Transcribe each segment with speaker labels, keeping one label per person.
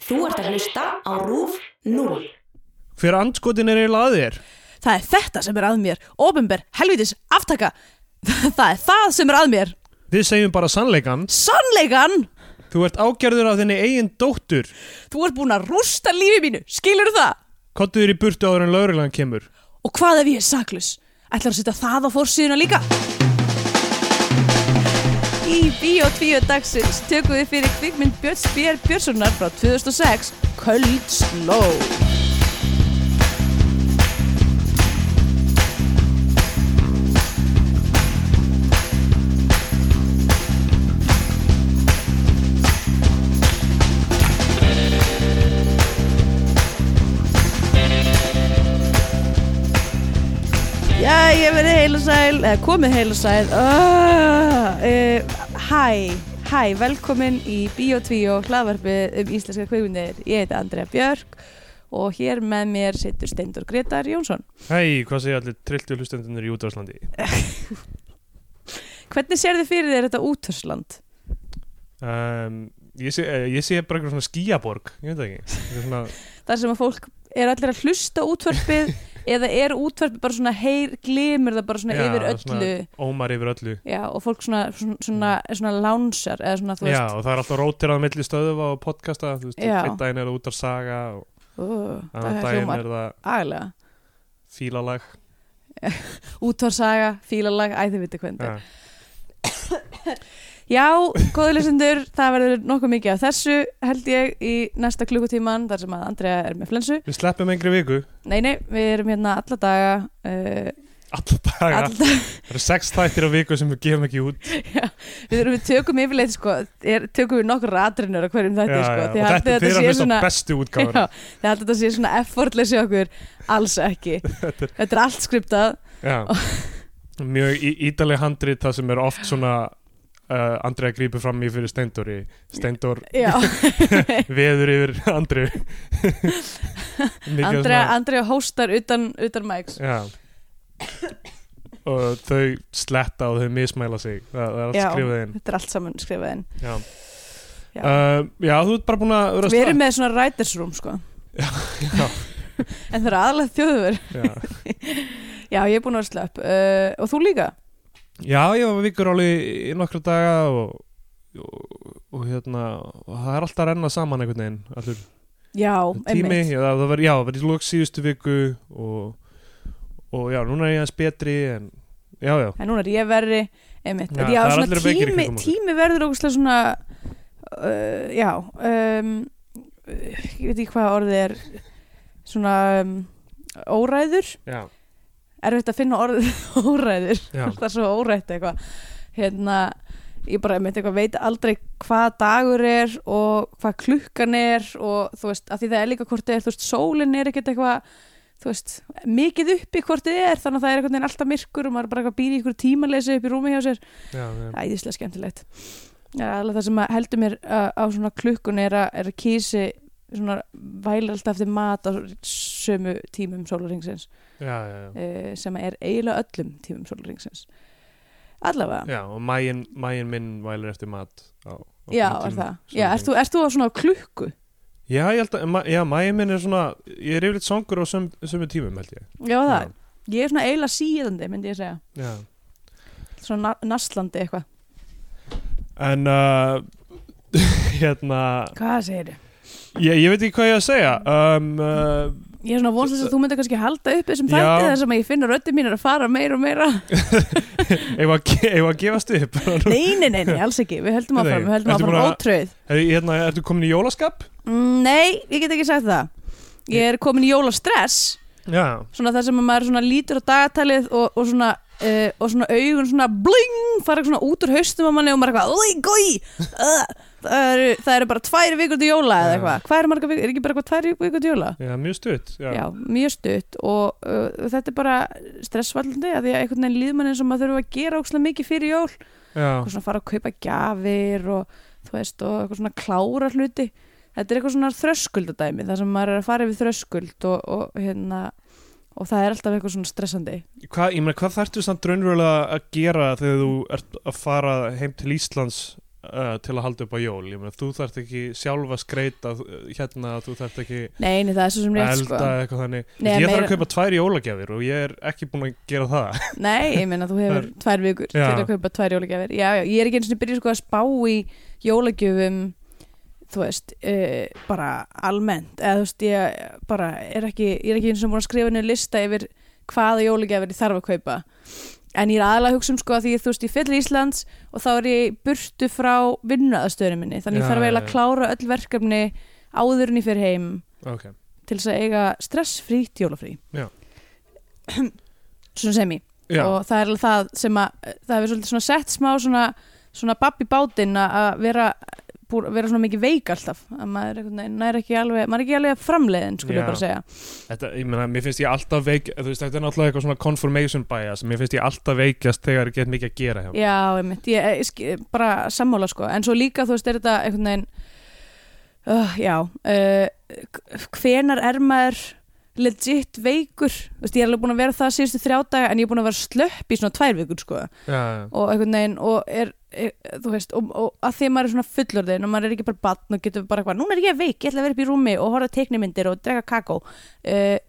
Speaker 1: Þú ert að hlusta á RÚF 0.
Speaker 2: Hver andskotin er eiginlega að þér?
Speaker 3: Það er þetta sem er að mér. Óbember, helvitis, aftaka. Það er það sem er að mér.
Speaker 2: Við segjum bara sannleikan.
Speaker 3: Sannleikan!
Speaker 2: Þú ert ágerður af þinni eigin dóttur.
Speaker 3: Þú ert búin að rústa lífi mínu, skilur það?
Speaker 2: Kottu þér í burtu áður en laurilegan kemur.
Speaker 3: Og hvað ef ég er saklus? Ætlar að setja það á fórsíðuna líka? Í Bíó 2 dagsins tökum við fyrir kvikmynd Björns B.R. Björnssonar frá 2006, Köld Sló. Já, ég verið heil og sæl, eða komið heil og sæl. Ah, eh, Hæ, hæ, velkomin í Bíotvíó hlaðvarpið um íslenska kveikmyndir. Ég heiti Andrea Björk og hér með mér sittur Steindur Gretar Jónsson.
Speaker 2: Hei, hvað segja allir trilltu hlustendunir í útvarslandi?
Speaker 3: Hvernig sér þið fyrir þér þetta útörsland?
Speaker 2: Um, ég, sé, eh, ég sé bara eitthvað svona skíaborg, ég veit það ekki. Eitthvað Svona,
Speaker 3: Þar sem að fólk er allir að hlusta á útvarpið eða er útvarpið bara svona heyr, glimur það bara svona
Speaker 2: Já,
Speaker 3: yfir öllu.
Speaker 2: Svona ómar yfir öllu.
Speaker 3: Já, og fólk svona, svona, svona, svona lánser eða svona, þú
Speaker 2: Já,
Speaker 3: veist,
Speaker 2: og það er alltaf rótirað milli stöðuva og podcasta. Þú veist,
Speaker 3: Já.
Speaker 2: einn daginn er það út af saga og
Speaker 3: uh,
Speaker 2: annan
Speaker 3: það
Speaker 2: daginn
Speaker 3: hljómar
Speaker 2: er það
Speaker 3: agalega.
Speaker 2: fílalag.
Speaker 3: útvarsaga, fílalag, æði viti hvernig
Speaker 2: Ja.
Speaker 3: ja. Já, góðu lesendur, það verður nokkuð mikið af þessu held ég í næsta klukkutíman þar sem að Andrea er með flensu
Speaker 2: Við sleppum engri viku.
Speaker 3: Nei, nei, við erum hérna alla daga uh,
Speaker 2: Alla daga.
Speaker 3: alla daga,
Speaker 2: Það eru sex þættir á viku sem við gefum ekki út.
Speaker 3: við erum við tökum yfirleitt sko, er, tökum við nokkur ratrinur á hverjum þetta
Speaker 2: Já,
Speaker 3: sko,
Speaker 2: já, og þetta er fyrir að
Speaker 3: sé
Speaker 2: mista svona... bestu útgáður
Speaker 3: Já, þið haldið þetta sé svona effortleysi okkur, alls ekki Þetta er allt skriptað
Speaker 2: mjög í- ítaleg handrit það sem er oft svona uh, Andrea grípur fram í fyrir Steindóri Steindór
Speaker 3: Já,
Speaker 2: veður yfir Andri mikið
Speaker 3: Andrea, Andrea hóstar utan, utan mæks
Speaker 2: svona já. og þau sletta og þau mismæla sig það, það er allt
Speaker 3: Já.
Speaker 2: skrifað inn
Speaker 3: Þetta er allt saman skrifað inn
Speaker 2: já.
Speaker 3: Já.
Speaker 2: Uh, já, þú ert bara búin að vera að
Speaker 3: Við erum með svona writers room sko
Speaker 2: já.
Speaker 3: En það eru aðalega þjóður
Speaker 2: já.
Speaker 3: Já, ég er búin að vera slöpp uh, Og þú líka?
Speaker 2: já, ég var vikur alveg í nokkra daga og, og, og hérna og það er alltaf að renna saman einhvern veginn allur
Speaker 3: Já,
Speaker 2: tími, já, það var, já, var í lók síðustu viku og, og já, núna er ég aðeins betri en já, já,
Speaker 3: En núna er ég verri Einmitt
Speaker 2: Já,
Speaker 3: Já,
Speaker 2: það
Speaker 3: já
Speaker 2: eru
Speaker 3: svona
Speaker 2: allir veikir í
Speaker 3: tími,
Speaker 2: kringum okkur.
Speaker 3: tími verður ógustlega svona uh, Já um, Ég veit ekki hvað orðið er Svona um, Óræður
Speaker 2: já,
Speaker 3: Erfitt að finna orðið óræður
Speaker 2: já.
Speaker 3: Það er svo órætt eitthvað Hérna Ég bara einmitt eitthvað veit aldrei hvað dagur er og hvað klukkan er og þú veist, af því það er líka hvort þið er, þú veist, sólin er ekkert eitthvað, þú veist, mikið uppi hvort þið er, þannig að það er einhvern veginn alltaf myrkur og maður er bara eitthvað býr í einhverju tímaleysi upp í rúmi hjá sér.
Speaker 2: já, já.
Speaker 3: Það er íslega skemmtilegt. Það er alveg það sem að heldur mér uh, á svona klukkun er að, er að kýsi svona væla alltaf eftir mat á sömu tímum sóluringsins
Speaker 2: já, já, já.
Speaker 3: uh, sem er eiginlega öllum tímum sóluringsins. Allavega.
Speaker 2: já og mægin, mægin minn vælir eftir mat á, á svona
Speaker 3: Já, er
Speaker 2: tíma,
Speaker 3: það.
Speaker 2: svona
Speaker 3: Já,
Speaker 2: tíma.
Speaker 3: ert þú, ert þú á svona klukku?
Speaker 2: já, ég held að, ma, já, mægin minn er svona ég er yfirleitt songur á söm, sömu tímum held ég
Speaker 3: Já, það. Ég er svona eiginlega síðandi, myndi ég segja.
Speaker 2: já, já.
Speaker 3: Svona na- naslandi eitthvað.
Speaker 2: en uh, hérna
Speaker 3: Hvað segir þið?
Speaker 2: ég, ég veit ekki hvað ég á að segja um, uh,
Speaker 3: Ég er svona vonstast að þú myndi kannski halda upp þessum
Speaker 2: Já.
Speaker 3: þætti þar sem að ég finn að röddir mín er að fara meira og meira.
Speaker 2: ef að, ge- eigum að gefast upp
Speaker 3: nei, nei, nei, nei, alls ekki. Við höldum
Speaker 2: Nei,
Speaker 3: áfram, við höldum
Speaker 2: ertu
Speaker 3: áfram
Speaker 2: búin að-
Speaker 3: ótröð.
Speaker 2: Er- hérna, ertu komin í jólaskap?
Speaker 3: Mm, Nei, ég get ekki sagt það. Ég er komin í jólastress,
Speaker 2: já,
Speaker 3: svona þar sem að maður svona lítur á dagatalið og, og svona... Uh, og svona augun svona bling fara svona út úr haustum á manni og maður eitthvað "Oj, goj, uh, það, eru, það eru bara tvær vikur til jóla
Speaker 2: Já.
Speaker 3: eða eitthvað hvað er marga vikur, er ekki bara eitthvað tvær vikur til jóla
Speaker 2: já mjög stutt já.
Speaker 3: já, mjög stutt og uh, þetta er bara stressvallandi að því að einhvern veginn líður mann eins og maður þurfa að gera ókslega mikið fyrir jól og
Speaker 2: Já,
Speaker 3: svona fara að kaupa gjafir og þú veist og eitthvað svona klára hluti þetta er eitthvað svona þröskuldadæmi þar sem maður er að fara yfir þröskuld og, og hérna og það er alltaf eitthvað svona stressandi
Speaker 2: hvað, ég meina, hvað þarftu samt raunverulega að gera þegar þú ert að fara heim til Íslands uh, til að halda upp á jól ég meina, þú þarft ekki sjálfa að skreita uh, hérna, þú þarft ekki
Speaker 3: Nei, nei, það er svo
Speaker 2: að
Speaker 3: sem rétt
Speaker 2: elda
Speaker 3: sko.
Speaker 2: eitthvað þannig
Speaker 3: Nei,
Speaker 2: ég þarf
Speaker 3: meira-
Speaker 2: að kaupa tvær jólagjafir og ég er ekki búin að gera það
Speaker 3: Nei, ég meina þú hefur tvær vikur
Speaker 2: Já.
Speaker 3: til að kaupa tvær jólagjafir Já, já, ég er ekki eins og byrja sko að spá í jólagjöfum þú veist, uh, bara almennt eða þú veist, ég bara er ekki, ég er ekki eins og búin að skrifa niður lista yfir hvaða jólagjafir ég þarf að kaupa en ég er aðalega að hugsa um sko að því ég, þú veist, ég fyll Íslands og þá er ég í burtu frá vinnuaðastöðunum minni, þannig
Speaker 2: Já,
Speaker 3: ég þarf eiginlega
Speaker 2: já,
Speaker 3: að klára öll verkefni áður en ég fyrir heim
Speaker 2: ok,
Speaker 3: til þess að eiga stressfrítt jólafrí
Speaker 2: Já.
Speaker 3: Svona sem ég
Speaker 2: já,
Speaker 3: og það er alveg það sem að það hefur svolítið svona sett smá svona, svona babb í bátinn að- að vera búr, vera svona mikið veik alltaf að maður er, einhvern veginn- nær ekki alveg, maður er ekki alveg framleiðin skulle
Speaker 2: Já.
Speaker 3: ég bara segja
Speaker 2: þetta, ég meina, mér finnst ég alltaf veik þú veist, þetta er náttúrulega eitthvað svona confirmation bias mér finnst ég alltaf veikjast þegar ég get mikið að gera hjá mér.
Speaker 3: já, einmitt, ég, ég, ski- bara sammála sko en svo líka þú veist er þetta einhvern veginn uh, já uh, hvenar er maður legit veikur Þú veist, ég er alveg búin að vera það síðustu þrjá daga en ég er búin að vera slöpp í svona tvær vikur sko
Speaker 2: já, já,
Speaker 3: og einhvern veginn og er, er þú veist, og, og að því að maður er svona fullorðin og maður er ekki bara batn og getur bara eitthvað núna er ég veik, ég ætla að vera upp í rúmi og horfa á teiknimyndir og drega kakó uh,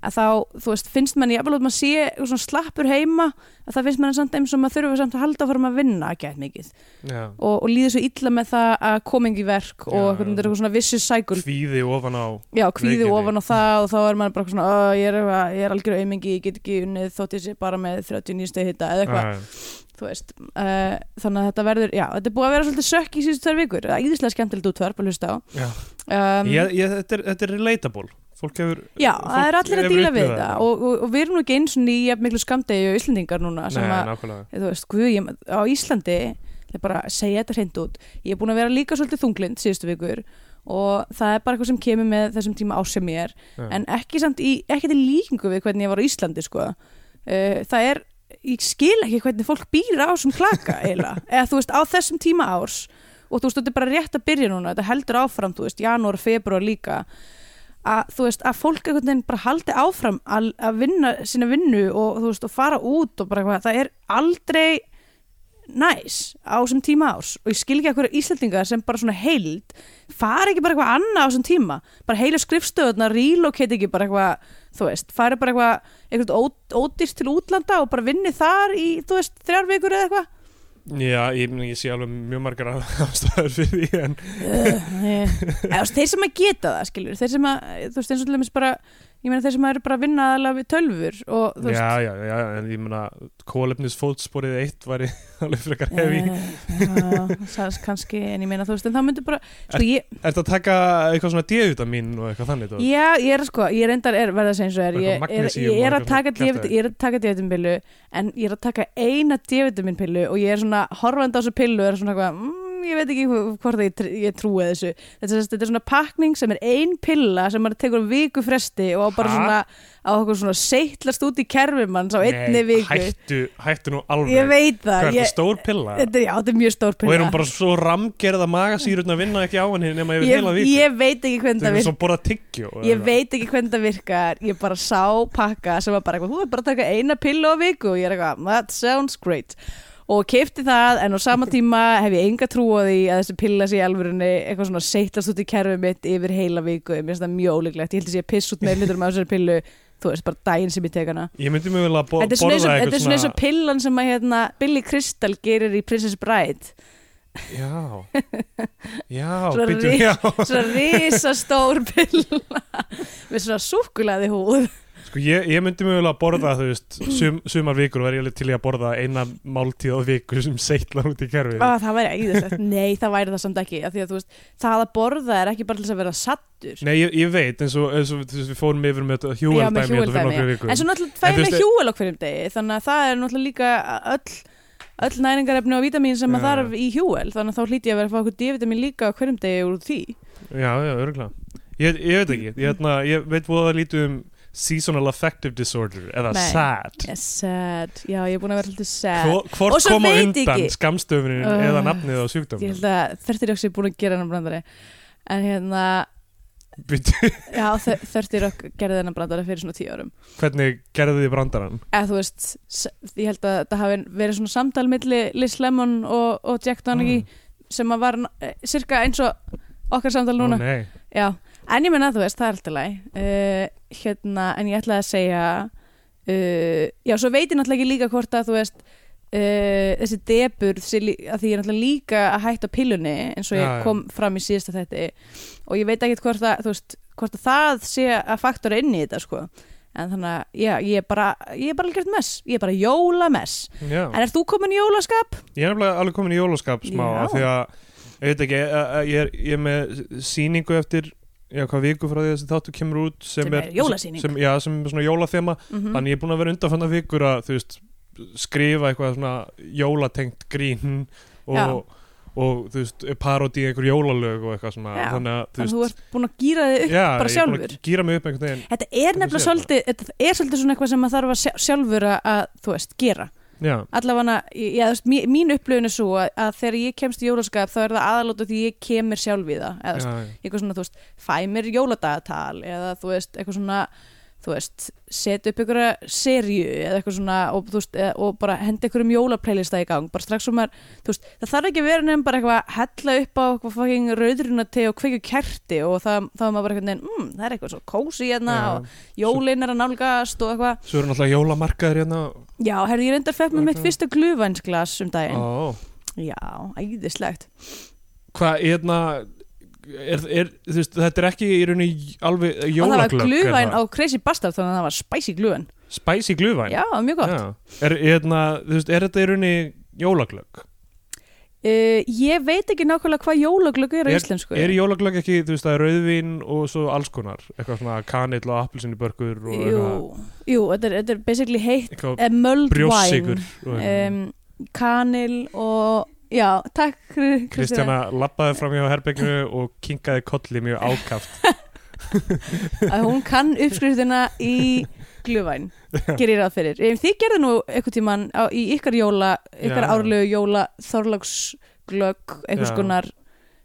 Speaker 3: að þá, þú veist, finnst mann jafnvel að maður sé eitthvað svona slappur heima að það finnst mann samt eins og maður þurfa samt að halda að fara maður að vinna að geta mikið
Speaker 2: já.
Speaker 3: og, og líður svo illa með það að koma ekki í verk og
Speaker 2: Já,
Speaker 3: einhvern veginn
Speaker 2: já.
Speaker 3: þetta er eitthvað svona vicious cycle
Speaker 2: kvíði ofan á
Speaker 3: já, kvíði
Speaker 2: Veikinni.
Speaker 3: ofan á það og þá er maður bara eitthvað svona, "Ó, ég er, eitthvað- ég er algjör aumingi, ég get ekki unnið þótt ég sé bara með 39 stegi hita eða eitthvað
Speaker 2: Já,
Speaker 3: þú veist, uh, þannig að þetta verður já, þetta er búið að vera svolítið sökk í síðustu þær vikur það er íðislega skemmtilegt útvarp að hlusta á
Speaker 2: já.
Speaker 3: um,
Speaker 2: ég, ég, þetta, er, þetta er relatable fólk hefur
Speaker 3: já,
Speaker 2: fólk
Speaker 3: það er allir að
Speaker 2: hefur
Speaker 3: díla við
Speaker 2: upplifað
Speaker 3: það og, og, og við erum nú ekki eins og nýja miklu skamdegi og Íslandingar núna sem
Speaker 2: Nei,
Speaker 3: að,
Speaker 2: nákvæmlega
Speaker 3: þú veist, guð, ég, á Íslandi það er bara að segja þetta hreint út ég er búin að vera líka svolítið þunglind síðustu vikur og það er bara eitthvað sem kemur með þessum tíma á sem ég er
Speaker 2: Já.
Speaker 3: en ekki samt í, ekki til líkingu við hvernig ég var á Íslandi sko. uh, það er, ég skil ekki hvernig fólk býr á sem klaka eiginlega eða þú veist, á þessum tíma árs og þú veist, þetta er bara rétt að byrja núna þetta heldur áfram, þú veist, janúar, februar líka að þú veist, að fólk einhvern veginn bara haldi áfram að, að vinna sína vinnu og þú veist, og fara út og bara eitthvað, það er aldrei næs á þessum tíma árs og ég skil ekki að hverju Íslandingar sem bara svona heild fara ekki bara eitthvað annað á þessum tíma bara heilu skrifstöðuna, relocate ekki bara eitthvað, þú veist, fara bara eitthvað eitthvað ó- ódýrt til útlanda og bara vinni þar í, þú veist, þrjár vikur eða eitthvað
Speaker 2: Já, ég, meina, ég sé alveg mjög margar ástæður fyrir því en
Speaker 3: Ugh, Eh, eða þú veist, þeir sem að geta það, skilur þeir sem að, þú veist, eins og til dæmis bara ég meina þeir sem eru bara að vinna aðalega við tölfur og þú veist
Speaker 2: já, já, já, en ég meina kólefnis fótsporið eitt var í alveg frekar hefi
Speaker 3: Eh, já, það er kannski, en ég meina þú veist en það myndi bara, sko ég,
Speaker 2: Ertu að taka eitthvað svona D-vitamin og eitthvað þannig dót?
Speaker 3: já, ég er sko, ég reyndar er, verða að segja eins og er, ég,
Speaker 2: Eitthvað
Speaker 3: er,
Speaker 2: magnesíum og
Speaker 3: ég er að
Speaker 2: eitthvað
Speaker 3: taka
Speaker 2: svona
Speaker 3: dívit-
Speaker 2: kjaftæði.
Speaker 3: ég er að taka divitaminpillu en ég er að taka eina divitaminpillu og ég er svona horfandi á þessu pillu og er svona eitthvað, mm, ég veit ekki hv- hvort ég, tr- ég trúi þessu þetta, er- þetta er svona pakning sem er ein pilla sem maður tekur um viku fresti og á bara
Speaker 2: Ha?
Speaker 3: svona á okkur svona seitlast út í kerfum hans á einni
Speaker 2: Nei,
Speaker 3: viku
Speaker 2: hættu, hættu nú alveg
Speaker 3: ég veit
Speaker 2: Hvað er
Speaker 3: það
Speaker 2: þetta
Speaker 3: ég,
Speaker 2: stór pilla?
Speaker 3: þetta, er- já, þetta er mjög stór
Speaker 2: Og
Speaker 3: pilla
Speaker 2: er hún bara svo ramgerða magasýrun að vinna ekki á henni nema yfir
Speaker 3: ég,
Speaker 2: heila vík
Speaker 3: ég veit ekki hvernig
Speaker 2: Þetta
Speaker 3: það
Speaker 2: er
Speaker 3: virkar
Speaker 2: svo borða tyggjó eða
Speaker 3: ég
Speaker 2: eitthvað.
Speaker 3: veit ekki hvernig það virkar ég bara sá pakka sem var bara eitthvað, þú er bara að taka eina pillu á viku og ég er eitthvað, that sounds great og kefti það en á sama tíma hef ég enga trú á því að þessi pilla sé í alvörunni eitthvað svona seittast út í kerfið mitt yfir heila viku, mér finnst það mjög ólíklegt ég held að sé að piss út með hlutur með þessari pillu þú veist, bara daginn sem ég tek hana
Speaker 2: Ég myndi mjög vel að borða
Speaker 3: þetta er svona eins og- þetta er
Speaker 2: eitthvað
Speaker 3: svona eins og pillan sem að hérna, Billy Crystal gerir í Princess Bride
Speaker 2: Já, já,
Speaker 3: Svona
Speaker 2: býtum,
Speaker 3: rík-
Speaker 2: já
Speaker 3: svona risastór pilla með svona súkulaði húð
Speaker 2: Sko ég, ég myndi mögulega að borða þú veist sum, sumar vikur verð ég alveg til í að borða eina máltíð á viku sem seitlar út í kerfið
Speaker 3: Ah, það væri æðislegt, nei það væri það samt ekki af því að þú veist, það að borða er ekki bara til þess að vera sattur
Speaker 2: Nei, ég, ég veit eins og, eins og þú veist, við fórum yfir með þetta hjúaldæmi hérna
Speaker 3: hjúel
Speaker 2: fyrir nokkru
Speaker 3: dæmi.
Speaker 2: viku
Speaker 3: en svo
Speaker 2: En
Speaker 3: náttúrulega
Speaker 2: þú
Speaker 3: fæði
Speaker 2: veist, eh,
Speaker 3: með hjúel á hverjum degi þannig að það er náttúrulega líka öll, öll næringarefni og vítamin sem
Speaker 2: Já,
Speaker 3: að þarf í hjúel þannig að þá hlýti ég að vera að fá okkur D-vitamin líka á hverjum degi úr því
Speaker 2: Já, já, örgulega ég, ég veit ekki, ég, hérna, ég veit búið að lítið um seasonal affective disorder eða
Speaker 3: Nei.
Speaker 2: SAD
Speaker 3: yes, sad, já ég er búin að vera alltaf sad
Speaker 2: Hvor,
Speaker 3: Og
Speaker 2: Hvort
Speaker 3: svo
Speaker 2: koma
Speaker 3: veit ég
Speaker 2: undan
Speaker 3: ekki.
Speaker 2: skamstöfunin
Speaker 3: Ugh.
Speaker 2: eða nafnið á
Speaker 3: ég
Speaker 2: sjúkdómum
Speaker 3: held að þurftir okkur sé búin að gera hennar brandari en hérna,
Speaker 2: Bíddu,
Speaker 3: já þurftir okkur gerði hennar brandari fyrir svona tíu árum
Speaker 2: Hvernig gerðu þið brandarann?
Speaker 3: eða þú veist, s- ég held að það hafi verið svona samtal milli Liz Lemon og, og Jack Donaghy sem að var eh, cirka eins og okkar samtal
Speaker 2: Ó,
Speaker 3: núna
Speaker 2: nei.
Speaker 3: Já, en ég menna þú veist, það er alltaf læg uh, hérna, en ég ætlaði að segja uh, já, svo veit ég náttúrulega ekki líka hvort að þú veist uh, þessi deburð sé lí- að því ég er náttúrulega líka að hætta á pillunni eins og
Speaker 2: Já, já.
Speaker 3: ég kom fram í síðasta þetta og ég veit ekki hvort að þú veist, hvort að það sé að faktora inn í þetta sko en þannig að, já, ég er bara ég er bara algjört mess, ég er bara jólamess
Speaker 2: Já.
Speaker 3: en er þú komin í jólaskap?
Speaker 2: Ég er nefnilega alveg komin í jólaskap smá
Speaker 3: Já.
Speaker 2: af því að, ég veit ekki, að- að ég er, ég er með sýningu eftir já, hvað viku frá því að þessi þáttu kemur út sem,
Speaker 3: Sem er jólasýning.
Speaker 2: sem, Já, sem er svona jólathema
Speaker 3: Mm
Speaker 2: Þannig ég er búin að vera undanfanna vikur að, þú veist, skrifa eitthvað svona jólatengt grín
Speaker 3: Já.
Speaker 2: og, og þú veist, parodi einhver jólalög og eitthvað svona
Speaker 3: Já.
Speaker 2: Þannig að, þú
Speaker 3: þannig að
Speaker 2: veist
Speaker 3: þú ert búin að gýra þig upp
Speaker 2: Já,
Speaker 3: bara
Speaker 2: ég er búin
Speaker 3: sjálfur.
Speaker 2: að gýra mig upp einhvern veginn
Speaker 3: Þetta er
Speaker 2: Hvernig
Speaker 3: nefnilega
Speaker 2: séð það?
Speaker 3: svolítið, þetta er svolítið svona eitthvað sem maður þarf að sjá- sjálfur að, að þú veist, gera.
Speaker 2: Já,
Speaker 3: Allavega, já, þú veist, mí- mín upplöfun er svo að, að þegar ég kemst í jólaskap þá er það aðalóta því ég kemur sjálf í það. Eða, þú veist,
Speaker 2: já,
Speaker 3: eitthvað svona, þú veist, fæ mér jóladagatal eða þú veist, eitthvað svona, þú veist, set upp einhverja serju eða eitthvað svona og, þú veist, eða, og bara henda einhverjum jólaplaylista í gang, bara strax svo maður, þú veist, það þarf ekki að vera nefn bara eitthvað að hella upp á eitthvað fucking rauðruna og kveikju kerti og það, þá er maður bara einhvern veginn, mm, það er eitthvað svo kósi hérna
Speaker 2: Já.
Speaker 3: og jólin er að nálgast og eitthvað
Speaker 2: Svo eru náttúrulega jólamarkaðir hérna
Speaker 3: já, herði ég reyndar fekk með mitt
Speaker 2: Ok.
Speaker 3: fyrsta glufænsglas um daginn,
Speaker 2: Ó,
Speaker 3: já, æðislegt
Speaker 2: Hvað, hérna er, er, þú veist, Þetta er ekki í rauninni alveg
Speaker 3: og það var
Speaker 2: jólaglögg
Speaker 3: glufæn
Speaker 2: hérna.
Speaker 3: á Crazy Bastard þannig að það var spicy glufæn,
Speaker 2: Spicy glufæn
Speaker 3: já, mjög gott
Speaker 2: Já. Er, hérna, þú veist, er þetta í rauninni jólaglögg?
Speaker 3: Uh, ég veit ekki nákvæmlega hvað jólaglögg er á íslensku
Speaker 2: Er jólaglögg ekki, þú veist, það er rauðvín og svo alls konar Eitthvað svona kanill og appelsinubörkur og
Speaker 3: Jú, jú þetta, er, þetta er basically heitt
Speaker 2: eitthvað,
Speaker 3: eh, mulled
Speaker 2: brjósigur
Speaker 3: wine um, kanil og já, takk Kri- Kristjana
Speaker 2: Kristjana labbaði fram hjá herbygginu og kinkaði kolli mjög ákaft
Speaker 3: að hún kann uppskriftina í glöfæn gerir ráð fyrir Em, þið gerðu nú einhvern tímann á, í ykkar jóla ykkar
Speaker 2: Já.
Speaker 3: árlegu jóla þorlagsglögg einhvers
Speaker 2: Já.
Speaker 3: konar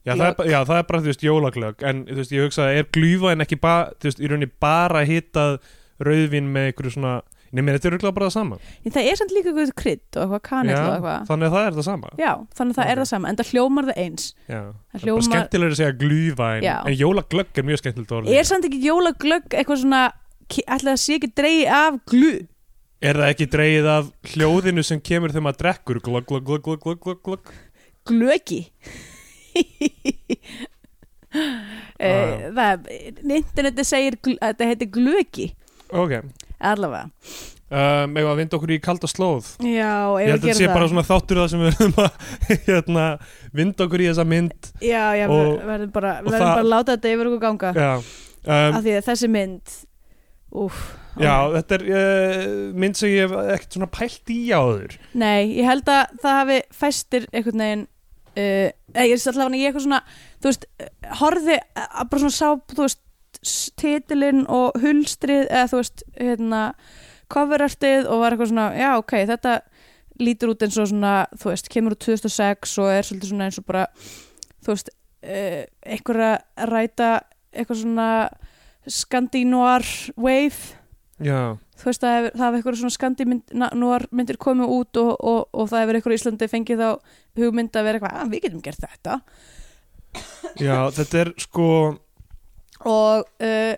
Speaker 2: já það, er, ba- já, það er bara, þú veist, jólaglögg En, þú veist, ég hugsaði, er glúfaðin ekki bara, þú veist, í rauninni bara hitað rauðvín með einhverju svona Nei, mér þetta er rauðlega bara það sama
Speaker 3: en það er samt líka eitthvað krydd og eitthvað kanil og
Speaker 2: já,
Speaker 3: eitthvað
Speaker 2: Þannig að það er það sama
Speaker 3: já, þannig að það
Speaker 2: Ok.
Speaker 3: er það sama en það hljómar það eins
Speaker 2: Já, það
Speaker 3: Það
Speaker 2: er bara
Speaker 3: hljómar-
Speaker 2: skemmtilega að segja glúfæn
Speaker 3: Já.
Speaker 2: en jólaglögg er mjög skemmtilegt orð
Speaker 3: Er samt ekki jólaglögg eitthvað svona ætlaði að sé ekki dreigi af glu
Speaker 2: Er það ekki dreigið af hljóðinu sem kemur þegar maður drekkur glögg, glögg, glögg, glögg, glögg, glögg, glögg
Speaker 3: glöggi
Speaker 2: Já, Ah.
Speaker 3: Eh, Það interneti segir gl- að þetta heitir glöggi
Speaker 2: Ok,
Speaker 3: allavega
Speaker 2: um, ef að vinda okkur í kalda slóð
Speaker 3: Já,
Speaker 2: Ég
Speaker 3: ef
Speaker 2: held að
Speaker 3: við
Speaker 2: þetta sé
Speaker 3: gerum
Speaker 2: bara
Speaker 3: það
Speaker 2: svona þáttur það sem við verðum að hérna, vinda okkur í þessa mynd
Speaker 3: Já, já, við
Speaker 2: og-
Speaker 3: verðum bara
Speaker 2: og
Speaker 3: við verðum
Speaker 2: það-
Speaker 3: bara að láta þetta yfir okkur ganga
Speaker 2: Já, um,
Speaker 3: af því að þessi mynd Úf
Speaker 2: já þetta er uh, mynd sem ég hef ekkert svona pælt í áður
Speaker 3: Nei, ég held að það hafi fæstir einhvern veginn uh, eða ég er allavega ég eitthvað svona þú veist, horfi að bara svona sá þú veist, s- titilinn og hulstrið eða þú veist, hérna coverartið og var eitthvað svona, já ok þetta lítur út eins og svona þú veist, kemur úr 2006 og er svolítið svona eins og bara, þú veist uh, einhver að ræta eitthvað svona skandínuar wave
Speaker 2: Já,
Speaker 3: þú veist, það hefur, það hefur eitthvað svona skandi myndir, myndir komið út og, og, og það hefur eitthvað í Íslandi fengið þá hugmynd að vera eitthvað, að við getum gert þetta
Speaker 2: já þetta er sko
Speaker 3: og uh,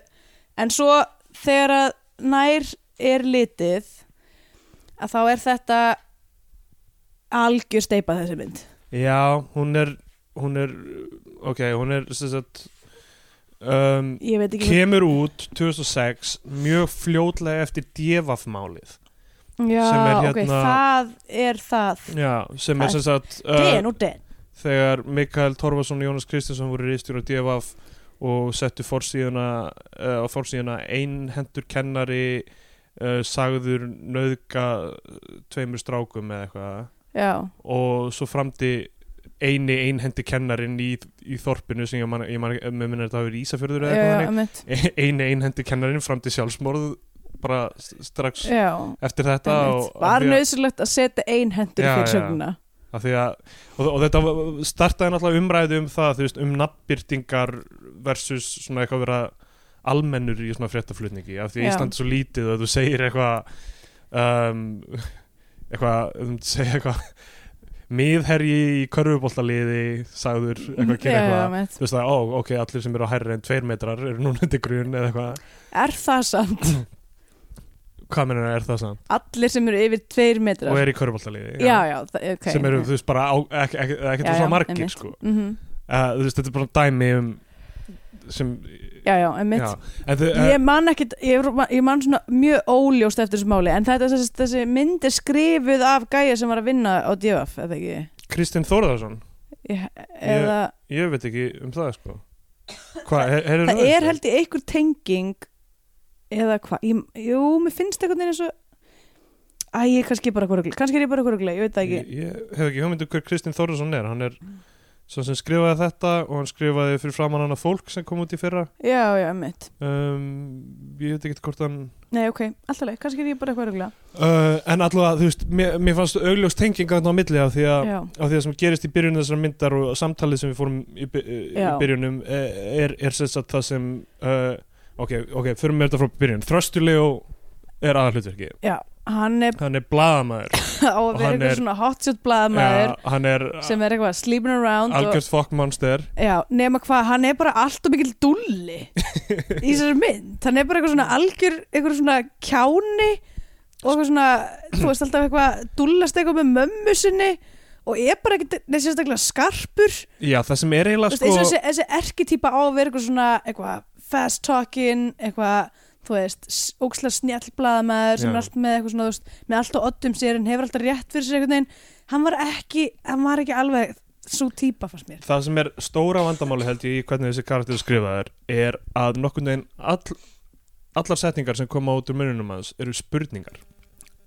Speaker 3: en svo þegar að nær er litið að þá er þetta algjör steipað þessi mynd
Speaker 2: Já, hún er hún er, ok, hún er sem sagt um,
Speaker 3: ég veit ekki
Speaker 2: kemur út 2006 mjög fljótlega eftir divaf-málið
Speaker 3: já,
Speaker 2: sem er
Speaker 3: ok,
Speaker 2: hérna-
Speaker 3: það er það
Speaker 2: Já, sem er
Speaker 3: Það
Speaker 2: sem sagt
Speaker 3: den
Speaker 2: uh,
Speaker 3: og den
Speaker 2: þegar Mikael Torfason og Jónas Kristinsson voru rýstjur á DFF og settu forsíðuna uh, á forsíðuna einhendur kennari uh, sagður nöðka tveimur strákum eða eitthvað
Speaker 3: já,
Speaker 2: og svo framdi eini einhendi kennarin í, í þorpinu sem ég man, ég man, ég man þetta hafi verið Ísafjörður
Speaker 3: já,
Speaker 2: eða eitthvað
Speaker 3: já,
Speaker 2: þannig. E-,
Speaker 3: einmitt.
Speaker 2: eini einhendi kennarin framdi sjálfsmorð bara s- strax
Speaker 3: já
Speaker 2: eftir þetta
Speaker 3: einmitt.
Speaker 2: og, af því
Speaker 3: var
Speaker 2: að-
Speaker 3: nöðsilegt að setja einhendur
Speaker 2: Já,
Speaker 3: fyrir
Speaker 2: já.
Speaker 3: söguna
Speaker 2: af því að, og, og þetta var- startaði náttúrulega umræðu um það, þú veist, um nafnbyrtingar versus svona eitthvað vera almennur í svona fréttaflutningi af því
Speaker 3: Já.
Speaker 2: að Ísland er svo lítið að þú segir eitthvað um, eitthvað, um, segir eitthvað miðherji í körfuboltaliði sagður eitthvað
Speaker 3: Já,
Speaker 2: gera eitthvað
Speaker 3: já, einmitt.
Speaker 2: þú veist það, ó, ok, allir sem eru á hærri en tveir metrar eru núna undir grun eða eitthvað
Speaker 3: Er það samt?
Speaker 2: hvað meina er það samt,
Speaker 3: Allir sem eru yfir tveir metrar
Speaker 2: og er í körfuboltaliði
Speaker 3: Já, já, það, ok
Speaker 2: sem eru, þú veist, bara á, ekki, ekki, ekki
Speaker 3: Já, já,
Speaker 2: svona margir,
Speaker 3: einmitt.
Speaker 2: sko
Speaker 3: mm
Speaker 2: uh, þú veist, þetta er bara dæmi um sem,
Speaker 3: Já, já, einmitt
Speaker 2: já en þau, uh,
Speaker 3: Ég man ekkit, ég, ég man svona mjög óljóst eftir þessu máli En þetta, þessi, þessi mynd er skrifuð af gæja sem var að vinna á divaf, eða ekki
Speaker 2: Kristinn Þórðarsson
Speaker 3: Ég- Eða,
Speaker 2: ég veit ekki um það, sko hvað, he- heyrðu
Speaker 3: það
Speaker 2: þú
Speaker 3: er
Speaker 2: þessu?
Speaker 3: held ég einhver tenging Eða hvað, Ég- jú, mér finnst eitthvað eins og Æ, ég er kannski bara hverjuglega, kannski er ég bara hverjuglega, ég veit það ekki
Speaker 2: ég, ég hef ekki hugmyndu hver Kristinn Þórðarsson er hann er svo sem skrifaði þetta og hann skrifaði fyrir framann hana fólk sem kom út í fyrra
Speaker 3: Já, já, mitt
Speaker 2: um, ég veit ekki hvort hann
Speaker 3: Nei, ok, alltaf leið, kannski er ég bara hverjuglega
Speaker 2: uh, en allavega, þú veist, mér, mér fannst augljós tenginga þarna á milli af því að
Speaker 3: Já,
Speaker 2: af því að sem gerist í byrjunum þessar myndar og samtalið sem við fórum í, by- í
Speaker 3: Já.
Speaker 2: byrjunum er, er, er sess að það sem uh, ok, ok, förum við þetta frá byrjun Þröstulegu er aðalhlutverki
Speaker 3: já, hann er
Speaker 2: hann er blaðamaður
Speaker 3: á að
Speaker 2: Og
Speaker 3: vera
Speaker 2: hann
Speaker 3: eitthvað
Speaker 2: er-
Speaker 3: svona hotshot blaðamaður
Speaker 2: Ja, hann er
Speaker 3: sem er eitthvað sleeping around og,
Speaker 2: algjörð fokkmonster
Speaker 3: já, nema hvað, hann er bara alltaf mikill dulli í þessari mynd hann er bara eitthvað svona algjör eitthvað svona kjáni og eitthvað svona, þú veist alltaf eitthvað dullast eitthvað með mömmu sinni og er bara ekkit, neða sérstaklega skarpur
Speaker 2: já, það sem er
Speaker 3: þú
Speaker 2: eiginlega
Speaker 3: veist, eins og
Speaker 2: sko
Speaker 3: þessi, þessi erkitýpa á að vera eitthvað svona eitthvað fast talking eitthvað, þú veist, óksla snjallblaðamaður
Speaker 2: Já.
Speaker 3: sem er allt með eitthvað svona, þú veist, með allt á oddum sér en hefur alltaf rétt fyrir sér einhvern veginn hann var ekki, hann var ekki alveg svo týpa fannst mér
Speaker 2: það sem er stóra vandamáli held ég í hvernig þessi karakter skrifaðar er að nokkurn veginn all, allar setningar sem koma út úr mununum hans eru spurningar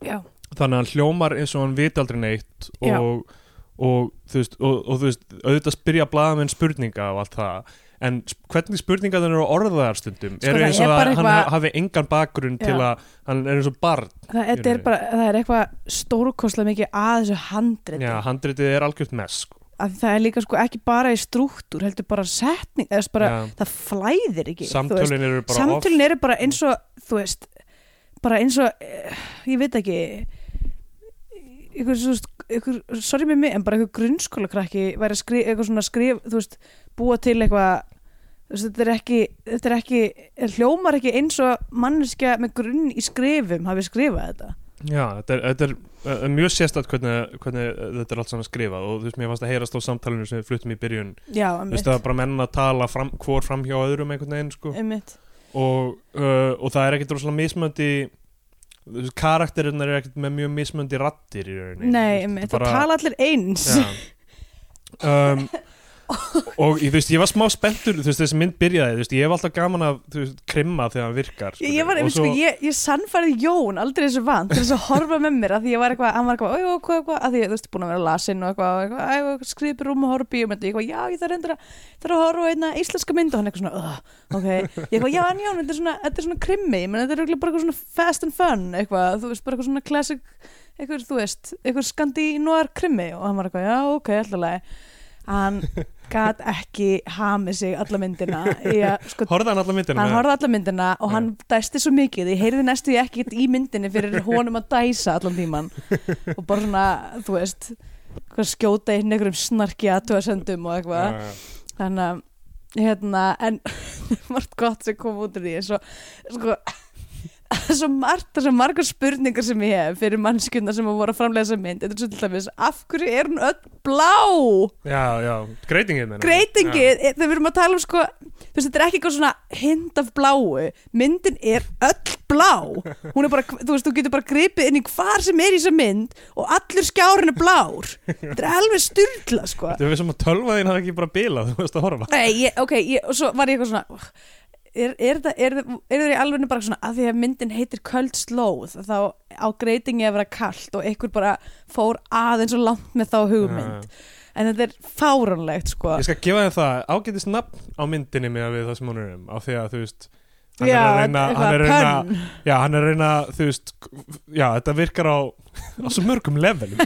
Speaker 3: já,
Speaker 2: þannig að hann hljómar eins og hann viti aldrei neitt
Speaker 3: Já.
Speaker 2: og, og, þú veist, og, og þú veist auðvitað spyrja blaðamenn um spurninga og allt það en sp- hvernig spurningar þannig eru orðaðar stundum
Speaker 3: Sko,
Speaker 2: eru
Speaker 3: það
Speaker 2: eins
Speaker 3: er
Speaker 2: og að
Speaker 3: bara
Speaker 2: hann
Speaker 3: eitthvað-
Speaker 2: hafi engan bakgrunn til
Speaker 3: Já.
Speaker 2: að hann er eins og barn
Speaker 3: það, þetta er
Speaker 2: rauninni.
Speaker 3: bara, það er eitthvað stórkostlega mikið að þessu handrit
Speaker 2: Já, handritið er algjört mess sko.
Speaker 3: að það er líka sko ekki bara í strúktúr heldur bara setning, eða þess bara
Speaker 2: Já.
Speaker 3: það flæðir ekki þú veist.
Speaker 2: samtölin eru bara
Speaker 3: samtölin eru bara eins og þú veist, bara eins og eh, ég veit ekki ykkur, þú veist, ykkur sorry með mig, en bara ykkur grunnskóla krakki væri að skrifa, eitthvað svona skrif þú veist, búa til eitthvað þú veist, þetta er ekki, þetta er ekki hljómar ekki eins og manneskja með grunn í skrifum hafi skrifað þetta
Speaker 2: off Já, þetta er, þetta er uh, mjög sérstætt hvernig, hvernig uh, þetta er allt saman skrifað og þú veist, mér fannst að heyrast á samtalinu sem við fluttum í byrjun
Speaker 3: já,
Speaker 2: þú veist, það er bara menn að tala fram, hvor fram hjá öðrum einhvern veginn sko.
Speaker 3: einmitt
Speaker 2: og, uh, og það er ekkert rosalega mismöndi karakterinn er ekkert með mjög mismöndi rattir í rauninni
Speaker 3: Nei, einmitt, það tala allir eins
Speaker 2: ja. um, og ég, þú veist, ég var smá spenntur þú veist, þessi mynd byrjaði, þú veist, ég hef alltaf gaman af þú veist, krimma þegar hann virkar
Speaker 3: Ég, ég var
Speaker 2: Og
Speaker 3: einmitt, sko, ég, ég sannfærið Jón aldrei þessu vant til þess að horfa með mér að því ég var eitthvað, hann var eitthvað, oi, hvað, hvað, að því ég, þú veist, búin að vera lasin og eitthvað, og eitthvað, æ, og skrifir rúm og horfa á bíómynd og ég eitthvað, já, ég þarf endur að, þarf að horfa á einna íslenska mynd og hann eitthvað svona, uh, ok, ég eitthvað, já, en Jón, þetta er svona, þetta er svona krimmi, menn þetta er örugglega bara eitthvað svona fast and fun, eitthvað, þú veist, bara eitthvað svona classic, eitthvað, þú veist, eitthvað skandinóar krimmi og hann var eitthvað, já, ok, alltaf hann gat ekki hamið sig alla myndina í að sko
Speaker 2: horfði hann alla myndina
Speaker 3: hann
Speaker 2: með-
Speaker 3: horfði alla myndina og hann dæsti svo mikið ég heyrði næstu ég ekkert í myndinni fyrir honum að dæsa allan tíman og bara svona, þú veist hvað skjóta inn einhverjum snarki aðtöðasendum og eitthvað
Speaker 2: Já, já.
Speaker 3: þannig að hérna, en margt gott sem kom út úr því svo, sko svo margt, það sem margar spurningar sem ég hef fyrir mannskjöndar sem voru að framlega þessa mynd þetta er svo til dæmis, af hverju er hún öll blá?
Speaker 2: já, já, greitingin meina ég.
Speaker 3: greitingi, ja. þegar við erum að tala um sko þú veist, þetta er ekki eitthvað svona hint af bláu, myndin er öll blá, hún er bara þú veist, þú getur bara gripið inn í hvar sem er í þessa mynd og allur skjárin er blár þetta er alveg styrla sko
Speaker 2: Já. Þetta er við sem að tölvaðin hafði ekki bara bilað þú veist að horfa
Speaker 3: Nei, ég, ok, ég, og svo var ég eitthvað svona "Ugh, Er, er, það, er, er það í alveg bara svona að því að myndin heitir köld slóð þá á greitingi að vera kalt og einhver bara fór aðeins og langt með þá hugmynd en þetta er fáránlegt sko
Speaker 2: Ég skal gefa þér það, ágætist nafn á myndinni með við það sem hún er um á því að þú veist Hann er að reyna-
Speaker 3: eitthvað
Speaker 2: hann er að reyna-
Speaker 3: pönn.
Speaker 2: Já, hann er að reyna, þú veist Já, þetta virkar á, á svo mörgum levelum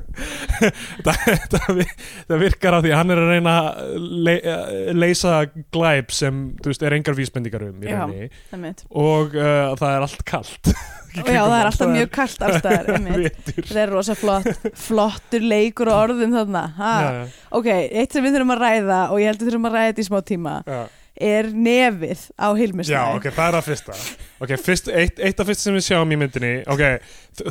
Speaker 2: þetta, þetta, vi- þetta virkar á því að hann er að reyna að le- leysa glæp sem, þú veist, er engar vísbendingar um í
Speaker 3: Já.
Speaker 2: rauninni
Speaker 3: Einmitt.
Speaker 2: og uh, það er allt kalt
Speaker 3: Og Já,
Speaker 2: um
Speaker 3: það er alltaf mjög kallt allstaðar einmitt.
Speaker 2: vittur
Speaker 3: Það er rosa flott, flottur leikur og orðum þarna ha.
Speaker 2: Já,
Speaker 3: Ok, eitt sem við þurfum að ræða og ég held við þurfum að ræða þetta í smá tíma
Speaker 2: já.
Speaker 3: er nefið á Hilmisnæ
Speaker 2: Já, ok, það er að fyrsta Ok, fyrst, eitt, eitt af fyrst sem við sjáum í myndinni Ok,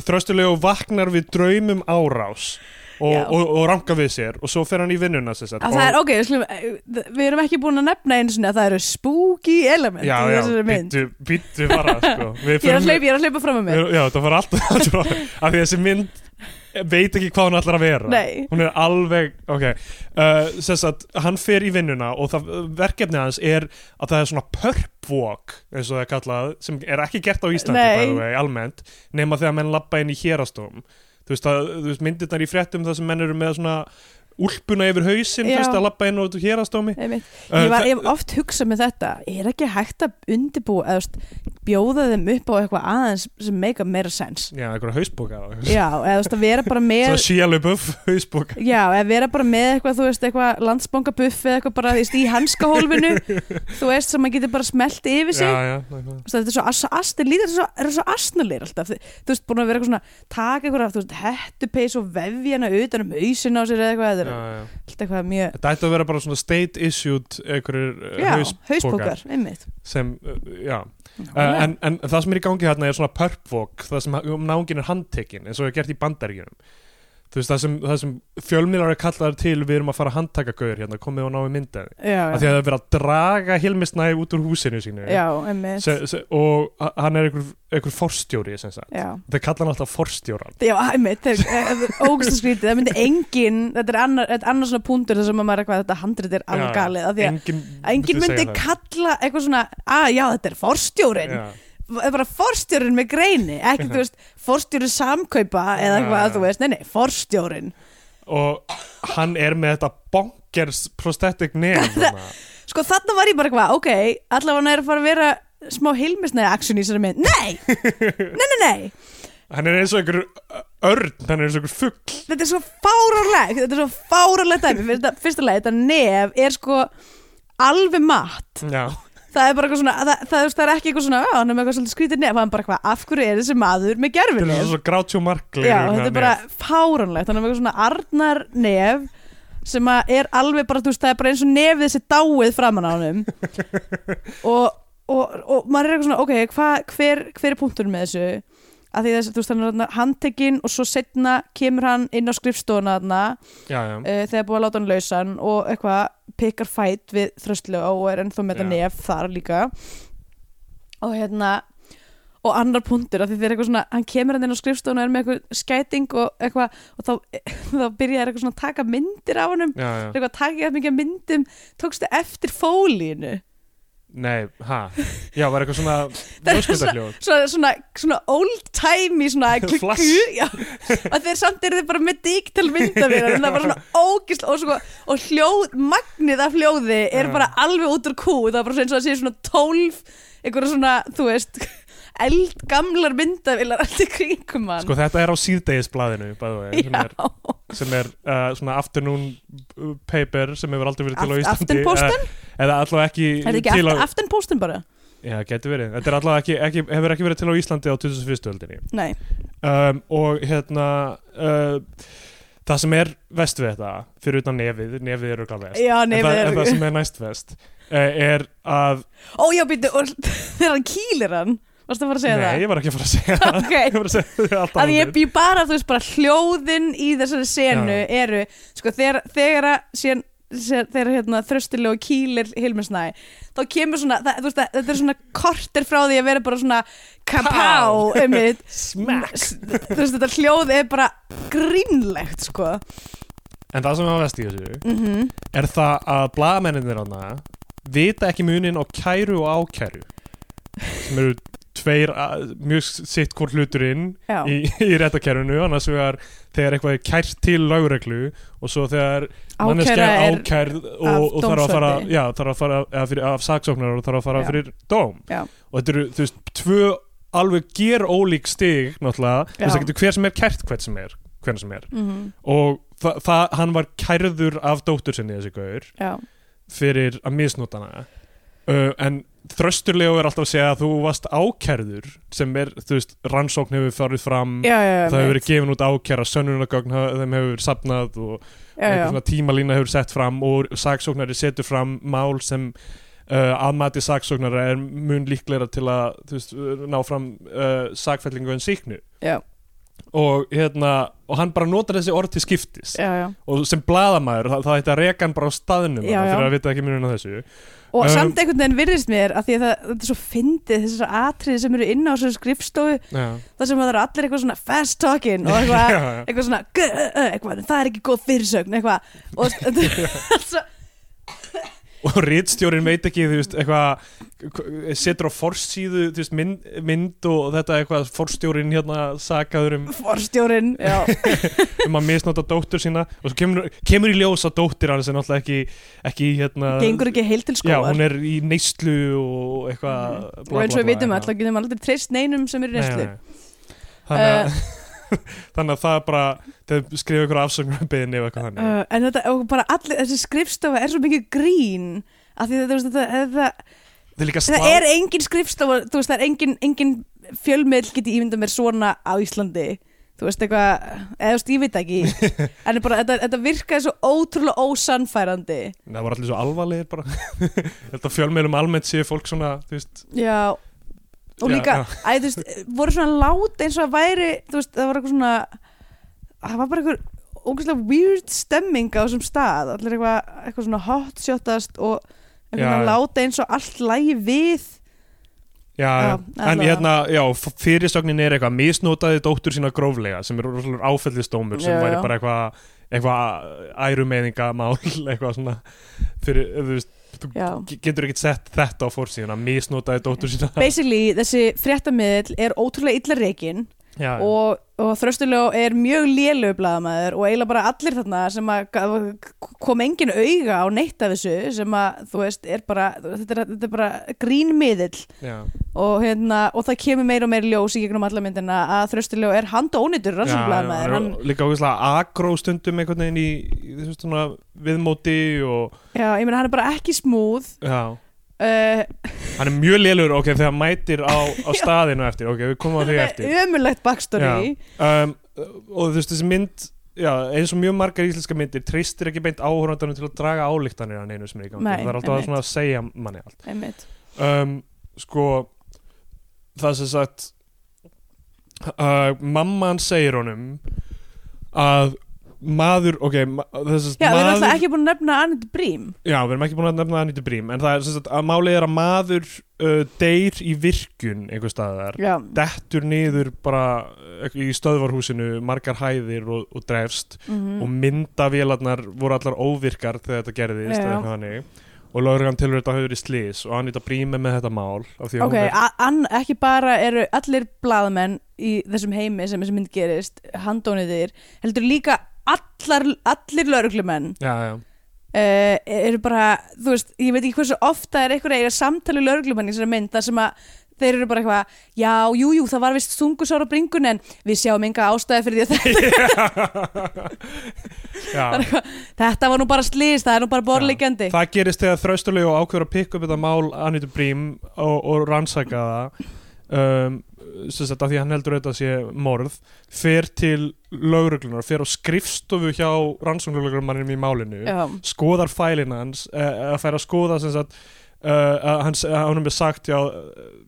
Speaker 2: þröstulegu vaknar við draumum árás og,
Speaker 3: Já.
Speaker 2: og, og ranka við sér og svo fer hann í vinnuna sem sagt,
Speaker 3: Að
Speaker 2: og,
Speaker 3: það er, ok, við slum, við erum ekki búin að nefna eins og það eru spooky element
Speaker 2: Já,
Speaker 3: í
Speaker 2: já,
Speaker 3: þessari mynd.
Speaker 2: býttu, býttu bara sko. Við
Speaker 3: Ég er
Speaker 2: förum-
Speaker 3: að hleypa, ég er að hleypa fram með mér.
Speaker 2: við- Já, það var alltaf allt frá Af því þessi mynd veit ekki hvað hún ætlar að vera
Speaker 3: Nei.
Speaker 2: Hún er alveg, ok uh, Sess að hann fer í vinnuna og það, verkefnið hans er að það er svona purp walk eins og það er kallað, sem er ekki gert á Íslandi
Speaker 3: Nei.
Speaker 2: by the way, almennt, nema þegar menn lappa inn í hérastóm Þú veist, að, þú veist myndirnar í fréttum það sem menn eru með svona úlpuna yfir hausinn,
Speaker 3: Já.
Speaker 2: þú veist, að lappa inn út úr hérastómi
Speaker 3: Einmitt.
Speaker 2: Uh,
Speaker 3: Ég var
Speaker 2: það-
Speaker 3: ég hef oft hugsað með þetta, er ekki hægt að undibúa, eða þú veist, bjóða þeim upp á eitthvað aðeins sem make a meira sense.
Speaker 2: Já, einhverja hausbóka eða eitthvað.
Speaker 3: Já, eða þú veist, að vera bara með...
Speaker 2: Svo síalubuff hausbóka
Speaker 3: Já, eða vera bara með eitthvað, þú veist, eitthvað landsbongabuff eða eitthvað bara þú veist, í hanskahólfinu, þú veist, sem maður getur bara smelt yfir sig.
Speaker 2: Já, já, nákvæmlega.
Speaker 3: Þú veist, þetta er svo ast, ast, lítur svo, er svo astnulir alltaf, Þi- þú veist, búin að vera eitthvað svona taka eitthvað, þú veist, hettupeis og vefjana utan um hausin á sér eða eitthvað þetta er
Speaker 2: já, já.
Speaker 3: allt eitthvað mjög,
Speaker 2: Þetta ætti að vera bara svona state issued einhverjir
Speaker 3: já,
Speaker 2: hausbókar
Speaker 3: hausbókar einmitt,
Speaker 2: sem, uh, já, uh, en, en það sem er í gangi hérna er svona purpvok það sem um náungin er handtekinn eins og er gert í bandaríkjunum þú veist, það sem, það sem fjölmiðlar er kallar til við erum að fara að handtaka gaur hérna, komið og náum myndaði
Speaker 3: já,
Speaker 2: af því að það er verið að draga Hilmisnæ út úr húsinu sínu
Speaker 3: já, einmitt
Speaker 2: se, se, og h- hann er einhver, einhver forstjóri sem sagt,
Speaker 3: já,
Speaker 2: það kallar hann alltaf forstjóran
Speaker 3: já, einmitt eh, ógust að skrítið, það myndi engin þetta er annar, þetta er annar svona pundur þar sem að maður er eitthvað, þetta handrit er
Speaker 2: Já,
Speaker 3: alveg galið af því að
Speaker 2: enginn
Speaker 3: engin myndi
Speaker 2: segja það.
Speaker 3: kalla eitthvað svona, að já, þetta er forstjórin
Speaker 2: Já.
Speaker 3: það er bara forstjórin með greini ekki, þú veist, forstjórin samkaupa eða
Speaker 2: Já,
Speaker 3: eitthvað,
Speaker 2: já.
Speaker 3: þú veist, nei, nei, forstjórin
Speaker 2: og hann er með þetta bonkers prosthetic nef þarna.
Speaker 3: Sko þarna var ég bara eitthvað, ok, allavega er að fara að vera smá hilmisnæði action í þessari mynd. Nei! Nei, nei, nei!
Speaker 2: hann er eins og einhver örn hann er eins og einhver fugg
Speaker 3: Þetta er svo fáránlegt, þetta er svo fáránlegt dæmi. Fyrsta, fyrsta lagi, þetta nef er sko alveg matt.
Speaker 2: já,
Speaker 3: Það er bara eitthvað svona, það, það, það, það er ekki eitthvað svona, já, hann er með eitthvað svolítið skrítið nef, hann er bara eitthvað, af hverju er þessi maður með
Speaker 2: þetta
Speaker 3: gerfinni?
Speaker 2: er svo grátjó marklegur
Speaker 3: Já, þetta er bara fáránlegt, hann er með eitthvað svona arnar nef sem að er alveg bara, þú veist, það er bara eins og nefið þessi dáið framan á honum og, og, og maður er eitthvað svona, ok, hva, hver, hver er punkturinn með þessu? Að því þess, þú veist, hann er þarna handtekinn og svo setna kemur hann inn á skrifstofuna þarna uh,
Speaker 2: já, já.
Speaker 3: þegar búið að láta hann lausan og eitthvað pikkar fætt við þröstlega og er ennþá með þetta
Speaker 2: Já.
Speaker 3: nef þar líka og hérna og annar punktur að því þeir eitthvað svona hann kemur hann inn á skrifstofuna og er með eitthvað skæting og eitthvað og þá, þá byrjar eitthvað svona að taka myndir af honum
Speaker 2: Já, já.
Speaker 3: eitthvað að taka eitthvað mikið af myndum tókstu eftir fólínu
Speaker 2: nei, hæ já, var eitthvað svona
Speaker 3: Það er
Speaker 2: ljóskvitaðljóð
Speaker 3: svona, svona, svona old timey svona klikku,
Speaker 2: Flash.
Speaker 3: já, að þeir samt eru þeir bara með digital myndavélar en það er bara svona ógist og, sko, og hljóð, magnið af hljóði er
Speaker 2: Já.
Speaker 3: bara alveg út úr kú það er bara eins og það sé svona tólf einhverja svona, þú veist eldgamlar myndavélar allt í kringum hann
Speaker 2: sko þetta er á síðdegisblaðinu by the way, sem er,
Speaker 3: já,
Speaker 2: sem er uh, svona afternoon uh, paper sem hefur aldrei verið til á
Speaker 3: Aft-
Speaker 2: Íslandi
Speaker 3: aftenposten?
Speaker 2: eða, eða allavega ekki,
Speaker 3: er þetta ekki
Speaker 2: til
Speaker 3: aftan,
Speaker 2: á
Speaker 3: aftan póstin bara?
Speaker 2: já, getur verið, þetta er allavega ekki, ekki hefur ekki verið til á Íslandi á 2001. öldinni
Speaker 3: Nei,
Speaker 2: um, og hérna uh, það sem er vest við þetta fyrir utan nefið, nefið eru glæð vest
Speaker 3: já,
Speaker 2: en, það, en
Speaker 3: nefnir
Speaker 2: það sem er næst vest uh, er að
Speaker 3: Ó, já, býttu, og þegar hann kýlir hann Varstu að fara að segja
Speaker 2: nei,
Speaker 3: það?
Speaker 2: ég var ekki að fara að segja það
Speaker 3: Ok.
Speaker 2: ég var að segja það allt
Speaker 3: að ég
Speaker 2: annað.
Speaker 3: bý bara, þú veist, bara hljóðin í þessari senu
Speaker 2: Já.
Speaker 3: eru sko, þegar, þegar að síðan sér- þegar hérna þröstilegu kýlir Hilmisnæ, þá kemur svona það, þú veist, það- þetta er svona kortir frá því að vera bara svona kapá
Speaker 2: Pow.
Speaker 3: einmitt.
Speaker 2: Smack.
Speaker 3: S- þú veist, þetta hljóð er bara grínlegt, sko
Speaker 2: en það sem er vest í þessu
Speaker 3: mm
Speaker 2: er það að blagamennir hana vita ekki munin á kæru og ákæru sem eru tveir að- mjög sitt hvort hluturinn
Speaker 3: já,
Speaker 2: í, í réttakerfinu annars vegar þegar eitthvað er kært til lögreglu og svo þegar manneskja
Speaker 3: ákæra
Speaker 2: er
Speaker 3: er
Speaker 2: ákærð
Speaker 3: af
Speaker 2: og, og þarf að fara,
Speaker 3: dómsvaldi.
Speaker 2: já, þarf að fara eða fyrir, af saksóknar og þarf að fara
Speaker 3: Já.
Speaker 2: fyrir dóm
Speaker 3: Já.
Speaker 2: og þetta eru, þú veist, tvö alveg ger ólík stig náttúrulega, þú
Speaker 3: Já.
Speaker 2: veist, það getur hver sem er kært hvern sem er, hvern sem er
Speaker 3: mhm,
Speaker 2: og þa það, hann var kærður af dóttur sinni þessi gaur
Speaker 3: já,
Speaker 2: fyrir að misnota hana uh, en þrösturlega er alltaf að segja að þú varst ákærður sem er, þú veist, rannsókn hefur farið fram
Speaker 3: já, já, já,
Speaker 2: það hefur
Speaker 3: mitt.
Speaker 2: verið gefin út ákæra sönnunagögn hafa- þeim hefur verið safnað og
Speaker 3: já,
Speaker 2: einhver
Speaker 3: já,
Speaker 2: svona tímalína hefur sett fram og saksóknari setur fram mál sem uh, aðmati saksóknara er mun líklegra til að þú veist, uh, ná fram uh, sakfællingu en síknu
Speaker 3: Já.
Speaker 2: og, hérna, og hann bara notar þessi orð til skiptis
Speaker 3: já, já.
Speaker 2: og sem bladamæður þá ætti að reka hann bara á staðnum
Speaker 3: Já,
Speaker 2: þarna,
Speaker 3: já.
Speaker 2: fyrir að vita ekki munina þessu
Speaker 3: og
Speaker 2: Um,
Speaker 3: samt einhvern veginn virðist mér að því að það, þetta er svo fyndið þessar atriði sem eru inn á þessu skrifstofu
Speaker 2: já.
Speaker 3: þar sem það eru allir eitthvað svona fast talking og eitthvað
Speaker 2: Já, já.
Speaker 3: eitthvað svona "G- ö- ö", eitthvað, það er ekki góð fyrirsögn eitthvað og þetta er svo-
Speaker 2: og rítstjórin veit ekki þú veist, eitthvað setur á forsíðu þú veist, mynd, mynd og þetta eitthvað forstjórin hérna sakaður um
Speaker 3: forstjórin já,
Speaker 2: um að misnota dóttur sína og svo kemur, kemur í ljós að dóttir hans er náttúrulega ekki, ekki hérna
Speaker 3: gengur ekki heil til
Speaker 2: Já, hún
Speaker 3: skóar
Speaker 2: er í neyslu og eitthvað bla,
Speaker 3: Mhm. og eins og
Speaker 2: bla,
Speaker 3: við vitum
Speaker 2: bla,
Speaker 3: öll þá getum aldrei treyst neinum sem er í
Speaker 2: Nei,
Speaker 3: neyslu Eh.
Speaker 2: nei, nei. Þannig að, þannig að það er bara þau skrifa ykkur afsögnum beðinni eða eitthvað þannig
Speaker 3: uh, en þetta, og bara allir, þessi skrifstofa er svo mikið grín að því að þú veist, þetta, þetta
Speaker 2: Það er líka slá
Speaker 3: það er engin skrifstofa þú veist það er engin, engin fjölmiðl geti ímynda mér svona á Íslandi þú veist eitthvað, eða þú veist ég veit það ekki en bara, þetta, þetta virkaði svo ótrúlega ósannfærandi
Speaker 2: Það var allir svo alvarlegir bara Þetta fjölmeilum almennt séu fólk svona þú veist,
Speaker 3: já og
Speaker 2: Já,
Speaker 3: líka,
Speaker 2: já.
Speaker 3: æ, þú veist, voru svona lát eins og að væri, þú veist, það var eitthvað svona það var bara eitthvað ógæslega weird stemming á þessum stað allir eitthvað, eitthvað svona hot shotast og eitthvað
Speaker 2: Já,
Speaker 3: svona
Speaker 2: já.
Speaker 3: lát eins og allt lægi við
Speaker 2: Já,
Speaker 3: Já,
Speaker 2: en
Speaker 3: allavega.
Speaker 2: hérna, já, f- fyrirsögnin er eitthvað misnotaði dóttur sína gróflega sem er rosalega áfellistómur sem
Speaker 3: Já,
Speaker 2: væri
Speaker 3: já.
Speaker 2: bara eitthvað eitthvað ærumeðingamál eitthvað svona fyrir, þú veist,
Speaker 3: já
Speaker 2: ge- getur ekkert sett þetta á fórsíðuna misnotaði dóttur sína
Speaker 3: basically þessi fréttamiðl er ótrúlega illa reygin
Speaker 2: já, já.
Speaker 3: og, og þröstulega er mjög lélög blaðamæður og eiginlega bara allir þarna sem að ga- kom engin auga á neitt af þessu sem að þú veist er bara, þetta er, þetta er bara grínmiðill
Speaker 2: já.
Speaker 3: og, hérna, og það kemur meira og meira í ljós í gegnum alla myndina að þröstulega er
Speaker 2: Já,
Speaker 3: handónitur
Speaker 2: já,
Speaker 3: rannsóknblaðamæður, hann,
Speaker 2: og líka ógeðslega agró stundum einhvern veginn í, í þessu svona viðmóti og
Speaker 3: já, ég meina hann er bara ekki smúð
Speaker 2: já,
Speaker 3: uh,
Speaker 2: hann er mjög lélur ok, þegar hann mætir á, á staðinu eftir ok, við komum á því eftir
Speaker 3: ömulegt backstory
Speaker 2: um, og þú veist þessi mynd já, eins og mjög margar íslenska myndir treystir ekki beint áhorfandanum til að draga álíktanir hann einu sem er í gangi,
Speaker 3: Nei,
Speaker 2: það er alltaf að
Speaker 3: einmitt.
Speaker 2: svona að segja manni allt
Speaker 3: einmitt,
Speaker 2: um, sko það sem sagt uh, mamman segir honum að maður, ok ma þess að
Speaker 3: já, við erum
Speaker 2: maður
Speaker 3: alltaf ekki búin að nefna Annette Brím
Speaker 2: já, við erum ekki búin að nefna Anítu Brím en það er sem sagt að málið er að maður uh, deyr í virkun einhver staðar
Speaker 3: já,
Speaker 2: dettur niður bara uh, í stöðvarhúsinu margar hæðir og, og drefst
Speaker 3: mhm.
Speaker 2: og myndavélarnar voru allar óvirkar þegar þetta gerðist
Speaker 3: Já.
Speaker 2: eða eitthvað þannig og lögurgan tilur þetta hafði verið slís og Anita Brím er með þetta mál af því að
Speaker 3: Ok,
Speaker 2: hún er,
Speaker 3: a- an, ekki bara eru allir blaðamenn í þessum heimi sem þessi mynd gerist, handóniðir, heldur líka allar, allir lauruglumenn
Speaker 2: já, já,
Speaker 3: uh, eru bara, þú veist, ég veit ekki hversu ofta er eitthvað eiga samtali lauruglumenn í þessari mynd þar sem að þeir eru bara eitthvað, já, jú, jú, það var vist stungusára bringun en við sjáum enga ástæði fyrir því að þetta,
Speaker 2: já.
Speaker 3: þetta var nú bara slýst, það er nú bara borlegjandi.
Speaker 2: það gerist þegar þrausturlegu ákveður að pikka upp þetta mál Anita Brím og, og rannsaka það um, sem sagt af því að hann heldur auðvitað að sé morð fer til lögreglunar fer á skrifstofu hjá rannsóknlögreglumanninum í málinu
Speaker 3: Já,
Speaker 2: skoðar fælin hans eh, að færa að skoða sem sagt Uh, að hans, að honum er sagt já,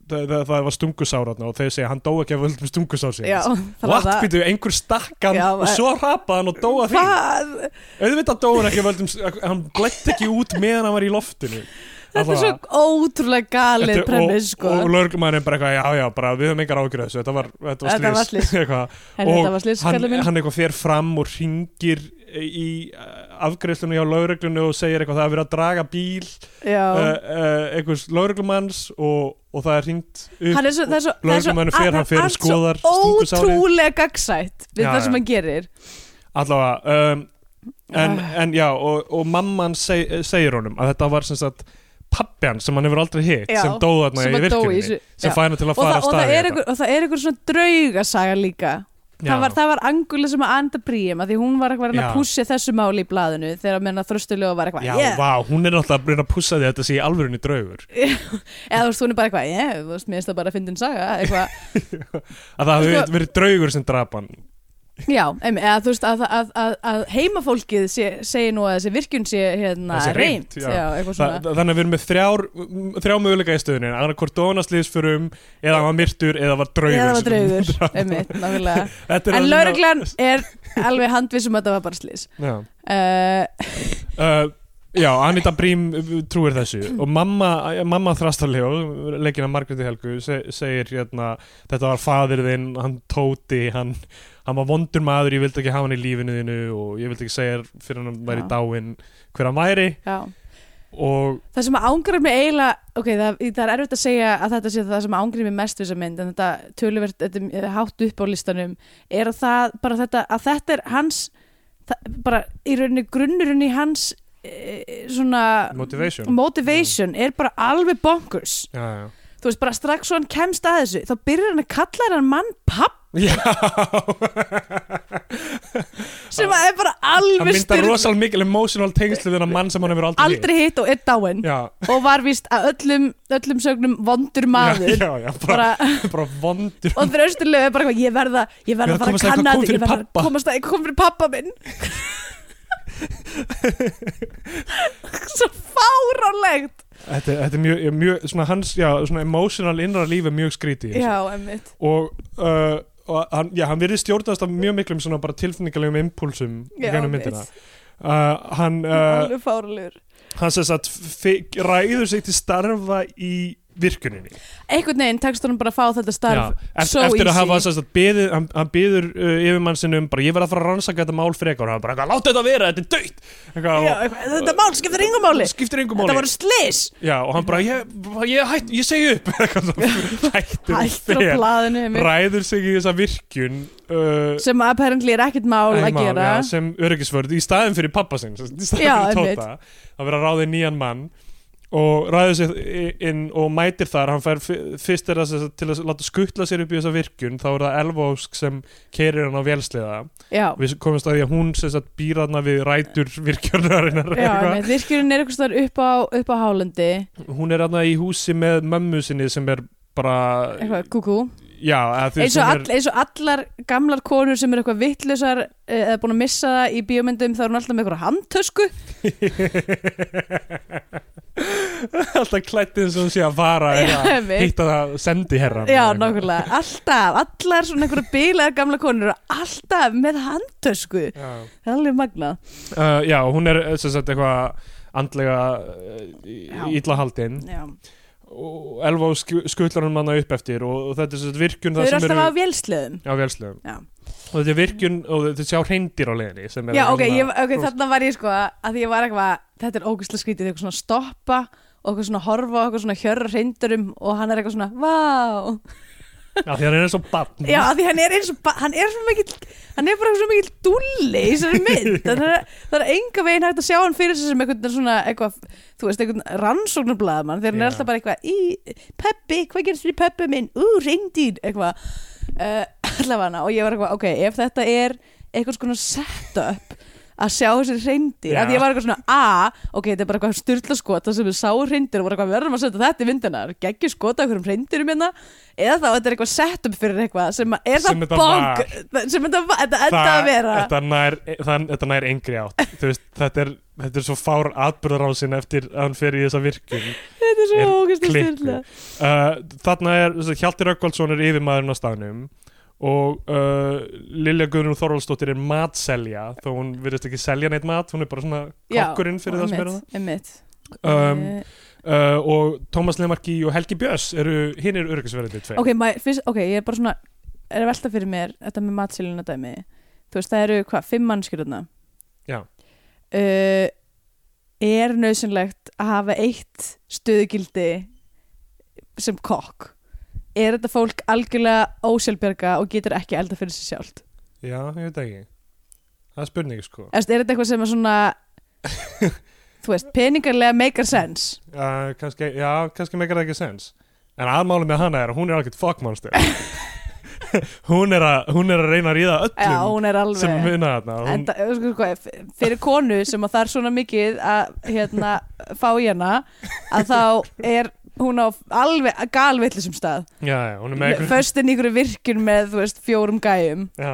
Speaker 2: það, það, það var stungusáratna og þeir segja hann dó ekki af völdum stungusár
Speaker 3: já,
Speaker 2: síns
Speaker 3: það
Speaker 2: What, býtu, einhver stakkan
Speaker 3: Já,
Speaker 2: og
Speaker 3: eh,
Speaker 2: svo hrapaði hann og dó að því
Speaker 3: Hvað?
Speaker 2: auðvitað dó hann ekki af völdum hann blætt ekki út meðan hann var í loftinu
Speaker 3: Þetta er svo ótrúlega galið premiss, sko.
Speaker 2: og, og lögumæðurinn bara eitthvað, já já, bara, við höfum engar ágjörð þessu þetta var, þetta
Speaker 3: Þetta
Speaker 2: var
Speaker 3: var
Speaker 2: slys,
Speaker 3: slys.
Speaker 2: Eitthvað
Speaker 3: Herri,
Speaker 2: og
Speaker 3: þetta var slýst,
Speaker 2: hann,
Speaker 3: kallið minn.
Speaker 2: hann eitthvað fer fram og ringir í afgreiðslunum hjá lauruglunu og segir eitthvað það að vera að draga bíl eh,
Speaker 3: já.
Speaker 2: uh, uh, einhvers lauruglumanns og, og það er ringt upp
Speaker 3: Hann er svo, það er svo, það er svo,
Speaker 2: Lögreglumennir fer, hann fer og
Speaker 3: allt
Speaker 2: skoðar
Speaker 3: svo
Speaker 2: stungusárið.
Speaker 3: ótrúlega gagsætt við
Speaker 2: Já,
Speaker 3: það sem
Speaker 2: já.
Speaker 3: hann gerir
Speaker 2: allavega um, en,
Speaker 3: Ah.
Speaker 2: en já, og, og mamman seg, segir honum að þetta var sem sagt pappi hann sem hann hefur aldrei hitt
Speaker 3: Já,
Speaker 2: sem dóði þarna í
Speaker 3: sem að dói í
Speaker 2: virkinni
Speaker 3: þessu-
Speaker 2: sem
Speaker 3: já.
Speaker 2: fær hann til að
Speaker 3: og,
Speaker 2: fara
Speaker 3: það,
Speaker 2: að
Speaker 3: og, það
Speaker 2: staði
Speaker 3: er einhver, og það er einhver svona draugasaga líka það var, það var Angula sem var anda príum að því hún var eitthvað að reyna
Speaker 2: Já.
Speaker 3: að pússi þessu máli í blaðinu þegar meðan að þröstulegu var eitthvað
Speaker 2: Já,
Speaker 3: yeah.
Speaker 2: vá, hún er náttúrulega að reyna að pussa því að þetta sé í alvörunni draugur
Speaker 3: eða þú veist hún er bara eitthvað yeah, þú veist, mér finnst það bara að fyndin saga eitthvað,
Speaker 2: að það hafi
Speaker 3: Sko-
Speaker 2: verið draugur sem drap hann
Speaker 3: já, em, eða þú veist að, að, að, að heimafólkið sé, segi nú að þessi virkjun sé hérna
Speaker 2: Það sé reynt,
Speaker 3: reynt
Speaker 2: já.
Speaker 3: já. eitthvað
Speaker 2: Þa,
Speaker 3: svona
Speaker 2: þa- þannig að við erum með þrjár, m- þrjá möguleika í stöðunni annað hvort dónaslýðsförum, um, eða hann var myrtur eða var draugur,
Speaker 3: eða það var
Speaker 2: sem-
Speaker 3: draugur, einmitt, nákvæmlega
Speaker 2: Þetta er það
Speaker 3: en
Speaker 2: sem að-
Speaker 3: lauruglan er alveg handvissum að það var bara slís
Speaker 2: Já.
Speaker 3: uh,
Speaker 2: Uh, já, Anita Brím uh, trúir þessu og mamma, uh, mamma þrastarlegu leikina Margréti Helgu se, segir hérna, þetta var fadir þinn hann tóti, hann, hann var vondur maður, ég vildi ekki hafa hann í lífinu þínu og ég vildi ekki segja þér fyrir hann væri
Speaker 3: Já.
Speaker 2: dáinn hver hann væri
Speaker 3: já
Speaker 2: og
Speaker 3: Það sem ángrið mig eiginlega, ok, það, það er erfitt að segja að þetta sé það sem ángrið mig mest við þessa mynd, en þetta töluvert, þetta er hátt upp á listanum, er að það, bara þetta, að þetta er hans, það, bara í rauninni grunnurinn í hans, e, svona,
Speaker 2: motivation
Speaker 3: motivation er bara alveg bonkers.
Speaker 2: Já, já.
Speaker 3: Þú veist, bara strax svo hann kemst að þessu, þá byrjar hann að kalla hann mann papp
Speaker 2: Já,
Speaker 3: sem að er bara
Speaker 2: hann
Speaker 3: alveg
Speaker 2: myndar
Speaker 3: styrk,
Speaker 2: rosal mikil emotional tengslu við hann mann sem hann hefur aldrei, hitt.
Speaker 3: aldrei hitt og er dáin
Speaker 2: Já,
Speaker 3: og var víst að öllum, öllum sögnum vondur maður.
Speaker 2: já, já, já, bara,
Speaker 3: Bara,
Speaker 2: bara vondur
Speaker 3: og þrösturlegu er bara eitthvað ég verða, ég
Speaker 2: Ég verð
Speaker 3: verða
Speaker 2: að
Speaker 3: að fara
Speaker 2: komast
Speaker 3: að
Speaker 2: að-
Speaker 3: kanna
Speaker 2: kom
Speaker 3: þetta, ég
Speaker 2: fyrir
Speaker 3: verða að
Speaker 2: pabba.
Speaker 3: komast að ég kom fyrir pappa minn svo fáránlegt
Speaker 2: Þetta, þetta er mjög, mjög svona hans, já, svona emotional innra lífi er mjög skrítið í þessu.
Speaker 3: já, emmitt
Speaker 2: og, uh, og hann, já, hann virðist stjórnast af mjög miklum svona bara tilfinningalegum impulsum í
Speaker 3: Já,
Speaker 2: gennum
Speaker 3: einmitt.
Speaker 2: myndina uh, hann, uh,
Speaker 3: alveg fáránlegur
Speaker 2: hann sem sagt fi- ræður sig til starfa í virkuninni
Speaker 3: einhvern veginn tekst honum bara að fá þetta starf
Speaker 2: eft,
Speaker 3: so
Speaker 2: eftir að
Speaker 3: easy.
Speaker 2: hafa sem sagt, beðið, hann, hann byður uh, yfirmann sinum bara ég verð að fara að rannsaka þetta mál frekar og hann bara, eitthvað, láta þetta vera, þetta er döitt eitthvað,
Speaker 3: já,
Speaker 2: og-
Speaker 3: eitthvað, þetta mál skiptir yngum máli
Speaker 2: skiptir engum
Speaker 3: þetta
Speaker 2: máli
Speaker 3: voru slis
Speaker 2: já, og hann bara, ég, ég, hætt, ég segi upp eitthvað, svona, hættur og
Speaker 3: hættur á
Speaker 2: fer.
Speaker 3: blaðinu einmitt.
Speaker 2: ræður sig í þessa virkjun uh,
Speaker 3: sem apparently er ekkert mál að
Speaker 2: Nei, mál,
Speaker 3: gera
Speaker 2: já, sem öryggisvörð í staðin fyrir pappa sinn sem sagt, í staðin
Speaker 3: Já,
Speaker 2: fyrir
Speaker 3: einmitt.
Speaker 2: Tóta að vera ráðið nýjan mann og ræður sér inn og mætir þar hann fær fi- fyrst er það sem sagt til að láta skuttla sér upp í þessa virkun þá er það Elvósk sem keirir hann á vélsliða
Speaker 3: já,
Speaker 2: við komumst að því að hún sem sagt býr þarna við rætur virkjörnarinnar
Speaker 3: já einmitt. virkjurinn er eitthvað staðar upp á, upp á hálundi
Speaker 2: hún er þarna í húsi með mömmu sinni sem er bara
Speaker 3: eitthvað kúkú
Speaker 2: já, eða þú veist,
Speaker 3: eins og,
Speaker 2: sem
Speaker 3: all, eins og allar gamlar konur sem eru eitthvað vittlusar eða búin að missa það í bíómyndum þá er hún alltaf með eitthvað handtösku
Speaker 2: alltaf klættið eins og hún sé að fara eða
Speaker 3: einmitt.
Speaker 2: hitta það sendi herra
Speaker 3: já, nákvæmlega, alltaf, allar svona einhverja bílaða gamla konur eru alltaf með handtösku
Speaker 2: já.
Speaker 3: það er alveg magnað
Speaker 2: Uh, já, hún er eh, sem sagt eitthvað andlega
Speaker 3: Já.
Speaker 2: uh, illa haldin
Speaker 3: já.
Speaker 2: og Elva skullar hún manna upp eftir og, og þetta er sem sagt virkun
Speaker 3: þau
Speaker 2: það
Speaker 3: eru
Speaker 2: sem eru
Speaker 3: alltaf á vélsleðum
Speaker 2: Já, vélslegum
Speaker 3: Já.
Speaker 2: og þetta er virkun og þetta sjá hreindir á leiðinni sem hérna er
Speaker 3: já, ok,
Speaker 2: svona-
Speaker 3: ég, ok, þarna var ég sko að því ég var eitthvað, þetta er ógustlega skrítið eitthvað svona stoppa og eitthvað svona horfa og eitthvað svona hjörra reyndurum og hann er eitthvað svona, vá
Speaker 2: Já, því hann er eins og barn
Speaker 3: Já, af því hann er eins og ba- hann er svo mikill hann er bara svo mikill dulli í þessari mynd það er, það er enga veginn hægt að sjá hann fyrir sig sem einhvern svona eitthvað, þú veist, einhvern rannsóknarblaðamann þegar hann
Speaker 2: Já.
Speaker 3: er alltaf bara eitthvað í peppi, hvað gerist þér í peppi minn ú, reyndýr, eitthvað uh, allavega, og ég var eitthvað, ok, ef þetta er einhvers konar setup að sjá þessi reyndir,
Speaker 2: Já.
Speaker 3: af því ég var eitthvað svona a, ok, þetta er bara eitthvað styrla skota sem við sáu reyndir og var eitthvað við verðum að setja þetta í myndina geggjur skota einhverjum reyndirum hérna eða þá þetta er eitthvað setup fyrir eitthvað sem að- er
Speaker 2: Sem
Speaker 3: það
Speaker 2: þetta
Speaker 3: bong sem þetta, va- þetta enda að vera
Speaker 2: þetta nær, það, þetta nær engri átt Þú veist, þetta, er, þetta er svo fár atbyrðarásin eftir að hann fer í þessa virkun
Speaker 3: þetta er svo
Speaker 2: er
Speaker 3: ógæst að
Speaker 2: klikku
Speaker 3: styrla
Speaker 2: uh, Þarna er þessi, Hjalti Rökkvaldsson er yfirmaðurinn á staðnum og uh, Lilja Guðrún Þorvaldsdóttir er matselja þó hún virðist ekki selja neitt mat hún er bara svona kokkurinn fyrir það sem er
Speaker 3: einmitt,
Speaker 2: það um,
Speaker 3: Eh,
Speaker 2: uh, og Tómas Lemarki og Helgi Björns eru hinn eru öryggisverðinni tvei
Speaker 3: ok, maður- fyrst, ok, ég er bara svona er að velta fyrir mér þetta með matsilina dæmi þú veist, það eru hvað, fimm mannskjur þarna
Speaker 2: Já.
Speaker 3: uh, er nöðsynlegt að hafa eitt stöðugildi sem kokk er þetta fólk algjörlega ósjálfbjörga og getur ekki elda fyrir sér sjálft
Speaker 2: Já, ég veit ekki Það er spurning sko
Speaker 3: Eftir, er þetta eitthvað sem er svona þú veist, peningarlega make a sense
Speaker 2: uh, kannski, Já, kannski meikar það ekki sens En aðmáli með hana er að hún er algjört fuckmonster hún, er að, hún er að reyna að ríða öllum
Speaker 3: Já, hún er alveg
Speaker 2: sem vinna þarna hún,
Speaker 3: en það, sko, sko, f- fyrir konu sem að það er svona mikið að hérna, fá í hana að þá er hún á alveg galvillisum stað
Speaker 2: já, já, hún er með einhver
Speaker 3: föstin í ykkur virkun með þú veist, fjórum gæjum
Speaker 2: já.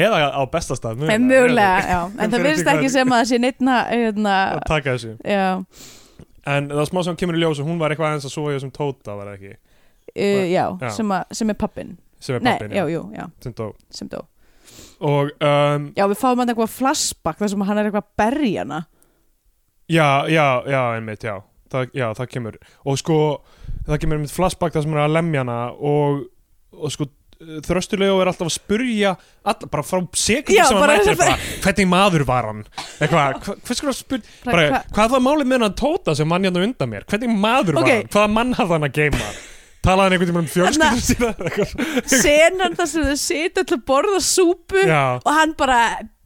Speaker 2: Eða á bestastað
Speaker 3: en mögulega, já, en það
Speaker 2: Fyrir
Speaker 3: finnst
Speaker 2: ekki
Speaker 3: ekki
Speaker 2: hvað-
Speaker 3: sem að það sé neittna hérna,
Speaker 2: að taka þessu
Speaker 3: já,
Speaker 2: En það er smá sem kemur í ljós og hún var eitthvað aðeins að sofa hjá sem Tóta var það ekki
Speaker 3: uh, já,
Speaker 2: Já.
Speaker 3: Sem, að, sem er pappin
Speaker 2: sem er
Speaker 3: nei,
Speaker 2: pappin
Speaker 3: já, jú, já,
Speaker 2: sem dó
Speaker 3: sem dó
Speaker 2: og um,
Speaker 3: já, við fáum hann eitthvað flashback þar sem hann er eitthvað að berja hana
Speaker 2: já, já, já, einmitt, já það, já, það kemur og sko, það kemur einmitt flashback þar sem hann er að lemja hana og, og sko þröstulegu er alltaf að spurja all, bara frá sekundum
Speaker 3: Já,
Speaker 2: sem hann
Speaker 3: bara-
Speaker 2: mætir bara, hvernig maður var hann eitthvað, hva- hvers konar spyr
Speaker 3: Bara
Speaker 2: bara,
Speaker 3: hva-
Speaker 2: hvað var málið með hann Tóta sem mann hérna undan mér hvernig maður
Speaker 3: Ok.
Speaker 2: var hann, hvaða mann hafði hann að geima talaði hann einhvern tímann um fjölskyldum sína eitthvað.
Speaker 3: senan þar sem þau sita til að borða súpu
Speaker 2: já,
Speaker 3: og hann bara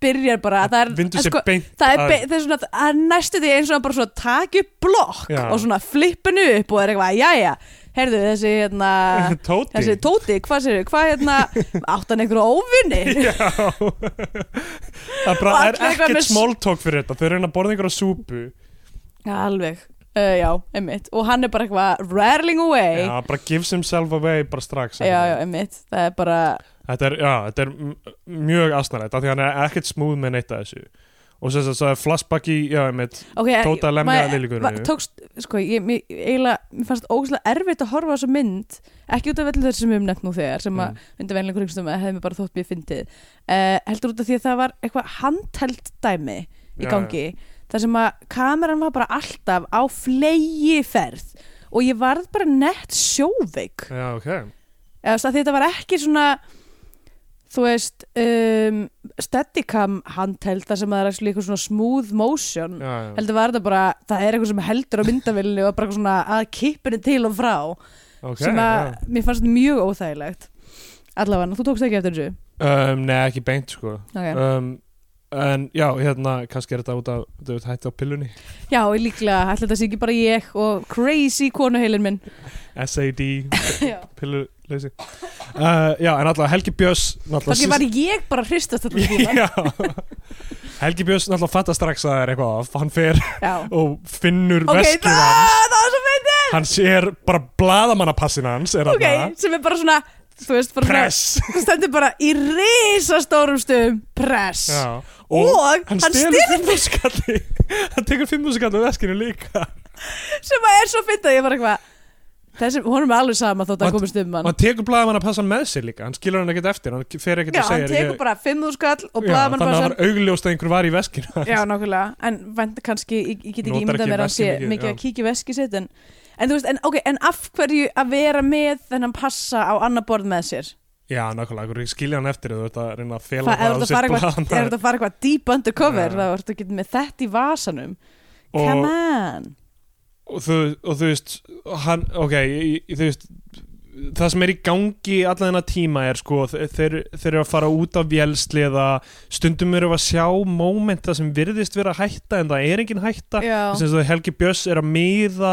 Speaker 3: byrjar bara það er,
Speaker 2: vindu sér
Speaker 3: sko,
Speaker 2: beint
Speaker 3: það er,
Speaker 2: að-
Speaker 3: be, það er svona það er næstu því eins og hann bara svona taki upp blokk
Speaker 2: Já.
Speaker 3: og svona flippinu upp og er eitthvað jæja, heyrðu þessi hérna
Speaker 2: Tóti
Speaker 3: þessi Tóti, hvað sér hvað hérna, átt hann einhverju óvinni
Speaker 2: Já Það bara
Speaker 3: Og
Speaker 2: er
Speaker 3: allir eitthvað
Speaker 2: ekkert
Speaker 3: með-
Speaker 2: smóltók fyrir þetta Þau reyna að borða einhverja súpu
Speaker 3: ja, alveg, uh, já, einmitt og hann er bara eitthvað rattling away
Speaker 2: Já, bara gives himself away bara strax
Speaker 3: já, já, einmitt, það er bara
Speaker 2: Þetta er, já, þetta er m- mjög asnalegt af Því hann er ekkert smúð með neitt að þessu Og sem þess að það er flashback í, já, mitt
Speaker 3: okay,
Speaker 2: Tóta
Speaker 3: ég-
Speaker 2: lemja
Speaker 3: maður-
Speaker 2: Liljukunnu.
Speaker 3: ma- tókst, sko, ég, mér, eiginlega, mér fannst ógæslega erfitt að horfa á þessa mynd ekki út af öllu þessu sem við um nefnt nú þegar sem að
Speaker 2: Mm.
Speaker 3: myndi venlega kringstum að hefði mér bara þótt mér fyndið uh, heldur út af því að það var eitthvað handheld dæmi í
Speaker 2: Já,
Speaker 3: gangi þar sem að kameran var bara alltaf á flegi ferð og ég varð bara nett sjóveik
Speaker 2: Já, ok
Speaker 3: eða þú veist, að því þetta var ekki svona þú veist um, steadicam handheld þar sem að það er actually eitthvað svona smooth motion
Speaker 2: Já, já,
Speaker 3: heldur var þetta bara, það er eitthvað sem heldur á myndavillu og bara eitthvað svona að kippinu til og frá
Speaker 2: ok
Speaker 3: sem að
Speaker 2: já.
Speaker 3: mér fannst mjög óþægilegt allavega, þú tókst ekki eftir þessu
Speaker 2: um, Nei, ekki beint, sko
Speaker 3: okay.
Speaker 2: um, En já, hérna, kannski er þetta út af Þú veit, hætti á pillunni
Speaker 3: já, og líklega, ætla þetta sé ekki bara ég og crazy konuheilin minn
Speaker 2: SAD,
Speaker 3: Já.
Speaker 2: pilluleysi uh, Já, en allavega Helgi Björns náttúrulega
Speaker 3: kannski
Speaker 2: syst-
Speaker 3: var ég bara hristast allan tíma
Speaker 2: Já Helgi Björns náttúrulega fattar strax að það er eitthvað að hann fer
Speaker 3: já.
Speaker 2: og finnur
Speaker 3: ok,
Speaker 2: veskið
Speaker 3: það,
Speaker 2: hans
Speaker 3: það var svo myndið
Speaker 2: hann sér bara bladamannapassin hans er
Speaker 3: ok,
Speaker 2: þarna.
Speaker 3: sem er bara svona þú veist, bara svona-
Speaker 2: press
Speaker 3: það stendur bara í risastórum stöðum press
Speaker 2: Já.
Speaker 3: og,
Speaker 2: og
Speaker 3: hann,
Speaker 2: hann
Speaker 3: hann
Speaker 2: stelur fimmúskalli hann tekur fimmúskalli og veskinu líka
Speaker 3: sem að er svo fyndið að ég var eitthvað þessi, honum er alveg sama þótt
Speaker 2: Og-
Speaker 3: að hann komist um
Speaker 2: og
Speaker 3: hann
Speaker 2: hann tekur bladamannapassan með sér líka hann skilur hann ekkert eftir, hann fer ekkert
Speaker 3: já,
Speaker 2: að
Speaker 3: hann
Speaker 2: segja
Speaker 3: tekur bara fimm úr skall og
Speaker 2: þannig
Speaker 3: blaðamann
Speaker 2: að það
Speaker 3: bara
Speaker 2: var augljóst að einhver var í veskinu hans.
Speaker 3: já, nákvæmlega, en vend kannski ég, ég get ekki
Speaker 2: Notar
Speaker 3: ímyndað
Speaker 2: ekki
Speaker 3: mér að hann sé
Speaker 2: veskið mikið,
Speaker 3: mikið að
Speaker 2: já.
Speaker 3: kíkja í veskið sitt en, en þú veist, en, ok, en af hverju að vera með þennan passa á annar borð með sér
Speaker 2: já, nákvæmlega, skilja hann eftir þú ert að reyna að fela
Speaker 3: Hva, er þetta að fara eitthvað- ef þú ert
Speaker 2: blaðamaður
Speaker 3: að fara eitthvað deep undercover
Speaker 2: Já.
Speaker 3: þá ertu að geta með þetta í vasanum come on
Speaker 2: og þú, og þú veist hann, ok, ég- ég- þú veist það sem er í gangi allan þennan tíma er sko, þe- þeir, þeir eru að fara út af vélsliða, stundum eru að sjá mómenta sem virðist vera hætta en það er engin hætta
Speaker 3: já,
Speaker 2: þess að Helgi Björns er að miða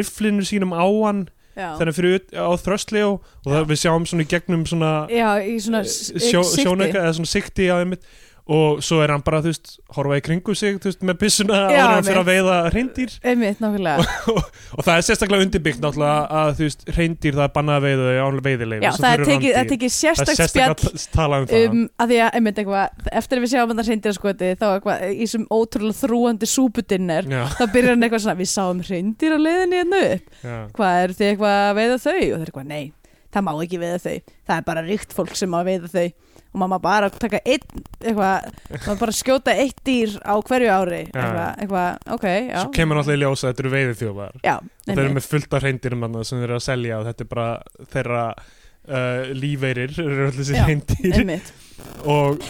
Speaker 2: rifflinu sínum á hann
Speaker 3: já.
Speaker 2: þannig fyrir ut- á þröstli og það, við sjáum svona í gegnum svona eh,
Speaker 3: já, í svona s- eh,
Speaker 2: sjó,
Speaker 3: sikti.
Speaker 2: sjónauka eða svona sikti á einmitt og svo er hann bara, þú veist, horfa í kringu sig þú veist, með byssuna
Speaker 3: Já,
Speaker 2: áður en hann fyrir að
Speaker 3: einmitt.
Speaker 2: veiða hreindýr
Speaker 3: einmitt, nákvæmlega
Speaker 2: og það er sérstaklega undirbyggt náttúrulega að þú veist, reyndir það er bannað að veiða þau án veiðileif
Speaker 3: Já, það er tekið, það er
Speaker 2: það
Speaker 3: tekið
Speaker 2: er
Speaker 3: sérstakt
Speaker 2: sérstaklega
Speaker 3: spjall
Speaker 2: spjall... talað um það
Speaker 3: um, að því að, einmitt eitthvað, eftir að við sjáum að það hreindir skoti, þá eitthvað, í þessum ótrúlega þrúandi súpudinner,
Speaker 2: já,
Speaker 3: þá byrjar hann eitthvað svona, við sáum hreindir á leiðinni hérna upp,
Speaker 2: já,
Speaker 3: hvað er þið eitthvað að veiða þau? Og það er eitthvað, nei, það má ekki veiða þau, það er bara ríkt fólk sem má veiða þau og maður má bara taka einn, eitthvað, maður bara skjóta eitt dýr á hverju ári,
Speaker 2: Já.
Speaker 3: eitthvað, eitthvað, ok, já.
Speaker 2: svo kemur náttúrulega í ljós að þetta eru veiðið þjófar
Speaker 3: Já,
Speaker 2: það eru með fullt af reyndirum annað sem þeir eru að selja og þetta er bara þeirra uh, lífeirir eru allir
Speaker 3: Já,
Speaker 2: þessi reyndir
Speaker 3: einmitt,
Speaker 2: og,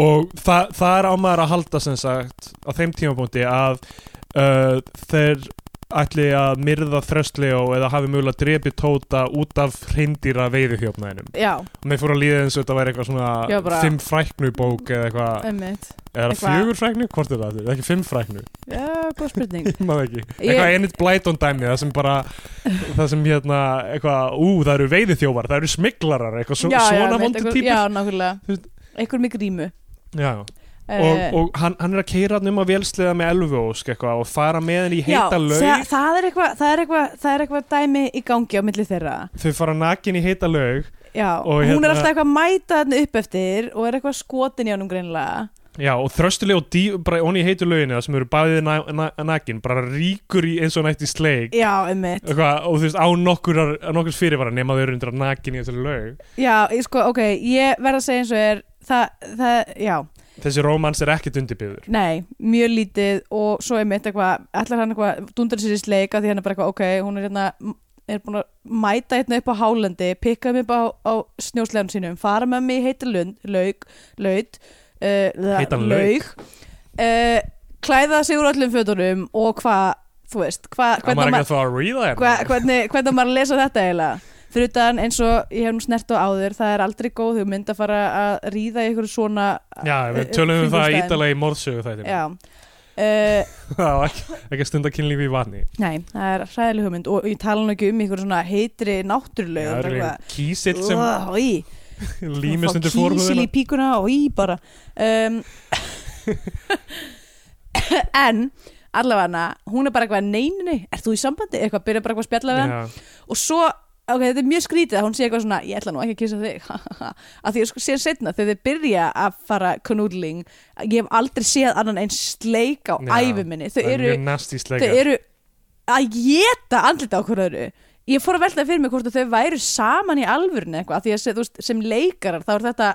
Speaker 2: og það, það er á maður að halda sem sagt á þeim tímapunkti að uh, þeir ætli að myrða þröstlega eða hafi mögulega drepið Tóta út af hreindýra veiðuhjófnæðinum
Speaker 3: já,
Speaker 2: og mér fór að líða eins og þetta væri eitthvað
Speaker 3: Já,
Speaker 2: svona
Speaker 3: bara-
Speaker 2: fimm fræknu bók eða eitthvað,
Speaker 3: einmitt
Speaker 2: er það
Speaker 3: eitthvað-
Speaker 2: fjögur fræknu? Hvort er það? Er það ekki fimm fræknu?
Speaker 3: já, góð spurning
Speaker 2: Ég maður ekki
Speaker 3: Ég-
Speaker 2: Eitthvað ennit blætón dæmi það sem bara það sem hérna, eitthvað, ú, það eru veiðuhjófar það eru smiklarar, eitthvað svo, svona
Speaker 3: einmitt,
Speaker 2: vondu
Speaker 3: einhver-
Speaker 2: típur
Speaker 3: já,
Speaker 2: já, Þú
Speaker 3: nákvæmlega,
Speaker 2: veist-
Speaker 3: einhver með grímu
Speaker 2: já.
Speaker 3: Eh,
Speaker 2: og, og hann, hann er að keira hann um að vélslega með elvósk eitthvað og fara með henni í
Speaker 3: já,
Speaker 2: heita laug
Speaker 3: það, það er eitthvað það er eitthvað það er eitthvað dæmi í gangi á milli þeirra
Speaker 2: þau fara nakin í heita laug
Speaker 3: já,
Speaker 2: Og
Speaker 3: hún
Speaker 2: hérna-
Speaker 3: er alltaf eitthvað að mæta hann upp eftir og er eitthvað skotin í honum greinilega
Speaker 2: já, og þröstuleg og dí, bara honni í heitu lauginni það sem eru bæðið na, na, nakin bara ríkur í eins og nætti sleik
Speaker 3: já, einmitt
Speaker 2: eitthvað, og þú veist á nokkurar, nokkurs fyrirvara nema þau eru undir að nakin í þessu laug
Speaker 3: já, ég sko, ok, ég verð að segja eins og er það, það, já
Speaker 2: þessi rómans er ekkit undirbyður
Speaker 3: Nei, mjög lítið og svo er mitt eitthvað, ætlar hann eitthvað dundar sér í sleika því hann er bara eitthvað, ok, hún er hérna er búin að mæta hérna upp á hálendi pikka mig upp á, á snjóslegan sínum fara með mig í heita lund, laug laut, uh, la-
Speaker 2: Heitan lauk.
Speaker 3: uh, klæða sig úr öllum fötunum og hvað þú veist, hvað,
Speaker 2: að maður
Speaker 3: hvernig,
Speaker 2: ekki
Speaker 3: ma
Speaker 2: að fá að reða
Speaker 3: hva,
Speaker 2: hérna
Speaker 3: hvernig, hvernig á maður að lesa þetta eiginlega fyrir utan eins og ég hef nú snert á áður það er aldrei góð hugmynd að fara að ríða í ykkur svona
Speaker 2: já, við tölum um það
Speaker 3: Kringumstæðum.
Speaker 2: ítalega í morðsögu þetta
Speaker 3: já, uh,
Speaker 2: það var ekki, ekki að stunda kynlífi í vatni
Speaker 3: Nei, það er hræðileg hugmynd og ég tala nú ekki um ykkur svona heitri náttúruleg
Speaker 2: Já,
Speaker 3: og eitthvað.
Speaker 2: kísill sem
Speaker 3: Úa, í,
Speaker 2: límist undir
Speaker 3: Kísil
Speaker 2: fórhúðina
Speaker 3: í píkuna og í bara um, En allavega hún er bara eitthvað neyninni Ert þú í sambandi? Eitthvað, byrja bara eitthvað að spjalla við hann
Speaker 2: Já.
Speaker 3: Og svo, ok, þetta er mjög skrítið að hún sé eitthvað svona Ég ætla nú ekki að kissa þig Af því að sko sér setna þegar þið byrja að fara knúdling Ég hef aldrei séð annan eins sleik á
Speaker 2: Já,
Speaker 3: ævi minni Þau
Speaker 2: það er
Speaker 3: eru
Speaker 2: mjög nasty sleika.
Speaker 3: þau eru að geta andlita á hverju öðru ég fór að velta fyrir mig hvort að þau væru saman í alvörinu eitthvað af því að se- þú veist, sem leikarar þá er þetta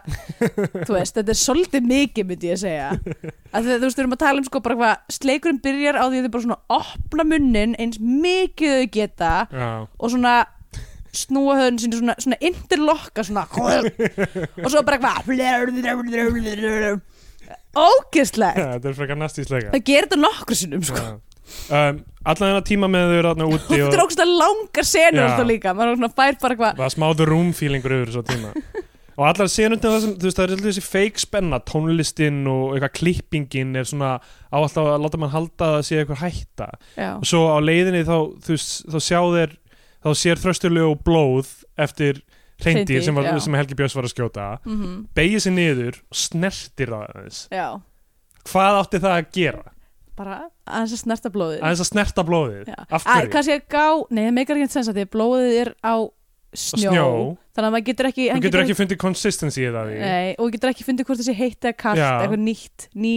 Speaker 3: þú veist, þetta er svolítið mikið myndi ég segja að því, að, þú veist, við erum að tala um sko bara hvað sleikurinn byrjar á því að þau bara svona opna munnin eins mikið þau geta
Speaker 2: Já.
Speaker 3: og svona snúa höfðun sín svona, svona interlokka svona og svo bara eitthvað ógeðslegt
Speaker 2: Já, þetta er frekar nasty sleika
Speaker 3: það gerir þetta nokkru sinnum sko
Speaker 2: Já. um, allan þennan tíma með þau eru þarna
Speaker 3: og
Speaker 2: úti
Speaker 3: þetta er
Speaker 2: og
Speaker 3: ógst að langa senur
Speaker 2: Já.
Speaker 3: alltaf líka maður er svona fær bara eitthvað
Speaker 2: það smáður rúmfílingur yfir þessu tíma og allar senundin það sem, þú veist, það er alltaf þessi fake spenna tónlistin og eitthvað klippingin er svona á alltaf að láta mann halda að það sé eitthvað hætta
Speaker 3: já,
Speaker 2: og svo á leiðinni þá, þú veist, þá sjá þeir þá sér þrösturlegu og blóð eftir
Speaker 3: Hreindýr,
Speaker 2: reyndir sem, var-
Speaker 3: já.
Speaker 2: sem Helgi Björns var að skjóta
Speaker 3: mm
Speaker 2: beigir sér niður og snertir það aðeins
Speaker 3: já
Speaker 2: hvað átti það að gera?
Speaker 3: bara aðeins að snerta blóðið
Speaker 2: aðeins að snerta blóðið
Speaker 3: Já.
Speaker 2: af
Speaker 3: Æ,
Speaker 2: hverju?
Speaker 3: kannski að gá, nei það meikar ekki sens að því að blóðið er á snjó,
Speaker 2: Snjó.
Speaker 3: þannig að maður getur ekki
Speaker 2: þú getur ekki fundið consistency í það í.
Speaker 3: nei, og getur ekki fundið hvort það sé heitt eða kallt
Speaker 2: Já.
Speaker 3: eitthvað nýtt, ný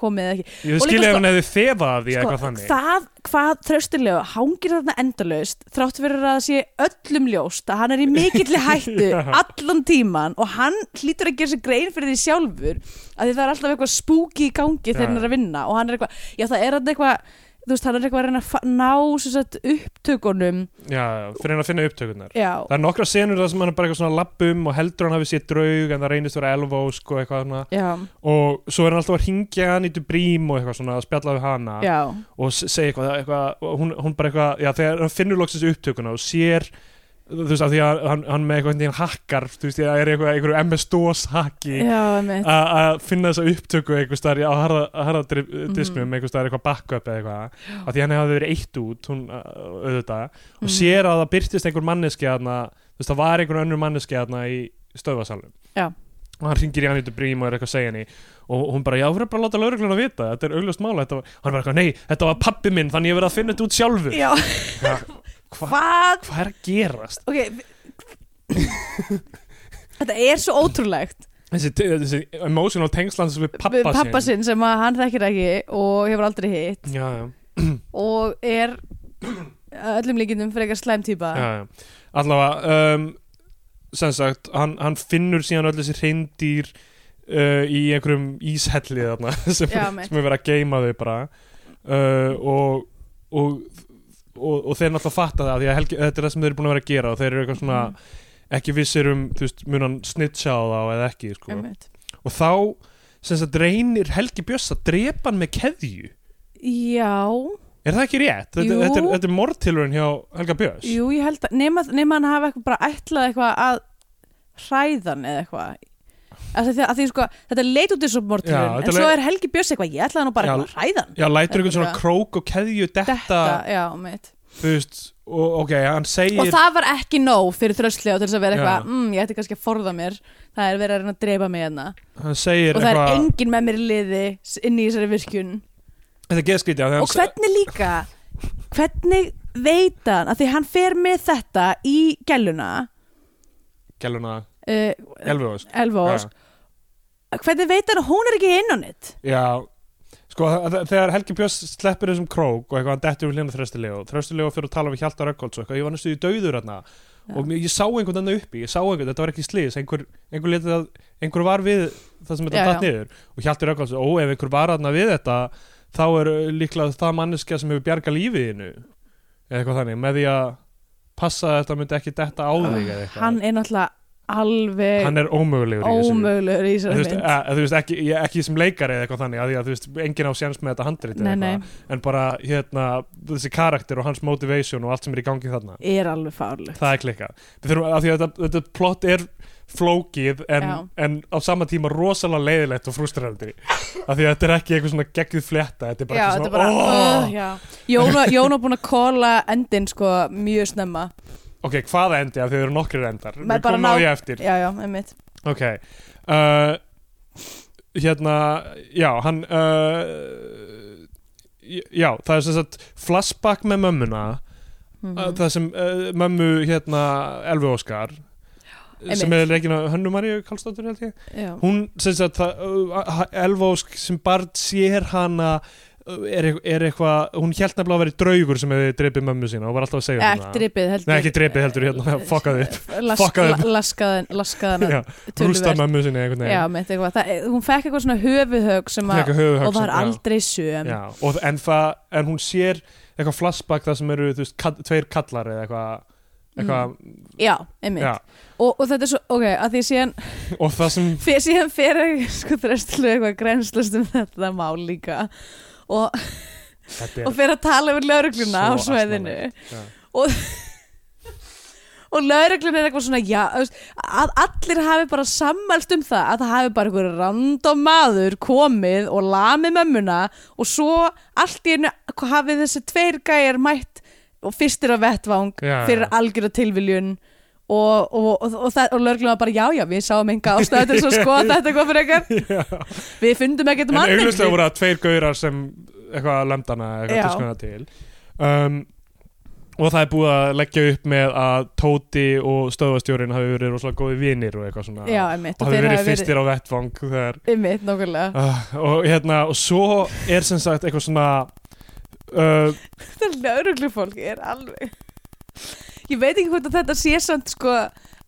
Speaker 3: komið eða
Speaker 2: Ég
Speaker 3: ekki Og líka
Speaker 2: skilja ef
Speaker 3: sko-
Speaker 2: hann hefði þefað af því
Speaker 3: Sko,
Speaker 2: eitthvað þannig
Speaker 3: það, hvað þraustilegu hangir þarna endalaust þrátt fyrir að það sé öllum ljóst að hann er í mikilli hættu
Speaker 2: Já.
Speaker 3: allan tíman og hann hlýtur að gera sér grein fyrir því sjálfur að því það er alltaf eitthvað spooky í gangi
Speaker 2: Já.
Speaker 3: þegar hann er að vinna og hann er eitthvað, já það er þarna eitthvað þú veist, hann er eitthvað að reyna að fa- ná sem sagt, upptökunum
Speaker 2: Já, fyrir hann að finna upptökurnar
Speaker 3: já,
Speaker 2: Það er nokkra senur það sem hann er bara eitthvað svona lappum og heldur hann hafi sér draug en það reynist vera elvósk og sko eitthvað svona
Speaker 3: já,
Speaker 2: og svo er hann alltaf að hringja hann í brím og eitthvað svona að spjalla við hana
Speaker 3: já
Speaker 2: og s- segja eitthvað, eitthvað og hún, hún bara eitthvað, já þegar hann finnur loksins upptökuna og sér þú veist af því að hann, hann með eitthvað hann hakkar, þú veist, það er eitthvað, eitthvað MS-DOS haki
Speaker 3: já, einmitt.
Speaker 2: a- að finna þessa upptöku einhvers staðar í- á harða, harða dri-
Speaker 3: Mhm.
Speaker 2: disknum mm. einhvers staðar eitthvað backup eða eitthvað af því henni hafði verið eitt út hún, uh, auðvitað, og
Speaker 3: Mhm.
Speaker 2: sér að það byrtist einhver manneski aðna, þú veist það var einhver önnur manneski aðna í stöðvasalum
Speaker 3: Já.
Speaker 2: og hann ringir í hann yttur brím og er eitthvað að segja henni og hún bara, já, þú verður bara að láta laurugluna vita þetta er augljóst mála, þetta var, hann var eitthvað, nei, þetta var pappi minn þannig ég verið að finna þetta út sjálfur
Speaker 3: já,
Speaker 2: ja, hvað
Speaker 3: hvað
Speaker 2: hva er að gerast?
Speaker 3: ok þetta er svo ótrúlegt
Speaker 2: Þessi, þessi emotional tengslan við pappa,
Speaker 3: pappa, pappa sinn sem að hann þekkir ekki og hefur aldrei hitt
Speaker 2: Já, já.
Speaker 3: og er að öllum líkindum frekar slæm týpa
Speaker 2: já, já. allavega um, sem sagt, hann, hann finnur síðan öll þessi hreindýr uh, í einhverjum íshelli þarna sem,
Speaker 3: Já, mitt.
Speaker 2: sem er verið að geima þau bara uh, og, og og, og þeir náttúrulega fatta það því að helgi, þetta er það sem þeir eru búin að vera að gera og þeir eru eitthvað svona
Speaker 3: Mm.
Speaker 2: ekki vissir um, þú veist, mun hann snitcha á þá eða ekki, sko
Speaker 3: Einmitt.
Speaker 2: og þá, sem sagt, reynir Helgi Bjössa drepa hann með keðju
Speaker 3: já
Speaker 2: Er það ekki rétt? Þetta,
Speaker 3: Jú.
Speaker 2: þetta er, þetta er mortilurinn hjá Helga Björns
Speaker 3: Jú, ég held að, nema, nema hann hafa eitthvað bara ætlað eitthvað að hræðan eða eitthvað að því, að því sko, þetta leit út eins og
Speaker 2: Já,
Speaker 3: mortilun
Speaker 2: þetta
Speaker 3: en svo
Speaker 2: leit-
Speaker 3: er Helgi Björns eitthvað, ég ætlaði nú bara
Speaker 2: Já.
Speaker 3: eitthvað að hræðan
Speaker 2: Já, lætur einhvern svona
Speaker 3: Þetta-
Speaker 2: krók og keðju detta,
Speaker 3: Þetta, já, mitt
Speaker 2: þú veist, og ok, hann segir
Speaker 3: Og það var ekki nóg fyrir þröslega til þess að vera
Speaker 2: Já.
Speaker 3: eitthvað, mm, ég ætti kannski að forða mér það er verið að reyna að dreifa mig hérna
Speaker 2: hann segir
Speaker 3: og það er
Speaker 2: eitthvað,
Speaker 3: enginn með mér í liði s- inn í þessari virkun
Speaker 2: þetta er geðskrítið hann-
Speaker 3: og hvernig líka hvernig veit hann að því hann fer með þetta í gæluna
Speaker 2: Gæluna,
Speaker 3: uh,
Speaker 2: Elfjós
Speaker 3: Elvós hvernig veit hann að hún er ekki inn á nýtt
Speaker 2: Já, sko þa- þa- þegar Helgi Björns sleppir þessum krók og eitthvað hann dettur við hlina þröstilegu þröstilegu fyrir að tala við Hjalta Rökkólds og eitthvað ég var næstu í dauður hérna og mér, ég sá einhvern annar uppi, ég sá einhvern, þetta var ekki slís einhver, einhver, lét að, einhver var við það sem
Speaker 3: Já,
Speaker 2: þetta datt
Speaker 3: já.
Speaker 2: niður og Hjalti Rökkólds, ó ef einhver var hérna við þetta þá er uh, líklega það manneskja sem hefur bjarga lífiðinu eða eitthvað þannig, með því að passa að þetta myndi ekki detta á þig eða eitthvað
Speaker 3: hann er náttúrulega alveg
Speaker 2: hann er ómögulegur í þessu.
Speaker 3: ómögulegur í
Speaker 2: En þú
Speaker 3: þessari
Speaker 2: veist,
Speaker 3: mynd
Speaker 2: að, að, þú veist ekki, ég, ekki sem leikari eða eitthvað þannig að, því að þú veist, enginn á séns með þetta handrit
Speaker 3: Nei, nei.
Speaker 2: en bara hérna, þessi karakter og hans motivation og allt sem er í gangi þarna
Speaker 3: er alveg fárlegt
Speaker 2: það er klikka Við þurfum, að því að þetta, þetta plott er flókið en,
Speaker 3: Já.
Speaker 2: en á sama tíma rosalega leiðilegt og frustrandi af því að þetta er ekki eitthvað svona geggjuð fletta þetta er bara
Speaker 3: Já,
Speaker 2: eitthvað
Speaker 3: þetta er bara,
Speaker 2: svona
Speaker 3: oh, já. Jón var- Jón var búin að kóla endin sko mjög snemma
Speaker 2: ok, hvaða endi af því að þau eru nokkrir endar
Speaker 3: Maður
Speaker 2: við
Speaker 3: bara
Speaker 2: komum á
Speaker 3: ná-
Speaker 2: því eftir
Speaker 3: Já, já, einmitt
Speaker 2: Ok uh, Hérna, já, hann uh, Já, það er sem sagt flashback með mömmuna
Speaker 3: mm
Speaker 2: mm. það sem uh, mömmu hérna Elvi Óskar sem
Speaker 3: Einmitt.
Speaker 2: er leikin af Hönnu Maríu Karlsdóttur held ég
Speaker 3: já.
Speaker 2: hún sem sagt það, uh, Elvi Ósk sem barn sér hana uh, er, er eitthvað, hún held nefnilega að vera draugur sem hefði dreipið mömmu sína og var alltaf að segja
Speaker 3: Ekki dripið heldur
Speaker 2: hérna- Nei, ekki drepið heldur, hérna, fokkaði Fokkaði upp.
Speaker 3: Laskaðan Laskaðan
Speaker 2: Já, rústa mömmu sína einhvern
Speaker 3: Já,
Speaker 2: veginn
Speaker 3: mitt eitthvað Það, Hún fekk eitthvað svona höfuðhög sem að
Speaker 2: Fékk höfuðhögg
Speaker 3: og var
Speaker 2: sem- já.
Speaker 3: aldrei söm
Speaker 2: Já, og, en, það, en hún sér eitthvað flashback þar sem eru þú veist, kall, tveir kallar eða eitthvað eitthva,
Speaker 3: Mm. Já, einmitt
Speaker 2: já,
Speaker 3: og, og þetta er svo, ok, að því síðan
Speaker 2: og það sem
Speaker 3: fyrir síðan fyrir sko þröstilega eitthvað grenslust um þetta mál líka og,
Speaker 2: þetta
Speaker 3: og fyrir að tala við laurugluna á
Speaker 2: svo
Speaker 3: svæðinu
Speaker 2: asnalegt. Já.
Speaker 3: og lauruglun er eitthvað svona já, þú veist, að allir hafi bara sammælst um það að það hafi bara einhver random maður komið og lamið mömmuna og svo allt í einu hafi þessi tveir gæjar mætt og fyrstir á vettvang
Speaker 2: Já,
Speaker 3: fyrir
Speaker 2: já.
Speaker 3: algjöra tilviljun og, og, og, og, það- og lauruglun var bara já, já, við sáum enga ástæðu til þess að skoða þetta eitthvað fyrir eitthvað við fundum ekkert
Speaker 2: en
Speaker 3: manninn
Speaker 2: auglustlega voru það tveir gaurar sem eitthvað lemdana
Speaker 3: Já.
Speaker 2: eitthvað tískuna til um, og það er búið að leggja upp með að Tóti og stöðvastjórin hafi verið rosalega góði vinir og eitthvað svona
Speaker 3: já, einmitt,
Speaker 2: og hafi verið fyrstir á vettvang þegar
Speaker 3: einmitt, nákvæmlega
Speaker 2: uh, og hérna og svo er sem sagt eitthvað svona uh,
Speaker 3: þetta lauruglufólk er alveg ég veit ekki hvort að þetta sé samt sko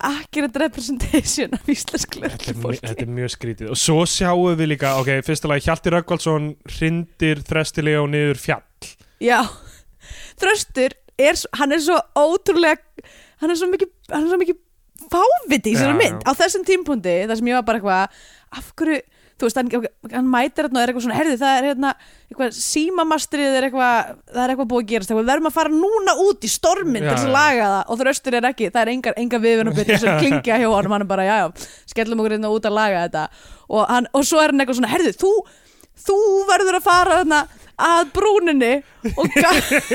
Speaker 3: accurate representation af íslensk
Speaker 2: Þetta er, mjög, þetta
Speaker 3: lauruglufólki
Speaker 2: er mjög skrítið og svo sjáum við líka, ok, fyrsta lagi Hjalti Röggvaldsson hrindir þrestilega og niður fjall
Speaker 3: já, þröstur er, s- hann er svo ótrúlega hann er svo mikið, hann er svo mikið fáviti í sér
Speaker 2: Já,
Speaker 3: mynd
Speaker 2: já.
Speaker 3: á þessum tímpundi þar sem ég var bara eitthvað af hverju, þú veist, hann, hann mætir hérna og er eitthvað svona, herðu, það er hérna eitthvað símamastrið er eitthvað það er eitthvað búið að gerast, eitthvað, við verðum að fara núna út í storminn til
Speaker 2: Já,
Speaker 3: þess að
Speaker 2: já.
Speaker 3: laga það og þröstur er ekki, það er engar, engar viðvinnabyrði sem klingja hjá honum, hann er bara, já, já skellum okkur hérna út að laga þetta og, hann, og svo er hann eitthvað svona, herðu, þú þú verður að fara þarna að brúninni og ga-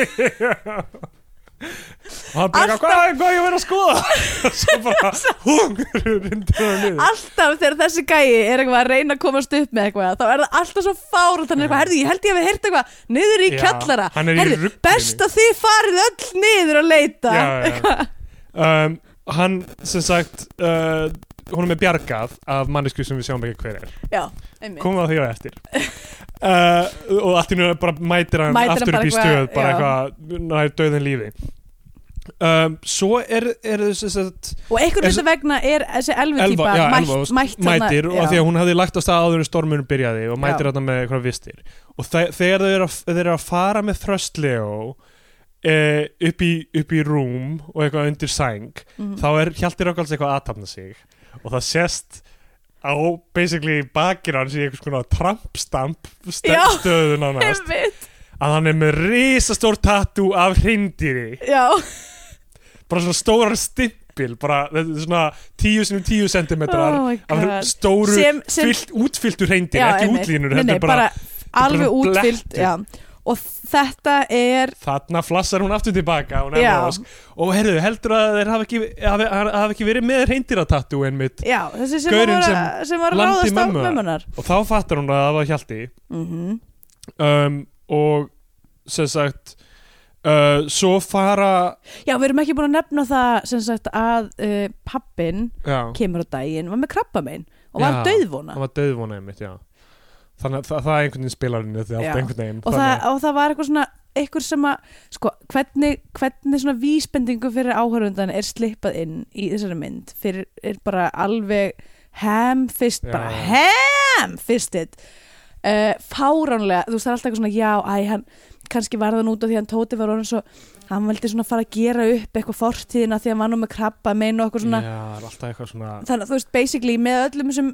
Speaker 2: og hann bara,
Speaker 3: Alltaf-
Speaker 2: hvað, hvað ég verið að skoða? og svo bara, hún hrindir það niður
Speaker 3: alltaf þegar þessi gæi er eitthvað að reyna að komast upp með eitthvað þá er það alltaf svo fáralt hann er eitthvað, herðu, ég held ég að við heyrt eitthvað niður í
Speaker 2: Já,
Speaker 3: kjallara,
Speaker 2: hann er í
Speaker 3: herðu,
Speaker 2: ruglinu.
Speaker 3: best að þið farið öll niður að leita
Speaker 2: já, já. Um, hann, sem sagt uh, hún er með bjargað af mannesku sem við sjáum ekki hver er
Speaker 3: já einmitt
Speaker 2: komum að því á eftir uh, og allt í nú bara mætir hann
Speaker 3: Mætir hann
Speaker 2: aftur
Speaker 3: bara
Speaker 2: upp í stöð
Speaker 3: eitthvað,
Speaker 2: bara
Speaker 3: já.
Speaker 2: eitthvað, nær döðin lífi um, svo er, er þess að
Speaker 3: og einhvern
Speaker 2: En-
Speaker 3: veginn vegna er þessi elvi
Speaker 2: Elva,
Speaker 3: típa
Speaker 2: já,
Speaker 3: mætt,
Speaker 2: Elva,
Speaker 3: mætt,
Speaker 2: mætir og af því að hún hafði lagt á stað áður en stormunum byrjaði og
Speaker 3: Já.
Speaker 2: mætir þarna með eitthvað vistir og þe þegar þau eru, að, þau eru að fara með þröstlegu e, upp, í, upp í rúm og eitthvað undir sæng
Speaker 3: Mhm.
Speaker 2: þá er Hjalti Rökkals eitthvað aðtapna sig og það sést á basically bakir hans í einhvers konar trampstamp
Speaker 3: Já.
Speaker 2: stöðun á næst
Speaker 3: einmitt,
Speaker 2: að hann er með risastór tattoo af hreindýri
Speaker 3: já,
Speaker 2: bara svona stóran stimpil bara þetta er svona 10 sinum 10 sentimetrar
Speaker 3: Oh my God.
Speaker 2: af stóru
Speaker 3: Sem- sem-
Speaker 2: fyllt, útfylltu hreindýri,
Speaker 3: já,
Speaker 2: ekki
Speaker 3: einmitt.
Speaker 2: útlínur
Speaker 3: Nei,
Speaker 2: heldur
Speaker 3: nei, bara, alveg
Speaker 2: bara
Speaker 3: útfyllt
Speaker 2: blettur.
Speaker 3: já. og þetta er
Speaker 2: þarna flassar hún aftur tilbaka hún
Speaker 3: Já.
Speaker 2: Emma Ósk. og herruðu, heldur að þeir hafi ekki, hafi, hafi ekki verið með reyndiratattú einmitt
Speaker 3: já, þessi sem,
Speaker 2: Gaurinn
Speaker 3: var, sem,
Speaker 2: sem
Speaker 3: sem var að
Speaker 2: lamdi
Speaker 3: ráðast á
Speaker 2: mömmu.
Speaker 3: mömmunar
Speaker 2: og þá fattar hún að það var hjalti
Speaker 3: mm
Speaker 2: um, og sem sagt uh, svo fara
Speaker 3: já, við erum ekki búin að nefna það sem sagt að uh, pappin
Speaker 2: já,
Speaker 3: kemur á daginn, var með krabbamein og var
Speaker 2: Já,
Speaker 3: döðvona
Speaker 2: það var döðvona einmitt já. þannig að það, það er einhvern veginn spilarinn þetta er
Speaker 3: Já.
Speaker 2: allt einhvern veginn
Speaker 3: og
Speaker 2: Þannig
Speaker 3: það, og það var eitthvað svona eitthvað sem að, sko, hvernig, hvernig svona vísbendingu fyrir áhörfundan er slippað inn í þessari mynd fyrir, er bara alveg hamfist,
Speaker 2: Já.
Speaker 3: bara hamfistit uh, fáránlega, þú veist það er alltaf eitthvað svona já, æ, hann kannski var það út af því að hann Tóti var orðin svo hann veldi svona fara að gera upp eitthvað fortíðina því að hann var nú með krabba meina og eitthvað svona
Speaker 2: já, það er alltaf eitthvað svona
Speaker 3: þannig að þú veist basically með öllum þessum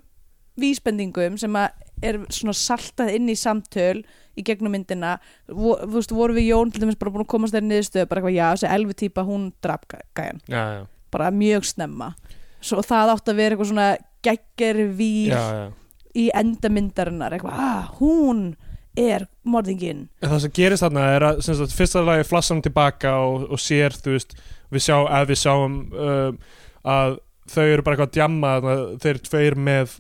Speaker 3: vísbendingum sem að er svona saltað inn í samtöl í gegnum myndina vo, þú veist, voru við Jón til dæmis bara búin að komast þær niðurstöðu bara eitthvað já, þessi elvi típa hún draf gæjan,
Speaker 2: já, já,
Speaker 3: bara mjög snemma svo það átti að vera eitthvað svona gegger vír
Speaker 2: já, já.
Speaker 3: í endamyndarinnar eitthvað, ah, hún er morðingin
Speaker 2: En það sem gerist þarna er að sem sagt, fyrsta lagi flassar hún tilbaka og, og sér þú veist, við sjá, að við sjáum um, að þau eru bara eitthvað að djamma þarna, þeir tveir með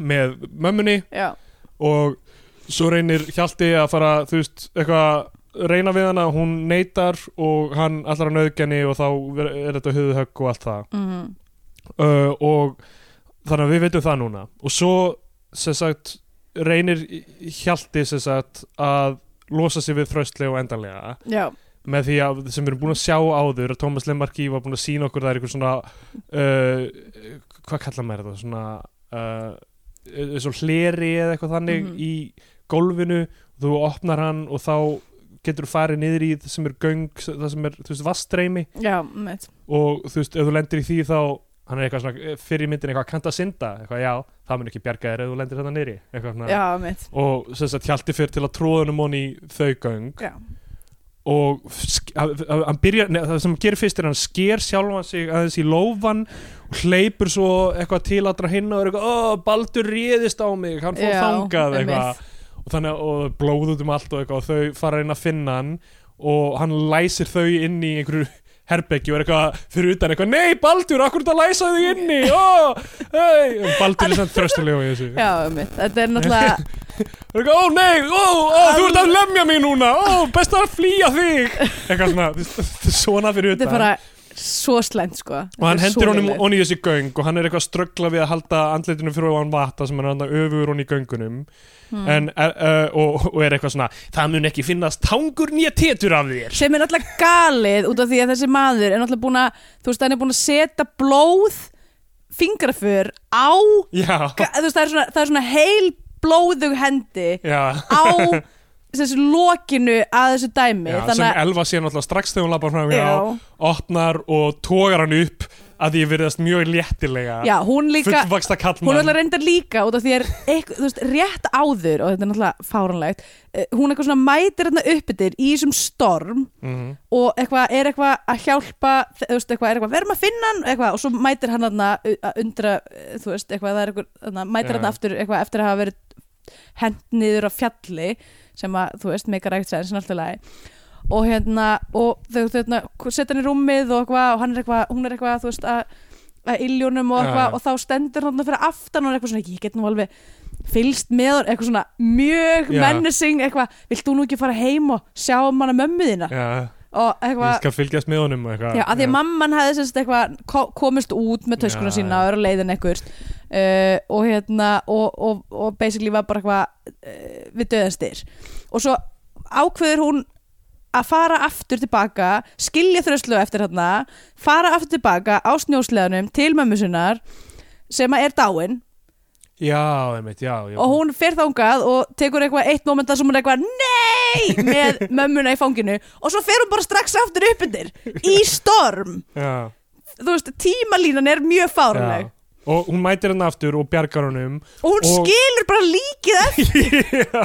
Speaker 2: með mömmunni
Speaker 3: já,
Speaker 2: og svo reynir Hjalti að fara þú veist, eitthvað reyna við hana, hún neytar og hann allar að nöðgenni og þá ver- er þetta höfuðhögg og allt það
Speaker 3: mm
Speaker 2: uh, og þannig að við veitum það núna og svo sem sagt reynir Hjalti sem sagt að losa sig við þröstlega og endanlega
Speaker 3: já
Speaker 2: með því að sem við erum búin að sjá áður að Thomas Lemarki var búin að sína okkur það er einhver svona uh, hvað kallar maður þetta svona uh, svo hleri eða eitthvað þannig
Speaker 3: Mhm.
Speaker 2: í gólfinu þú opnar hann og þá getur þú farið niður í það sem er göng það sem er, þú veist, vastreimi
Speaker 3: já, mitt,
Speaker 2: og þú veist, ef þú lendir í því þá hann er eitthvað svona, eh, fyrir myndin eitthvað kanta synda, eitthvað já, það mun ekki bjarga þér ef þú lendir þetta niðri, eitthvað svona
Speaker 3: já, mitt
Speaker 2: og sem sagt Hjalti fyrir til að tróðunum hon í þau göng
Speaker 3: já,
Speaker 2: og sk- hann hann byrjar, neð, það sem hann gerir fyrst er að hann sker sjálfan sig aðeins í lófan og hleypur svo eitthvað til allra hinna og er eitthvað, ó, Baldur réðist á mig hann fór
Speaker 3: Já,
Speaker 2: þangað
Speaker 3: einmitt.
Speaker 2: eitthvað og þannig að og blóð út um allt og eitthvað og þau fara inn að finna hann og hann læsir þau inn í einhverju herbergi og er eitthvað fyrir utan eitthvað nei Baldur, akkur þetta læsa þau inni ó, hey. Og Baldur er samt þröstulega í þessu og
Speaker 3: já, mitt þetta er náttúrulega
Speaker 2: er eitthvað, ó nei, ó, ó þú ert að lemja mig núna, ó, best að flýja þig eitthvað svona, þú veist, svona fyrir
Speaker 3: þetta
Speaker 2: utan
Speaker 3: er bara svo slæmt sko
Speaker 2: og hann hendur honum onni í þessi göng og hann er eitthvað að ströggla við að halda andleitinu fyrir ofan vata sem hann er öfur honni í göngunum
Speaker 3: Hmm.
Speaker 2: en, uh, uh, og, og er eitthvað svona það mun ekki finnast tangur nýja tetur af þér
Speaker 3: sem er náttúrulega galið út af því að þessi maður er náttúrulega búin að þú veist, hann er búin að setja blóð fingraför á
Speaker 2: já,
Speaker 3: ga- þú veist, það er svona, það er svona heil blóðug hendi
Speaker 2: já
Speaker 3: á þessu lokinu að þessu dæmi
Speaker 2: Já,
Speaker 3: þannig
Speaker 2: sem
Speaker 3: að,
Speaker 2: Elva sér náttúrulega strax þegar hún lapar fram hjá,
Speaker 3: Já.
Speaker 2: opnar og tógar hann upp að því virðast mjög léttilega
Speaker 3: já, hún líka
Speaker 2: fullvaksta
Speaker 3: hún er
Speaker 2: kallmann
Speaker 3: alltaf reyndar líka út af því er eitthvað, þú veist, rétt áður og þetta er náttúrulega fáranlegt eh, hún eitthvað svona mætir hérna uppbyttir í þessum storm
Speaker 2: Mhm.
Speaker 3: og eitthvað er eitthvað að hjálpa þú veist, eitthvað er eitthvað, verðum að finna hann eitthvað, og svo mætir hann hann að undra eh, þú veist, eitthvað, það er eitthvað, þarna,
Speaker 2: Já.
Speaker 3: mætir hann aftur eitthvað eftir að hafa verið hent niður á fjalli sem að, þú veist, meikar ekkert sæðin sem alltaf lagi og hérna, og þau, þau hérna, setja hann í rúmið og eitthvað, og hann er eitthvað, hún er eitthvað, þú veist, að að iljónum og
Speaker 2: Já,
Speaker 3: eitthvað
Speaker 2: já.
Speaker 3: og þá stendur hann þarna fyrir aftan og er eitthvað svona ég get nú alveg fylst með honum," eitthvað svona mjög
Speaker 2: Já.
Speaker 3: menacing eitthvað, vilt þú nú ekki fara heim og sjá um hana mömmu þína
Speaker 2: Já,
Speaker 3: og
Speaker 2: ég
Speaker 3: eitthvað,
Speaker 2: skal fylgjast með honum og eitthvað
Speaker 3: já, að því að mamman hefði semst eitthvað ko- komist út með töskuna
Speaker 2: Já,
Speaker 3: sína og er að leiðin eitthvað uh, og hérna og, og, og basically var bara eitthvað uh, við döðanstir og svo ákveður hún að fara aftur tilbaka skilja þröslu eftir hérna fara aftur tilbaka á snjósleðanum til mömmu sinnar sem að er dáin
Speaker 2: Já, einmitt, já, já
Speaker 3: og hún fer þangað og tekur eitthvað eitt moment þar sem hún er eitthvað nei með mömmuna í fanginu og svo fer hún bara strax aftur upp undir í storm
Speaker 2: já.
Speaker 3: þú veist, tímalínan er mjög fárleg
Speaker 2: Já. og hún mætir hann aftur og bjargar honum
Speaker 3: og hún
Speaker 2: Og-
Speaker 3: skilur bara líkið eftir
Speaker 2: já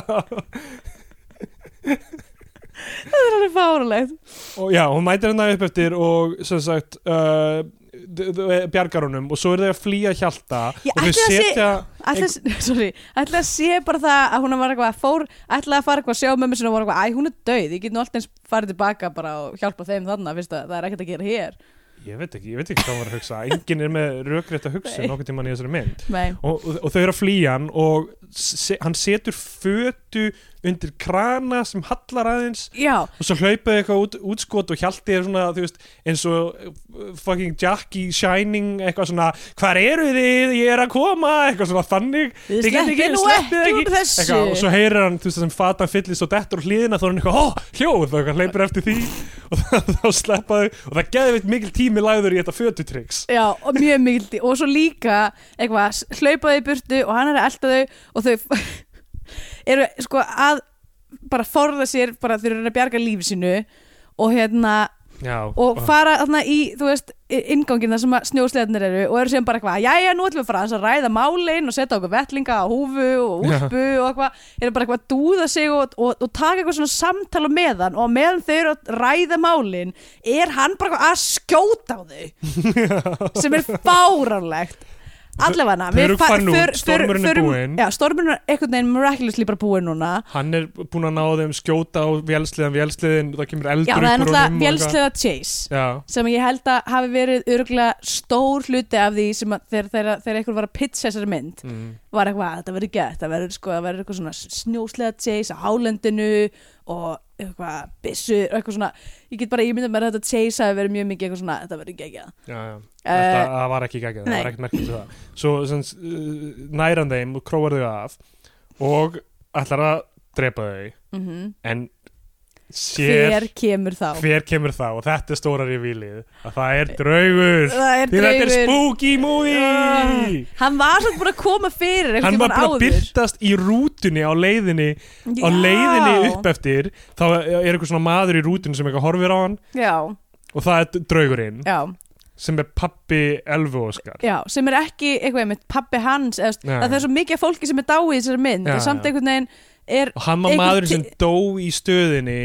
Speaker 3: það er alveg fárulegt
Speaker 2: og já, hún mætir hérna upp eftir og sem sagt uh, d- d- bjargar honum og svo eru þeir að flýja hjalta
Speaker 3: Ég
Speaker 2: og þau
Speaker 3: ætli að sé-
Speaker 2: setja
Speaker 3: Ætla, sorry, ætla að sé bara það að hún var eitthvað fór, ætla að fara eitthvað að sjá mömmu sinna og var eitthvað, æ, hún er dauð, ég get nú alltaf eins farið tilbaka bara og hjálpa þeim þarna, fyrst að það er ekkert að gera hér.
Speaker 2: ég veit ekki, ég veit ekki hvað hún var að hugsa enginn er með rökrétt að hugsa
Speaker 3: Nei.
Speaker 2: nokkuð tímann í þessari mynd
Speaker 3: Nei,
Speaker 2: og, og, og þau eru að flýja hann og se, hann setur fötu undir krana sem hallar aðeins
Speaker 3: já,
Speaker 2: og svo hlaupaði eitthvað út, útskot og hjalti er svona, þú veist, eins og uh, fucking Jack í Shining eitthvað svona, hvar eru þið, ég er að koma eitthvað svona þannig
Speaker 3: Þið
Speaker 2: "Þið getið
Speaker 3: sleppið nú
Speaker 2: sleppið
Speaker 3: ekki úr þessu."
Speaker 2: eitthvað, og svo heyrir hann, þú veist, sem fatan fyllist og dettur úr hliðina, þá er hann eitthvað, ó, hljóð og eitthvað hleypur eftir því og þá, þá sleppaðu og það geði veit mikil tími lagður í þetta fötutryggs
Speaker 3: já, og mjög mikildi og svo líka eitthvað, s- hlaupa þau í burtu og hann er að elda þau og þau eru sko að bara forða sér, bara þau eru að bjarga lífi sínu og hérna
Speaker 2: Já,
Speaker 3: og fara þarna í, þú veist, ingangin þar sem að snjósleðnir eru og eru síðan bara eitthvað, jæja, nú ætlum við að fara aðeins að ræða málin og setja okkur vettlinga á húfu og úlpu og eitthvað, eru bara eitthvað að dúða sig og, og, og taka eitthvað svona samtala meðan og á meðan þau eru að ræða málin er hann bara eitthvað að skjóta á þau sem er fáránlegt allavega
Speaker 2: Þau eru farin út, stormurinn er búinn.
Speaker 3: já, stormurinn er einhvern veginn miraculously bara búinn núna
Speaker 2: hann er búin að ná þeim skjóta á vélsliðan, vélsliðin, það kemur eldur
Speaker 3: já,
Speaker 2: upp
Speaker 3: það er
Speaker 2: úr
Speaker 3: náttúrulega
Speaker 2: honum og eitthvað.
Speaker 3: vélslega chase
Speaker 2: Já,
Speaker 3: sem ég held að hafi verið örgulega stór hluti af því sem að þegar, þegar, þegar einhver var að pitcha þessari mynd
Speaker 2: mm.
Speaker 3: var eitthvað, "Ah, þetta verður gett, það verður sko, það verður eitthvað svona snjóslega chase á hálendinu og eitthvað byssur og eitthvað svona, ég get bara ímyndað mér að þetta chase hafi verið mjög mikið eitthvað svona, þetta verður geggjað
Speaker 2: já, já. Þetta,
Speaker 3: Eh,
Speaker 2: það var ekki geggjað, það
Speaker 3: nei.
Speaker 2: var ekkert merkilt við það svo sem, sagt, uh, næran þeim og króar þau af og ætlar að drepa þau
Speaker 3: mm
Speaker 2: en sér
Speaker 3: Hver
Speaker 2: hver,
Speaker 3: kemur þá?
Speaker 2: kemur þá og þetta er stóra revílið að það er draugur
Speaker 3: Það er
Speaker 2: því þetta er
Speaker 3: draugur Ah.
Speaker 2: spooky movie
Speaker 3: Hann var svo búin að koma fyrir
Speaker 2: hann var búin að
Speaker 3: byrja
Speaker 2: byrtast í rútunni á leiðinni á leiðinni upp eftir þá er eitthvað svona maður í rútunni sem eitthvað horfir á hann
Speaker 3: Já,
Speaker 2: og það er draugurinn
Speaker 3: já
Speaker 2: sem er pappi Elfu Óskar
Speaker 3: Já, sem er ekki eitthvað einmitt pappi hans eða,
Speaker 2: Já,
Speaker 3: ja. það er svo mikið af fólki sem er dáið í þessari mynd
Speaker 2: Já,
Speaker 3: og samt
Speaker 2: já.
Speaker 3: einhvern veginn er
Speaker 2: og hann var
Speaker 3: Einhver
Speaker 2: maður sem
Speaker 3: ti-
Speaker 2: dó í stöðinni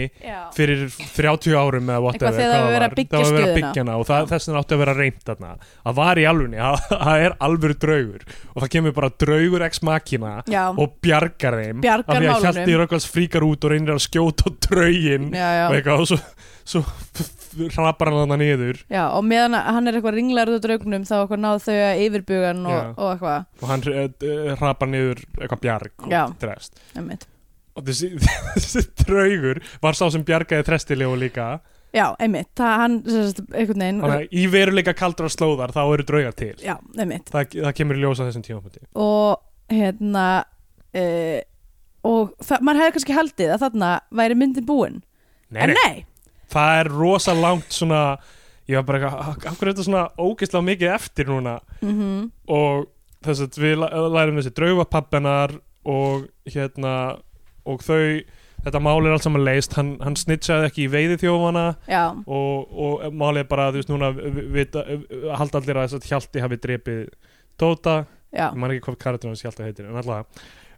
Speaker 2: fyrir 30 árum eða whatever
Speaker 3: Eitthvað þegar það var verið að byggja
Speaker 2: það var verið að
Speaker 3: stöðina.
Speaker 2: byggja hana og það, þess vegna átti að vera reynd þarna það var í alvunni, það er alvöru draugur og það kemur bara draugur ex machina
Speaker 3: Já.
Speaker 2: og bjargar þeim
Speaker 3: Bjargar
Speaker 2: af því að
Speaker 3: málunum.
Speaker 2: Hjalti Rökkvals fríkar út og reynir að skjóta á draugin
Speaker 3: Já, já.
Speaker 2: og eitthvað og svo, svo hrapar hann þarna niður
Speaker 3: Já, og meðan að hann er eitthvað ringlar út á draugnum þá eitthvað náðu þau að yfirbugan
Speaker 2: Já.
Speaker 3: og, og eitthvað,
Speaker 2: og hann eh, eh, hrapar niður eitthvað bjarg
Speaker 3: Já.
Speaker 2: og drest
Speaker 3: einmitt
Speaker 2: og þessi, þessi draugur var sá sem bjargaði þrestilegu líka
Speaker 3: Já, einmitt, það hann sem sagt, einhvern veginn
Speaker 2: Þannig að í veruleika kaldra slóðar þá eru draugar til
Speaker 3: Já, einmitt
Speaker 2: það, það kemur í ljós á þessum tímapunkti
Speaker 3: og hérna uh, og það, maður hefði kannski haldið að þarna væri myndin búin en nei,
Speaker 2: það er rosa langt svona ég var bara eitthvað, "Ah, af hverju er þetta svona ógeðslega mikið eftir núna
Speaker 3: mhm,
Speaker 2: og þess að við læ- lærum þessi draugapappenar og hérna og þau, þetta mál er allt saman leist hann, hann snitsaði ekki í veiði þjófana
Speaker 3: já
Speaker 2: og, og málið er bara, þú veist, núna við, við, við, halda allir að þess að hjalti hafi drepið Tóta
Speaker 3: Já,
Speaker 2: ég man ekki hvað karakterinn hans hjálta heitir en allavega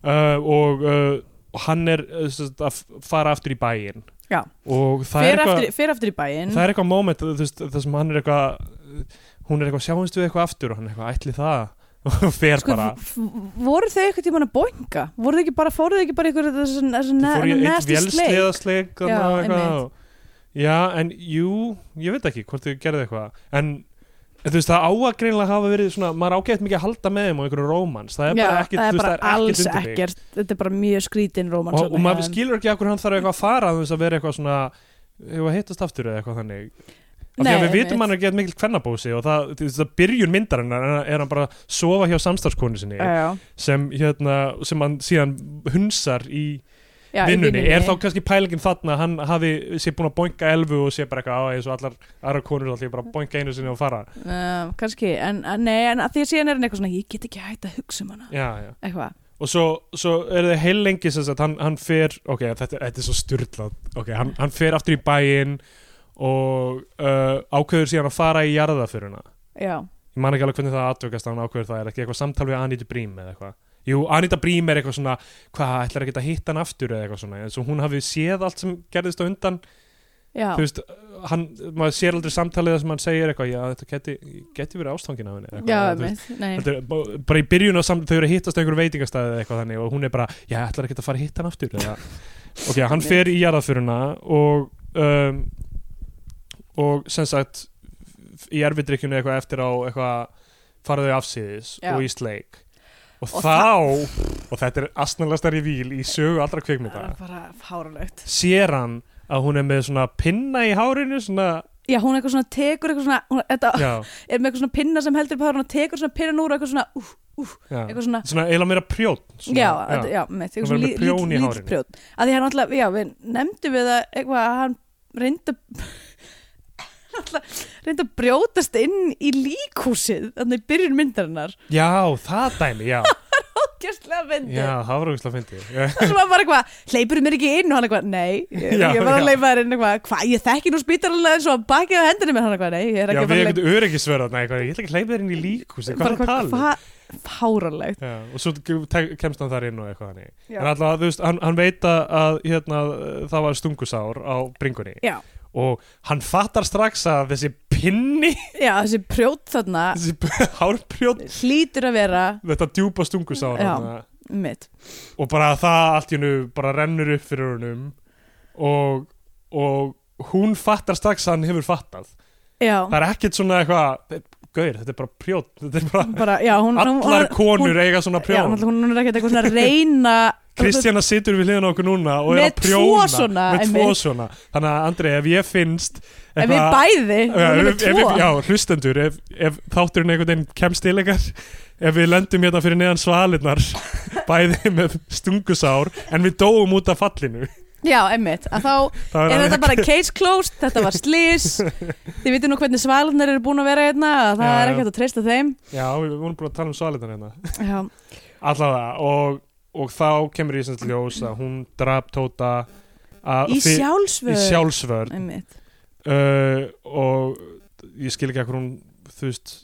Speaker 2: uh, og uh, hann er uh, sem sagt, að f- fara aftur í bæinn
Speaker 3: Já.
Speaker 2: og það
Speaker 3: fyrir
Speaker 2: er, eitthvað,
Speaker 3: aftur, fer aftur í bæinn
Speaker 2: það er eitthvað moment þú veist, það sem hann er eitthvað uh, hún er eitthvað sjáumst við eitthvað aftur og hann er eitthvað ætli það og fer
Speaker 3: sko,
Speaker 2: bara
Speaker 3: f- f- voru þau eitthvað tímann að boinga? Voru þau ekki bara, fóru þau ekki bara ykkur þessu
Speaker 2: Þau fóru í
Speaker 3: næstu
Speaker 2: eitt
Speaker 3: sleik?
Speaker 2: vélsleðasleik
Speaker 3: Já,
Speaker 2: þarna og eitthvað
Speaker 3: einmitt.
Speaker 2: og- já en jú ég veit ekki hvort þau gerði eitthvað en Þú veist, það á að greinlega hafa verið svona, maður ágætt mikið að halda með þeim á einhverju rómans, það er
Speaker 3: Já,
Speaker 2: bara ekkert,
Speaker 3: það
Speaker 2: þú
Speaker 3: er
Speaker 2: veist,
Speaker 3: bara alls
Speaker 2: ekkert undir
Speaker 3: ekkert þetta er bara mjög skrítin rómans
Speaker 2: og,
Speaker 3: þarna,
Speaker 2: og maður
Speaker 3: já.
Speaker 2: skilur ekki okkur hann þarf eitthvað að fara þú veist að vera eitthvað svona hefur að hittast aftur eða eitthvað þannig af því
Speaker 3: Nei,
Speaker 2: að við vitum
Speaker 3: einmitt.
Speaker 2: hann er gett mikil kvennabósi og það, þú veist, það byrjun myndarinnar er- er hann bara að sofa hjá samstarfskonu sinni
Speaker 3: Já, já.
Speaker 2: sem, hérna, sem hann síðan hunsar í
Speaker 3: Já, í
Speaker 2: vinnunni er þá kannski pælingin þarna að hann hafi sé búin að boinga elfu og sé bara eitthvað á eins og allar aðra konur allir bara að boinga einu sinni og fara
Speaker 3: uh, kannski, en að- nei, en að því að síðan er hann eitthvað svona ég get ekki hægt að hugsa um hana
Speaker 2: já, já.
Speaker 3: eitthvað,
Speaker 2: og svo, svo er það heil lengi sem sagt, hann, hann fer, ok, þetta, þetta er svo styrlað ok, hann, hann fer aftur í bæinn og uh, ákveður síðan að fara í jarðaföruna
Speaker 3: já,
Speaker 2: ég man ekki alveg hvernig það atvökast hann ákveður það, er ekki eitthvað samtal við Anita Brím eða eitthvað Jú, Anita Brím er eitthvað svona hvað, ætlar ekki að hitta hann aftur eða eitthvað svona eins og hún hafi séð allt sem gerðist á undan
Speaker 3: já,
Speaker 2: þú veist, hann, maður sér aldrei samtalið þar sem hann segir eitthvað, já, þetta geti, geti verið ástangin af henni eða
Speaker 3: já,
Speaker 2: eitthvað, þú veist,
Speaker 3: einmitt, nei
Speaker 2: Þetta er bara- bara í byrjun á samt, þau eru að hittast á einhverjum veitingastæði eða eitthvað þannig og hún er bara, já, ætlar ekki að fara að hitta hann aftur eða, ok, hann fer í jarðaföruna og um, og sem sagt í erfidrykkjunu eitthvað eftir á eitthvað faraðu afsýðis
Speaker 3: Já.
Speaker 2: og í sleik og,
Speaker 3: Og
Speaker 2: þá, og þetta er astnalastar í víl í sögu allra
Speaker 3: það
Speaker 2: kvikmynda
Speaker 3: er bara fáralegt
Speaker 2: sér hann að hún er með svona pinna í hárinu svona,
Speaker 3: já, hún eitthvað svona tekur eitthvað svona hún, þetta,
Speaker 2: já,
Speaker 3: er með eitthvað svona pinna sem heldur upp hárinu og tekur svona pinna úr og eitthvað svona úf, úf,
Speaker 2: já
Speaker 3: eitthvað svona
Speaker 2: svona eiginlega meira prjótt svona,
Speaker 3: já, þetta- já, með
Speaker 2: Hún
Speaker 3: eitthvað
Speaker 2: verður
Speaker 3: svona
Speaker 2: með prjón í hárinu.
Speaker 3: lífsprjót að því hann alltaf, já, við nefndum við að eitthvað að hann reynda reynda að brjótast inn í líkhúsið þannig byrjun myndarinnar
Speaker 2: já, það dæmi, já
Speaker 3: gæstlega myndi
Speaker 2: Já, það var auðvitað fyndið. Já,
Speaker 3: sem var bara eitthvað, hleypur mér ekki inn og hann eitthvað, nei, ég,
Speaker 2: Já,
Speaker 3: ég var að
Speaker 2: já.
Speaker 3: hleypa þér inn eitthvað, hvað, ég þekki nú spítaranlega eins og bakið á hendinni mér hann eitthvað, nei, ég er
Speaker 2: já
Speaker 3: ekki að
Speaker 2: við
Speaker 3: fara
Speaker 2: erum
Speaker 3: að
Speaker 2: ekkert öryggisverðarna eitthvað, ég ætla ekki að hleypa þér inn í líkhúsi, hvað er það
Speaker 3: bara
Speaker 2: að tala? um?
Speaker 3: hvað fáralegt
Speaker 2: Já, og svo te- kemst hann þar inn og eitthvað hannig.
Speaker 3: Já.
Speaker 2: En alltaf, þú veist, hann, hann veit að- að hérna, það var stungusár á bringunni
Speaker 3: já,
Speaker 2: og hann fattar strax að þessi pinni,
Speaker 3: já, þessi prjót þarna
Speaker 2: þessi hárprjótt,
Speaker 3: hlýtur að vera
Speaker 2: þetta djúpa stungusár
Speaker 3: Já.
Speaker 2: hana,
Speaker 3: mitt
Speaker 2: og bara það allt í hennu bara rennur upp fyrir honum og, og hún fattar strax að hann hefur fattað.
Speaker 3: já,
Speaker 2: Það er ekkert svona eitthvað, gauður, þetta er bara prjótt, þetta er bara...
Speaker 3: bara, já, hún, hún, hún,
Speaker 2: Allar konur eiga svona
Speaker 3: hún, já,
Speaker 2: prjón
Speaker 3: náttúrulega hún er ekkert eitthvað svona að reyna
Speaker 2: Kristjana situr við hliðan á okkur núna og er
Speaker 3: Með
Speaker 2: að prjóna
Speaker 3: tvo svona,
Speaker 2: með tvo
Speaker 3: einmitt.
Speaker 2: svona þannig að Andrei ef ég finnst
Speaker 3: en við bæði, hún er
Speaker 2: ef,
Speaker 3: með
Speaker 2: ef,
Speaker 3: tvo
Speaker 2: já, hlustendur, ef, ef þátturinn einhvern veginn kemst til ykkar ef við lendum hérna fyrir neðan svalirnar bæði með stungusár en við dóum út af fallinu
Speaker 3: já, emmitt, að þá
Speaker 2: Það
Speaker 3: er
Speaker 2: alveg-
Speaker 3: þetta bara case closed, þetta var slís þið vitið nú hvernig svalirnar eru búin að vera hérna, að það
Speaker 2: Já,
Speaker 3: er
Speaker 2: já.
Speaker 3: ekkert að treysta þeim
Speaker 2: Já, við vorum búin að tala um svalirnar hérna
Speaker 3: já,
Speaker 2: Allavega, og, og þá kemur í sem ljós að hún drap Tóta að-
Speaker 3: í
Speaker 2: fyr- í
Speaker 3: sjálfsvöð
Speaker 2: sjálfsvörn
Speaker 3: einmitt,
Speaker 2: uh, og ég skil ekki að hún þú veist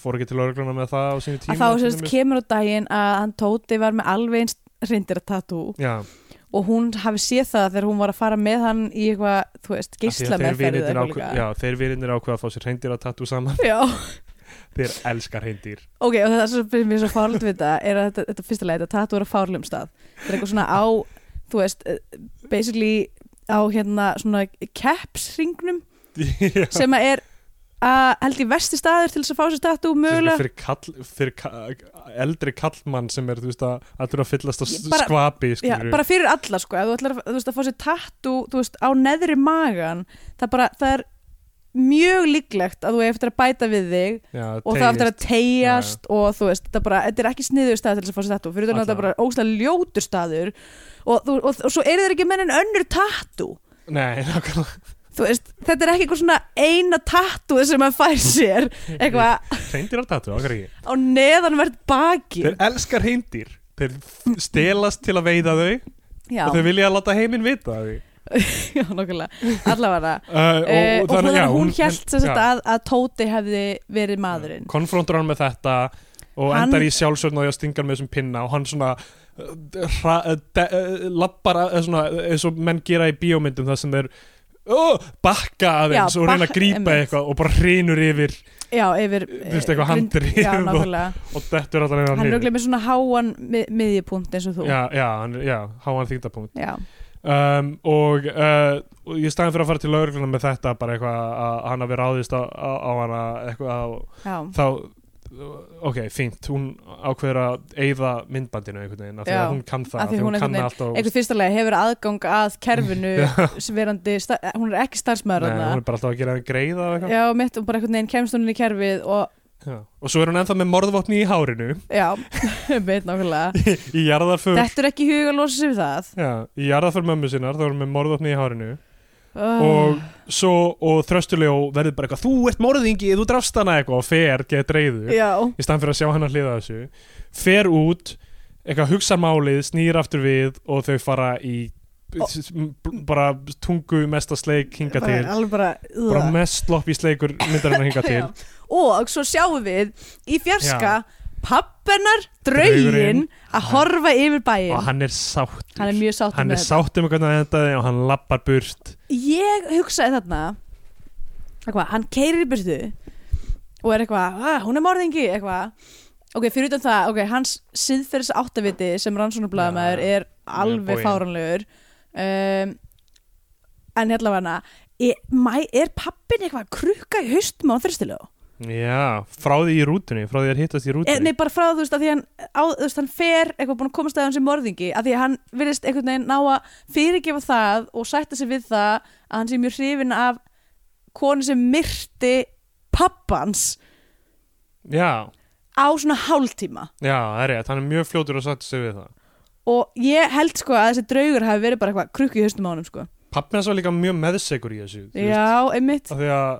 Speaker 2: fór ekki til laurugluna með það á sínu tíma
Speaker 3: að þá
Speaker 2: til
Speaker 3: sérst
Speaker 2: dæmis.
Speaker 3: kemur á daginn að hann Tóti var með alveg eins reyndir að tatú
Speaker 2: Já,
Speaker 3: og hún hafi séð það þegar hún var að fara með hann í eitthvað, þú veist,
Speaker 2: af því
Speaker 3: gísla
Speaker 2: að þeir
Speaker 3: með ferðið
Speaker 2: vinirnir ákveð- Já, þeir virinir ákveða að fá sér hreindir að tattu saman
Speaker 3: já,
Speaker 2: þeir elskar hreindir
Speaker 3: Ok, og það sem finnst mér svo fárlegt við þetta er að þetta, þetta fyrsta leið, þetta tattu er á fárlegum stað þetta er eitthvað svona á, þú veist eh, basically á hérna svona kepsringnum
Speaker 2: Já,
Speaker 3: sem að er að held í vesti staður til þess að fá sér tattu
Speaker 2: sérstaklega
Speaker 3: mögulega,
Speaker 2: fyrir, kall, fyrir ka eldri kallmann sem er þú veist að allur að fyllast á
Speaker 3: Ég
Speaker 2: s-
Speaker 3: bara-
Speaker 2: skvapi
Speaker 3: já,
Speaker 2: skilurðu.
Speaker 3: bara fyrir alla sko, að þú ætlar að, þú veist, að fá sér tattu þú veist, á neðri magan það bara, það er mjög líklegt að þú hefur eftir að bæta við þig
Speaker 2: já,
Speaker 3: og það eftir
Speaker 2: teygist.
Speaker 3: að tegjast og þú veist, þetta, bara, þetta er ekki sniður staður til þess að fá sér tattu fyrir þannig að
Speaker 2: Alla.
Speaker 3: þetta er bara ógstlega ljótur staður og, þú, og, og svo eru þeir ekki menn en önnur tattu
Speaker 2: Nei, nákvæmlega
Speaker 3: þú veist, þetta er ekki eitthvað svona eina tattu sem að fær sér eitthvað
Speaker 2: Hreindir að tattu, okkar ekki
Speaker 3: á neðanvert baki
Speaker 2: Þeir elskar hreindir Þeir f- stelast til að veiða þau
Speaker 3: já,
Speaker 2: og þeir vilja að láta heiminn vita af því
Speaker 3: já nokkulega, allavega
Speaker 2: Uh,
Speaker 3: Eh, og þannig
Speaker 2: já,
Speaker 3: að hún
Speaker 2: en-
Speaker 3: hjælt sem sagt
Speaker 2: já,
Speaker 3: að, að Tóti hefði verið maðurinn
Speaker 2: konfrontar hann með þetta og
Speaker 3: Hann-
Speaker 2: endar í sjálfsvörn og ég stingar með þessum pinna og hann svona uh, hra, uh, de, uh, lappar að, uh, svona, eins og menn gera í bíómyndum það sem þeir oh, bakka aðeins
Speaker 3: Já,
Speaker 2: og reyna að
Speaker 3: bakka-
Speaker 2: grípa
Speaker 3: einmitt.
Speaker 2: eitthvað og bara hrinur yfir
Speaker 3: já, yfir
Speaker 2: Þú veist, eitthvað
Speaker 3: eh, grind-
Speaker 2: handrif
Speaker 3: já,
Speaker 2: og-
Speaker 3: nákvæmlega,
Speaker 2: og dettur allan
Speaker 3: hann
Speaker 2: hann
Speaker 3: er auðvitað með svona háan mið, miðjupunkt eins og þú
Speaker 2: já, já, hann, já, háan þýndapunkt
Speaker 3: já.
Speaker 2: um, og, uh, og ég staðin fyrir að fara til laurugluna með þetta bara eitthvað að hann hafi ráðist á, á, á hana eitthvað á
Speaker 3: Já.
Speaker 2: þá ok, fínt, hún ákveður að eyða myndbandinu einhvern veginn af því
Speaker 3: Já,
Speaker 2: að hún kann það,
Speaker 3: af
Speaker 2: af því að hún kann allt og
Speaker 3: eitthvað fyrstulega hefur aðgang að kerfinu sem verandi, sta- hún er ekki starfsmæður
Speaker 2: Nei, hún
Speaker 3: þarna.
Speaker 2: er bara alltaf að gera henni greiða og eitthvað.
Speaker 3: já, mitt og bara einhvern veginn kemst hún inn í kerfið og
Speaker 2: Já. og svo er hún ennþá með morðvopni í hárinu
Speaker 3: já, mitt nákvæmlega
Speaker 2: í jarðarför
Speaker 3: þetta er ekki hug að losa sig við það
Speaker 2: Já, í jarðarför mömmu sinnar, þá er hún með morðvopni í hárinu
Speaker 3: oh,
Speaker 2: og svo, og þröstuljó verður bara eitthvað, þú ert morðingi, þú drafst hana eitthvað og fer, get reyðu
Speaker 3: já,
Speaker 2: í staðan fyrir að sjá hann að hliða þessu fer út, eitthvað hugsa málið snýr aftur við og þau fara í
Speaker 3: Ó.
Speaker 2: bara tungu mesta sleik hinga
Speaker 3: bara,
Speaker 2: til
Speaker 3: alveg bara,
Speaker 2: bara
Speaker 3: ugh.
Speaker 2: mest sloppy sleikur myndarinn að hinga til
Speaker 3: Já. og svo sjáum við í fjarska pappennar, draugin
Speaker 2: Draugurinn.
Speaker 3: að horfa yfir bæin
Speaker 2: og hann er sáttur
Speaker 3: hann er mjög sáttur
Speaker 2: Hann er
Speaker 3: með þetta
Speaker 2: sáttur með hvernig hann endaði og hann lappar burt
Speaker 3: ég hugsaði þarna eitthvað, hann keirir í burtu og er eitthvað, "Ah, hún er morðingi eitthvað, ok, fyrir utan það ok, hans síðferðis áttaviti sem rannsóknarblæðamæður
Speaker 2: Já,
Speaker 3: er
Speaker 2: mjög
Speaker 3: alveg
Speaker 2: boginn.
Speaker 3: fáranlegur um, en hérna var hana er, mæ- er pappin eitthvað að krukka í haustum á þrýstilu
Speaker 2: Já, frá því í rútunni, frá því að hittast í
Speaker 3: e,
Speaker 2: rútunni
Speaker 3: nei, bara frá þú veist, að því hann á, þú veist, hann fer eitthvað búin að komast að hann sem morðingi að því að hann virðist einhvern veginn ná að fyrirgefa það og sætta sig við það að hann sé mjög hrifin af konu sem myrti pappans
Speaker 2: Já,
Speaker 3: á svona hálftíma
Speaker 2: já, það er rétt, hann er mjög fljótur að sattu sig við það
Speaker 3: og ég held sko að þessi draugur hafi verið bara eitthvað krukku í höstum á honum sko
Speaker 2: Pappin hans var líka mjög meðsegur í þessu þú veist,
Speaker 3: já, einmitt
Speaker 2: af því að,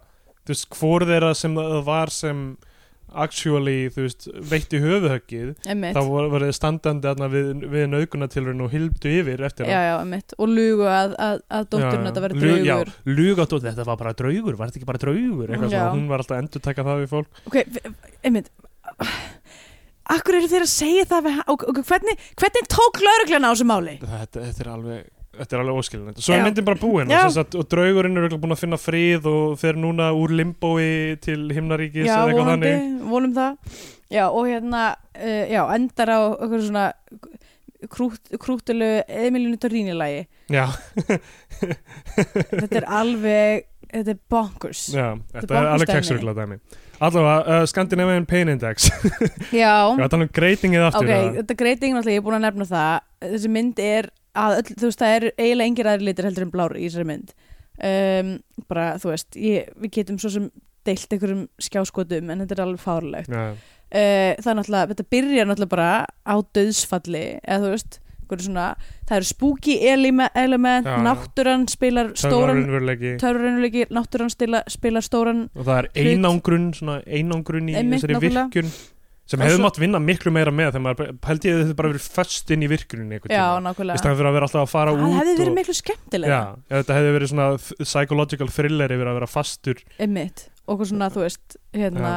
Speaker 2: þú veist, hvor þeirra sem það var sem actually, þú veist, veitti höfuhöggið
Speaker 3: einmitt
Speaker 2: þá voru voru þið standandi þarna við, við naukunatilurinn og hildu yfir eftir
Speaker 3: já, já, einmitt og lugu að, að, að dótturinn þetta verið draugur
Speaker 2: Já, luga dóttur, þetta var bara draugur, var þetta ekki bara draugur eitthvað
Speaker 3: Já.
Speaker 2: svona, hún var alltaf að endur taka það við fólk
Speaker 3: Ok, v- einmitt Akkur eru þeir að segja það við, og, og hvernig, hvernig tók lauruglan á þessu máli?
Speaker 2: þetta, þetta er alveg þetta er alveg óskilinett svo er
Speaker 3: Já.
Speaker 2: myndin bara búin og,
Speaker 3: Já.
Speaker 2: sem sagt, og draugurinn er örugglega búinn að finna frið og fer núna úr limbói til himnaríkis
Speaker 3: já,
Speaker 2: eða eitthvað
Speaker 3: vonandi,
Speaker 2: þannig
Speaker 3: vonum það Já, og hérna, uh, já, endar á eitthvað svona krút, krútulu Emilínu Torínilagi
Speaker 2: já,
Speaker 3: Þetta er alveg, þetta er bonkers
Speaker 2: já, þetta er
Speaker 3: bankastæmi.
Speaker 2: alveg keksrugla dæmi allavega, uh, Scandinavian Pain Index ég
Speaker 3: Já,
Speaker 2: var að tala um greitingið aftur
Speaker 3: ok,
Speaker 2: eða?
Speaker 3: þetta greiting náttúrulega, ég er búin að nefna það Þessi mynd er, að öll, þú veist, það er eiginlega engir aðri litir heldur en blár í þessari mynd um, Bara, þú veist, ég, við getum svo sem deilt einhverjum skjáskotum en þetta er alveg fárlegt
Speaker 2: já,
Speaker 3: uh, það er náttúrulega, þetta byrjar náttúrulega bara á döðsfalli eða þú veist, einhverju svona það eru spooky elime- element
Speaker 2: Já, já.
Speaker 3: náttúran spilar
Speaker 2: það var
Speaker 3: stóran
Speaker 2: raunveruleiki
Speaker 3: törrunulegi, náttúran stila, spilar stóran
Speaker 2: og það er
Speaker 3: Hlut.
Speaker 2: einangrun svona einangrun í
Speaker 3: Einmitt,
Speaker 2: þessari
Speaker 3: nákvæmlega.
Speaker 2: virkun sem
Speaker 3: Og
Speaker 2: hefði
Speaker 3: svo-
Speaker 2: mátt vinna miklu meira með þegar maður held ég að þetta bara verið föst inn í virkuninni einhvern
Speaker 3: já,
Speaker 2: tímann. í
Speaker 3: nákvæmlega
Speaker 2: staðan fyrir að vera alltaf að fara
Speaker 3: það
Speaker 2: út
Speaker 3: hefði verið
Speaker 2: og-
Speaker 3: miklu skemmtilega
Speaker 2: Já, ef þetta hefði verið svona th- psychological thriller yfir að vera fastur
Speaker 3: einmitt, og hvað svona, þú veist hérna,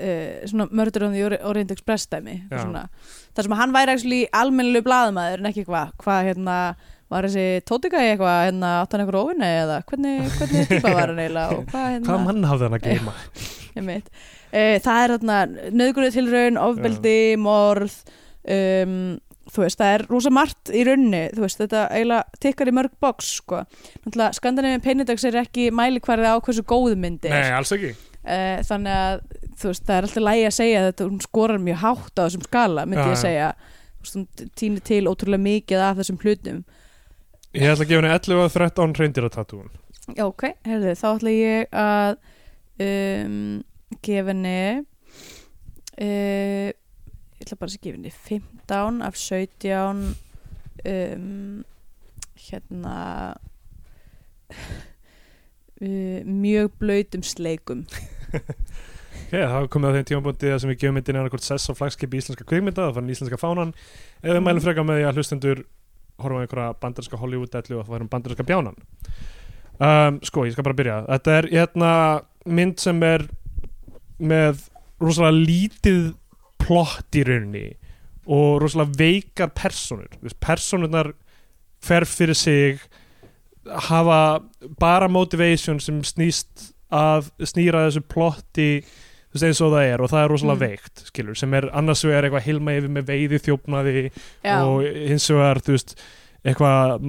Speaker 3: uh, svona Murder on the Ori- Orient Express dæmi,
Speaker 2: Já.
Speaker 3: og svona þar sem að hann væri actually almennilegu blaðamaður en ekki hvað, hvað hérna var þessi tótika í eitthvað, hérna átt hann eitthvað óvinni eða hvernig, hvernig típa var hann eiginlega og hvað hérna
Speaker 2: Hvað mann hafði hann að geima?
Speaker 3: Einmitt. Eh, Það er þarna nöðgurðu tilraun, ofbeldi, morð um, þú veist, það er rosa margt í raunni, þú veist, þetta eiginlega tikkar í mörg box, sko Náttúrulega, skandinavinn peinidags er ekki mælikvarði á hversu góð myndi er
Speaker 2: alls ekki
Speaker 3: Eh, þannig að, þú veist, það er alltaf lægi að segja þetta, hún skorar mjög hátt á þessum skala, myndi
Speaker 2: Já, já.
Speaker 3: ég segja Þú veist, hún týnir til ótrúlega mikið af þessum hlutum
Speaker 2: Ég ætla að gefa henni 11 og 13 reyndiratattúun
Speaker 3: Já, ok, herðu, þá ætla ég að um, gefa henni uh, ég ætla bara að gefa henni 15 af 17 um, hérna uh, mjög blöytum sleikum
Speaker 2: Ok, þá er komið að þeim tímabúndi sem við gefum myndin annarkvort sess á flagskipi íslenska kvikmynda það fann íslenska fánan eða við mælum frekar með því að hlustendur horfa á einhverja bandarinska Hollywood-ellu og það værum bandarinska bjánan um, Sko, ég skal bara byrja Þetta er hérna mynd sem er með rosalega lítið plott í rauninni og rosalega veikar personur Þú veist, personurnar hver fyrir sig hafa bara motivation sem snýst að snýra þessu plotti þú veist, eins og það er og það er rosalega
Speaker 3: Mm.
Speaker 2: veikt skilur, sem er annars vegar eitthvað hilma yfir með veiði þjófnaði
Speaker 3: Já,
Speaker 2: og hins vegar þú veist, eitthvað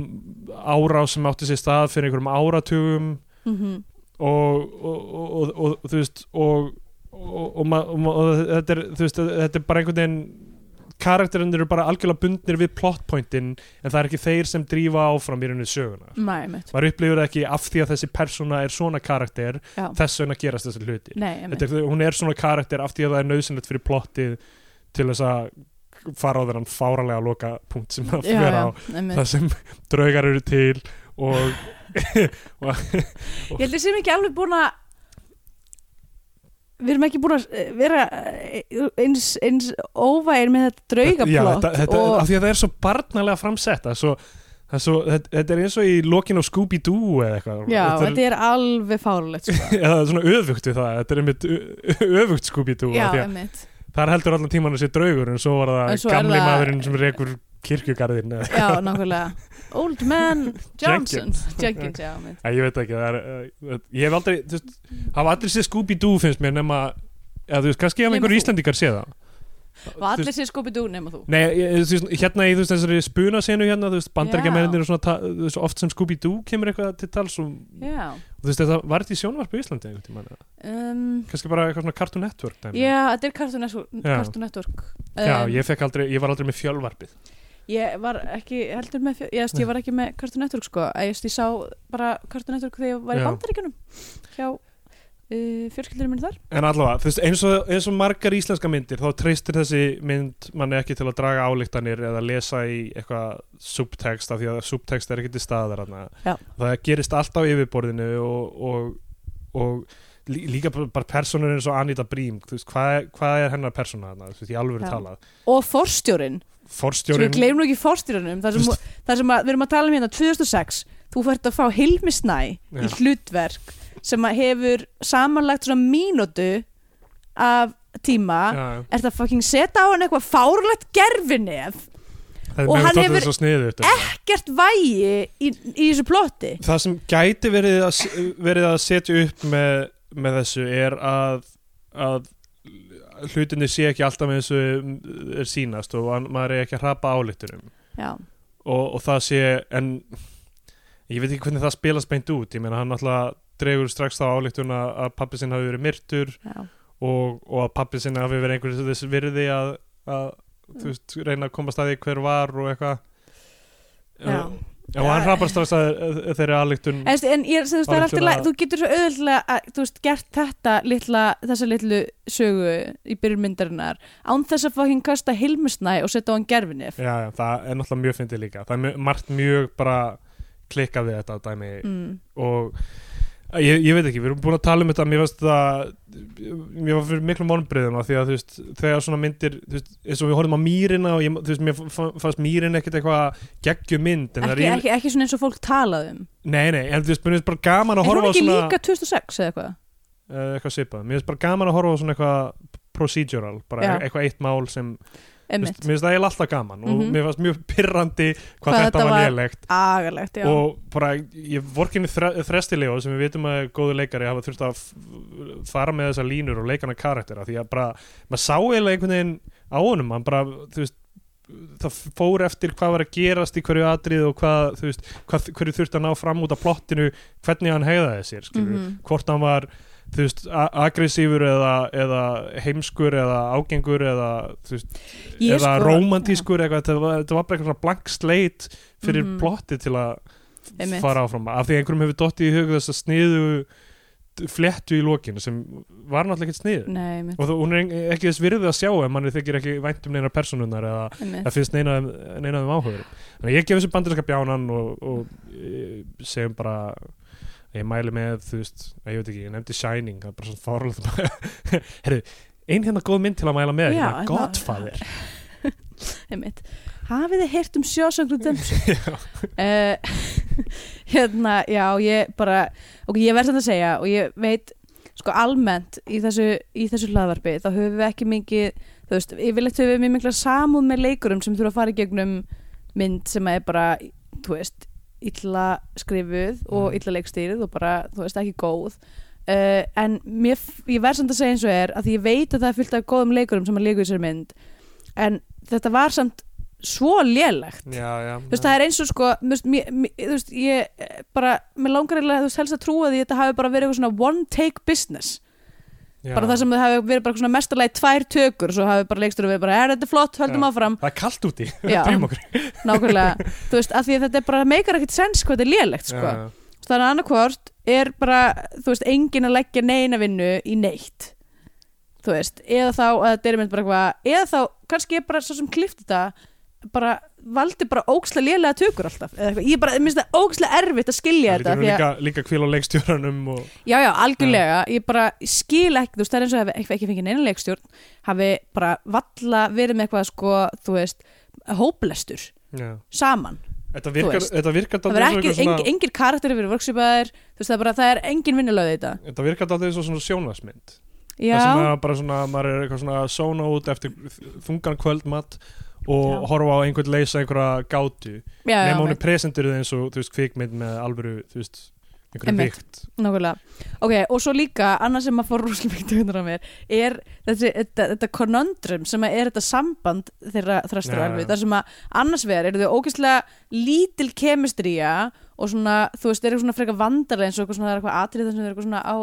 Speaker 2: árás sem átti sér stað fyrir einhverjum áratugum
Speaker 3: mhm,
Speaker 2: og, og, og, og, og þú veist og, og, og, ma- og, ma- og þetta, er, þú veist, þetta er bara einhvern veginn karakterinn eru bara algjörlega bundnir við plotpointin en það er ekki þeir sem drífa áfram í rauninni söguna
Speaker 3: mæ, mitt
Speaker 2: maður upplifir það ekki af því að þessi persóna er svona karakter
Speaker 3: Já.
Speaker 2: þess vegna gerast þessi hluti
Speaker 3: Nei, einmitt.
Speaker 2: Þetta er, hún er svona karakter af því að það er nöðsynlegt fyrir plottið til þess að fara á þennan fáralega loka punkt sem það
Speaker 3: já,
Speaker 2: fyrir á
Speaker 3: já, einmitt.
Speaker 2: það sem draugar eru til og
Speaker 3: Ég held ég sem ekki alveg búin að Við erum ekki búin að eh, vera eh, eins, eins óvægir með þetta
Speaker 2: Já,
Speaker 3: draugaplott
Speaker 2: þetta, þetta,
Speaker 3: og,
Speaker 2: af því að það er svo barnalega framsett það er svo, það er svo, þetta, þetta er eins og í lokin á Scooby-Doo eða eitthvað
Speaker 3: Já,
Speaker 2: þetta er,
Speaker 3: þetta er alveg fárlegt sko.
Speaker 2: eða svona öfugt við það, þetta er einmitt ö- ö- öfugt Scooby-Doo
Speaker 3: Já,
Speaker 2: af því að
Speaker 3: einmitt
Speaker 2: þar heldur allan tíman þessi draugur en svo var það
Speaker 3: En svo er
Speaker 2: gamli
Speaker 3: það-
Speaker 2: maðurinn sem rekur kirkjugarðin eða-
Speaker 3: já, nákvæmlega Old man Johnson Jenkins, já, mynd.
Speaker 2: Æ, ég veit ekki, það er uh, ég hef aldrei, þú veist, hafa allir séð Scooby-Doo finnst mér nema, eða þú veist, kannski hafa
Speaker 3: Nema
Speaker 2: einhverju
Speaker 3: þú.
Speaker 2: Íslandingar séð það
Speaker 3: og allir sé skopið úr nema þú
Speaker 2: Nei, ég, þú veist, hérna í þú veist, þessari spunasenu hérna, þú veist, bandarækjamennir
Speaker 3: Já.
Speaker 2: og svona, ta- þú veist, oft sem Scooby-Doo kemur eitthvað til tals og,
Speaker 3: já,
Speaker 2: þú veist, þetta var þetta í sjónvarp í Íslandi einhvern tímann, eða?
Speaker 3: um,
Speaker 2: kannski bara eitthvað svona Cartoon Network dæmi.
Speaker 3: já þetta er Cartoon Network,
Speaker 2: Já.
Speaker 3: Cartoon Network.
Speaker 2: Já,
Speaker 3: Um,
Speaker 2: ég fekk aldrei, ég var aldrei með fjölvarpið
Speaker 3: Ég var ekki heldur með, fjö- ég, veist, ég var ekki með Cartoon Network sko, ég, veist, ég sá bara Cartoon Network þegar ég var
Speaker 2: Já.
Speaker 3: í bandaríkjunum hjá uh, fjölskyldurinn minn þar.
Speaker 2: En allavega, þú veist, eins og, eins og margar íslenska myndir þá treystir þessi mynd manni ekki til að draga álíktanir eða lesa í eitthvað subtext af því að subtext er ekki til staðar hana.
Speaker 3: Já.
Speaker 2: það gerist allt á yfirborðinu og, og, og lí- líka bara bara personur eins og Anita Brím þú veist, hvað, er- hvað er hennar persona hana, þú veist, í alvöru
Speaker 3: Já.
Speaker 2: talað
Speaker 3: Og forstjórin, sem við
Speaker 2: forstjórin,
Speaker 3: gleymum nú ekki forstjórinum, þar sem, þar sem að, við erum að tala um hérna 2006, þú fært að fá Hilmi Snæ
Speaker 2: Já.
Speaker 3: í hlutverk sem að hefur samanlagt svona mínútu af tíma,
Speaker 2: já, já.
Speaker 3: er það fucking setja á hann eitthvað fárlegt gerfinef,
Speaker 2: það er
Speaker 3: Og hann
Speaker 2: með
Speaker 3: hefur
Speaker 2: þess að sniðu
Speaker 3: gert vægi í, í þessu plotti.
Speaker 2: það sem gæti verið að, verið að setja upp með, með þessu er að, að hlutinni sé ekki alltaf með þessu er sínast og að, maður er ekki að hrapa álíktunum
Speaker 3: Já.
Speaker 2: og, og það sé en ég veit ekki hvernig það spilast beint út ég meina hann alltaf dregur strax þá álíktun að, að pappi sinn hafi verið myrtur
Speaker 3: Já.
Speaker 2: og, og að pappi sinn hafi verið einhverjum þess virði að, að
Speaker 3: Mm.
Speaker 2: þú veist, reyna að komast að því hver var og eitthvað
Speaker 3: Já.
Speaker 2: og, og hann hrapar strax að, að þeirri álíktun
Speaker 3: En, en ég, þú veist, það er alltaf
Speaker 2: Álíktun
Speaker 3: lag,
Speaker 2: að-
Speaker 3: þú getur svo auðvöldlega að, þú veist, gert þetta litla, þessa litlu sögu í byrjun myndarinnar án þess að fá hinn kasta hilmusnæ og setja á hann gerfinif.
Speaker 2: já, já, það er náttúrulega mjög fyndið líka það er mjög- margt mjög bara klikkað við þetta dæmi
Speaker 3: Mm.
Speaker 2: og ég, ég veit ekki, við erum búin að tala um þetta mér varst það mér var fyrir miklum vonbreyðum því að þú veist, þegar svona myndir þú veist, eins og við horfum á mýrina og ég, þú veist, mér fa- fannst mýrin ekkert eitthvað geggjum mynd en það er
Speaker 3: Ekki,
Speaker 2: yfir-
Speaker 3: ekki, ekki svona eins og fólk talaði um.
Speaker 2: nei, nei, en þú veist, mér finnst bara gaman
Speaker 3: Er
Speaker 2: að
Speaker 3: hún
Speaker 2: horfa á
Speaker 3: ekki
Speaker 2: svona
Speaker 3: líka 2006 eða eitthvað?
Speaker 2: eh, eitthvað svipað, mér finnst bara gaman að horfa á svona eitthvað procedural, bara
Speaker 3: Já.
Speaker 2: eitthvað eitt mál sem, þú veist,
Speaker 3: Emmitt.
Speaker 2: mér finnst það eiginlega alltaf gaman
Speaker 3: Mhm.
Speaker 2: og mér fannst mjög pirrandi hvað,
Speaker 3: Hvað
Speaker 2: þetta
Speaker 3: þetta
Speaker 2: var
Speaker 3: var-
Speaker 2: lélegt
Speaker 3: Agalegt, já.
Speaker 2: og bara ég vorkinni þre, þrestilegu sem við vitum að góðu leikari hafa þurft að f- fara með þessa línur og leikana karaktera því að bara, maður sá eiginlega einhvern veginn á honum, hann bara, þú veist það fór eftir hvað var að gerast í hverju atrið og hvað, þú veist hvað, hverju þurfti að ná fram út af plottinu hvernig hann hegðaði sér, skilur
Speaker 3: Mhm.
Speaker 2: hvort hann var, þú veist, a- aggressífur eða, eða heimskur eða ágengur eða, þú veist
Speaker 3: Ég
Speaker 2: eða
Speaker 3: sko-
Speaker 2: romantískur eitthvað þetta var, þetta var bara eitthvað svona blank slate fyrir mm
Speaker 3: Mhm.
Speaker 2: plotti til að
Speaker 3: Einmitt.
Speaker 2: fara áfram af því að einhverjum hefur dottið í hug þess að sniðu flettu í lokinu sem var náttúrulega ekkert sniðu
Speaker 3: Nei, einmitt.
Speaker 2: og það, hún er en- ekki þess virðið að sjá ef manni þykir ekki vænt um neina personunar eða
Speaker 3: Einmitt.
Speaker 2: það finnst neina, neina um áhugur þannig að ég gef þessu bandarinska bjánan og, og e, segjum bara ég mæli með, þú veist að ég veit ekki, ég nefndi Shining það er bara svona fárlega herru, ein hérna góð mynd til að mæla með
Speaker 3: Já,
Speaker 2: hérna,
Speaker 3: hérna-
Speaker 2: Godfather
Speaker 3: Einmitt. Hafið þið heyrt um Shawshank Redemption? uh, hérna, já, ég bara ok, ég verð samt að segja og ég veit sko almennt í þessu, í þessu hlaðvarpi þá höfum við ekki mikið þú veist, yfirleitt höfum við mjög mikla samúð með leikurum sem þurfa að fara í gegnum mynd sem er bara, þú veist illa skrifuð og
Speaker 2: Mm.
Speaker 3: illa leikstýrið og bara, þú veist, ekki góð uh, en mér, f- ég verð samt að segja eins og er að því ég veit að það er fullt af góðum leikurum sem að leiku í sér mynd en þetta var samt svo lélegt
Speaker 2: já, já,
Speaker 3: þú veist, það er eins og sko þú veist, mér, mér, þú veist ég eh, bara, mér langar eiginlega, þú veist, helst að trúa því að þetta hafi bara verið eitthvað svona one take business
Speaker 2: já.
Speaker 3: bara það sem það hafi verið bara svona mestarlega tvær tökur, svo hafi bara leikstur og við bara, er þetta er flott, höldum
Speaker 2: Já.
Speaker 3: áfram
Speaker 2: það er kalt úti,
Speaker 3: Já.
Speaker 2: drým okkur
Speaker 3: nákvæmlega, þú veist, af því að þetta er bara meikar ekkert sens hvað þetta er lélegt, sko
Speaker 2: Já, já.
Speaker 3: Þú veist, þannig að annarkvort er bara, þú veist, engin að leggja neina vinnu í neitt þú veist, eða þá að þetta er mynd bara eitthvað, eða þá, kannski ég bara svo sem klift þetta, bara valdi bara óksla lélega tökur alltaf eða eitthvað, ég bara, mér finnst það óksla erfitt að skilja
Speaker 2: það lítur
Speaker 3: þetta
Speaker 2: nú
Speaker 3: því að,
Speaker 2: líka, líka kvíl á leikstjóranum og,
Speaker 3: já, já, algjörlega ég bara skil ekki, þú veist, það er eins og hafi ekki, ekki fengið neina leikstjórn, hafi bara valla verið með eitthvað, sko, þú veist hóplestur
Speaker 2: já.
Speaker 3: saman
Speaker 2: þetta
Speaker 3: Þú
Speaker 2: virkar,
Speaker 3: veist.
Speaker 2: þetta virkar
Speaker 3: það
Speaker 2: dálítið eins
Speaker 3: verður
Speaker 2: og
Speaker 3: ekki,
Speaker 2: eitthvað svona-
Speaker 3: engin, engin karakter verið workshipaðir, þú veist, það er bara, það er engin vinnulöð í þetta
Speaker 2: þetta virkar alltaf eins og svona sjónvarsmynd
Speaker 3: já,
Speaker 2: það sem að bara svona, maður er eitthvað svona að sóna út eftir þ- þungan kvöldmatt og
Speaker 3: Já.
Speaker 2: horfa á einhvern leysa einhverja gátu
Speaker 3: já, já,
Speaker 2: nema hún er
Speaker 3: einmitt,
Speaker 2: presentur eins og þú veist kvikmynd með alvöru þú veist einhverju
Speaker 3: Einmitt.
Speaker 2: vikt
Speaker 3: nákvæmlega ok, og svo líka, annað sem að fór rúslega mikið undur á mér, er þessi, þetta, þetta konundrum sem að er þetta samband þeirra þrastur
Speaker 2: Já,
Speaker 3: alveg,
Speaker 2: já.
Speaker 3: þar sem að annars vegar eru þau ógeðslega lítil kemistría og svona, þú veist, eru svona frekar vandarlega eins og eitthvað svona, það er eitthvað atrið þess að þau eru eitthvað svona á,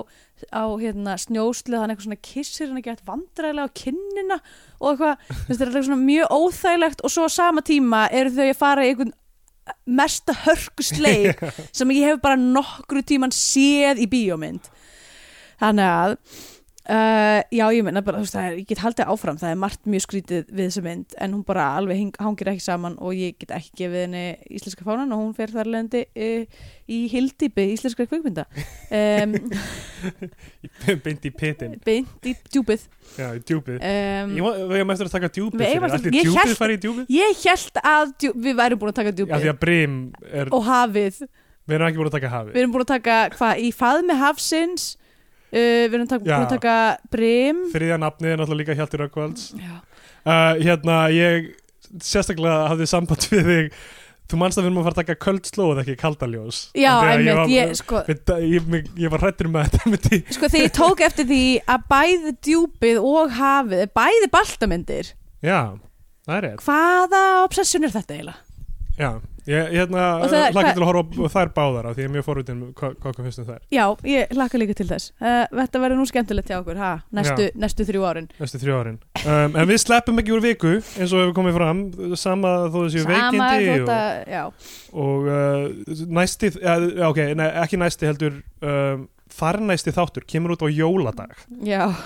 Speaker 3: á hérna, snjóslið, þannig eitthvað svona kissir hann ekki eftir vandrarlega á kinnina og eitthvað, þú veist, það er eitthvað svona mjög óþægilegt og svo á sama tíma eru þau að fara í einhvern mesta hörkusleik sem ég hef bara nokkru tíman séð í bíómynd þannig að uh, já ég meina bara þú veist það er, ég get haldið áfram það er margt mjög skrítið við þessu mynd en hún bara alveg hing, hangir ekki saman og ég get ekki gefið henni íslenska fánan og hún fer þar leðandi uh, í hildýpi íslenska kvikmynda um,
Speaker 2: beint í pitin,
Speaker 3: beint í djúpið
Speaker 2: já, í djúpið
Speaker 3: um,
Speaker 2: ég má- við eigum eftir að taka djúpið
Speaker 3: Við eigum
Speaker 2: fyrir,
Speaker 3: eftir-
Speaker 2: allir
Speaker 3: ég
Speaker 2: djúpið
Speaker 3: hélt-
Speaker 2: farið í djúpið
Speaker 3: ég held að djú, við værum búin að taka
Speaker 2: já,
Speaker 3: djúpið
Speaker 2: því að brim er,
Speaker 3: og hafið
Speaker 2: við erum ekki búin að taka
Speaker 3: Við
Speaker 2: hafi
Speaker 3: erum búin að taka, hvað, í faðmi hafsins uh, Við erum tak,
Speaker 2: Já.
Speaker 3: búin að taka brim
Speaker 2: þriðja nafnið er náttúrulega líka Hjalti Rökkvalds
Speaker 3: Já,
Speaker 2: uh, hérna, ég sérstaklega hafði samband við þig þú manst að við erum að fara að taka köld slóð ekki kaldaljós
Speaker 3: Já
Speaker 2: Af því að
Speaker 3: einmitt,
Speaker 2: ég,
Speaker 3: ég, sko,
Speaker 2: ég, ég, ég, ég var hrættur með að þetta myndi
Speaker 3: sko þegar ég tók eftir því að bæði djúpið og hafið er Bæði baltamyndir
Speaker 2: já, það er rétt
Speaker 3: Hvaða obsession er þetta eiginlega?
Speaker 2: Já, ég hérna
Speaker 3: Og það-
Speaker 2: hlakka
Speaker 3: hvað-
Speaker 2: til að horfa á þær báðar af því ég er mjög forvitin um hvað hvað okkur finnst um þær
Speaker 3: Já, ég laka líka til þess uh, Þetta verður nú skemmtilegt hjá okkur, ha, næstu, næstu þrjú árin
Speaker 2: næstu þrjó árin um, En við sleppum ekki úr viku eins og hefur komið fram sama þó þessi veikindi
Speaker 3: þetta, já,
Speaker 2: og, og uh, næsti ja, já, ok, nei, ekki næsti heldur um, farnæsti þáttur kemur út á jóladag
Speaker 3: já
Speaker 2: uh,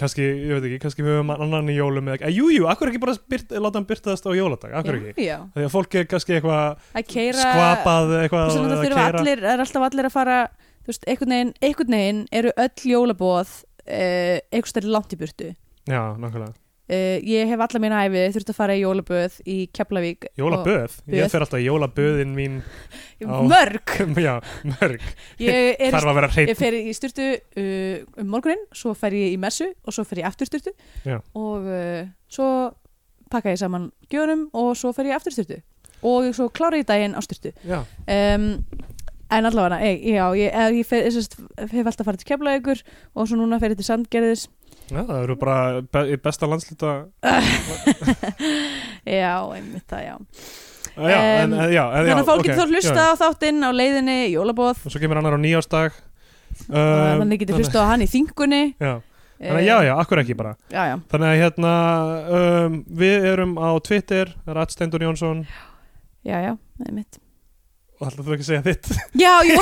Speaker 2: kannski, ég veit ekki, kannski við höfum annan í jólum eða, eh, jú, jú, akkur ekki bara byrt, láta hann byrtaðast á jóladag, akkur ekki
Speaker 3: Já, já,
Speaker 2: Þegar fólk er kannski eitthvað
Speaker 3: að keira
Speaker 2: skvapað eitthvað
Speaker 3: Þess vegna
Speaker 2: að
Speaker 3: það þurfa
Speaker 2: keyra.
Speaker 3: allir, það er alltaf allir að fara þú veist, einhvern veginn, einhvern veginn eru öll jólabóð uh, einhvers stærri langt í burtu uh,
Speaker 2: Já, nákvæmlega
Speaker 3: ég hef alla mín æfi þurft að fara í jólabóð í Keflavík
Speaker 2: Jólaböð,
Speaker 3: Böð.
Speaker 2: ég fer alltaf í jólaböðin mín
Speaker 3: og, mörg,
Speaker 2: já, mörg,
Speaker 3: ég er
Speaker 2: þarf að vera hreitt
Speaker 3: Ég fer í styrtu uh, um morgunin, svo fer ég í messu og svo fer ég aftur styrtu
Speaker 2: Já.
Speaker 3: og uh, svo pakka ég saman gjörum og svo fer ég aftur styrtu og svo klára ég daginn á styrtu
Speaker 2: já,
Speaker 3: um, en allavega ég, já, ég, ég, ég, fer, ég sest, hef alltaf farið til Keflavíkur og svo núna fer ég til Sandgerðis
Speaker 2: já, það eru bara be í besta landslita
Speaker 3: já, einmitt það, já
Speaker 2: Eh, já, en,
Speaker 3: Em,
Speaker 2: en, já, en, já,
Speaker 3: þannig að fólk
Speaker 2: ok,
Speaker 3: getur þá hlusta
Speaker 2: já.
Speaker 3: á þáttinn á leiðinni, í jólabóð
Speaker 2: og svo kemur annar á nýjársdag um,
Speaker 3: þannig getur Eh. hlusta á hann í þingunni
Speaker 2: já, þannig að já, já, akkur ekki bara
Speaker 3: já, já.
Speaker 2: þannig að hérna um, við erum á Twitter, Ratstendur Jónsson
Speaker 3: já, já, einmitt
Speaker 2: og ætlaðu þú ekki að segja þitt
Speaker 3: já, já,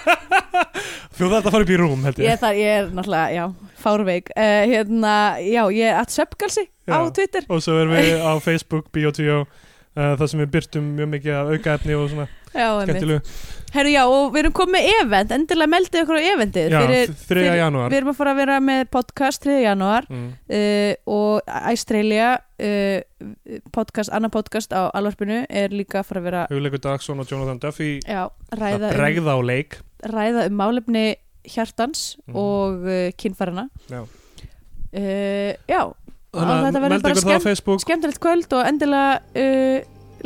Speaker 2: þú þarf að fara upp í rúm, held
Speaker 3: ég,
Speaker 2: ég
Speaker 3: er þar, ég er náttúrulega, já, fárveik uh, hérna, já, ég er at söpgalsi
Speaker 2: Já.
Speaker 3: á Twitter
Speaker 2: og svo erum við á Facebook, Biotio Uh, það sem við byrtum mjög mikið af aukaefni og svona
Speaker 3: já, einmitt.
Speaker 2: skemmtilegu
Speaker 3: Herru, já, og við erum komið með event endilega meldið okkur á eventið
Speaker 2: Já,
Speaker 3: fyrir,
Speaker 2: 3.
Speaker 3: fyrir-
Speaker 2: janúar
Speaker 3: Við erum að fara að vera með podcast 3. janúar
Speaker 2: mm.
Speaker 3: uh, og Æstreilja uh, podcast, annar podcast á alvarpinu er líka að fara að vera
Speaker 2: Hugleikur Dagsson og Jonathan Duffy
Speaker 3: já,
Speaker 2: að
Speaker 3: ræða, um,
Speaker 2: bregða á leik
Speaker 3: ræða um málefni hjartans
Speaker 2: Mhm.
Speaker 3: og uh, kynfærana
Speaker 2: Já.
Speaker 3: Uh, já,
Speaker 2: Þannig
Speaker 3: Og
Speaker 2: að
Speaker 3: þetta verður
Speaker 2: meldi
Speaker 3: bara
Speaker 2: ykkur það á Facebook
Speaker 3: skemmtilegt kvöld og endilega uh,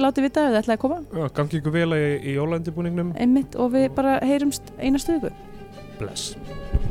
Speaker 3: látið vita ef þið ætlaði að koma
Speaker 2: Já, gangi ykkur vel í, í jólændibúningnum
Speaker 3: einmitt og við bara heyrumst einastu ykkur
Speaker 2: Bless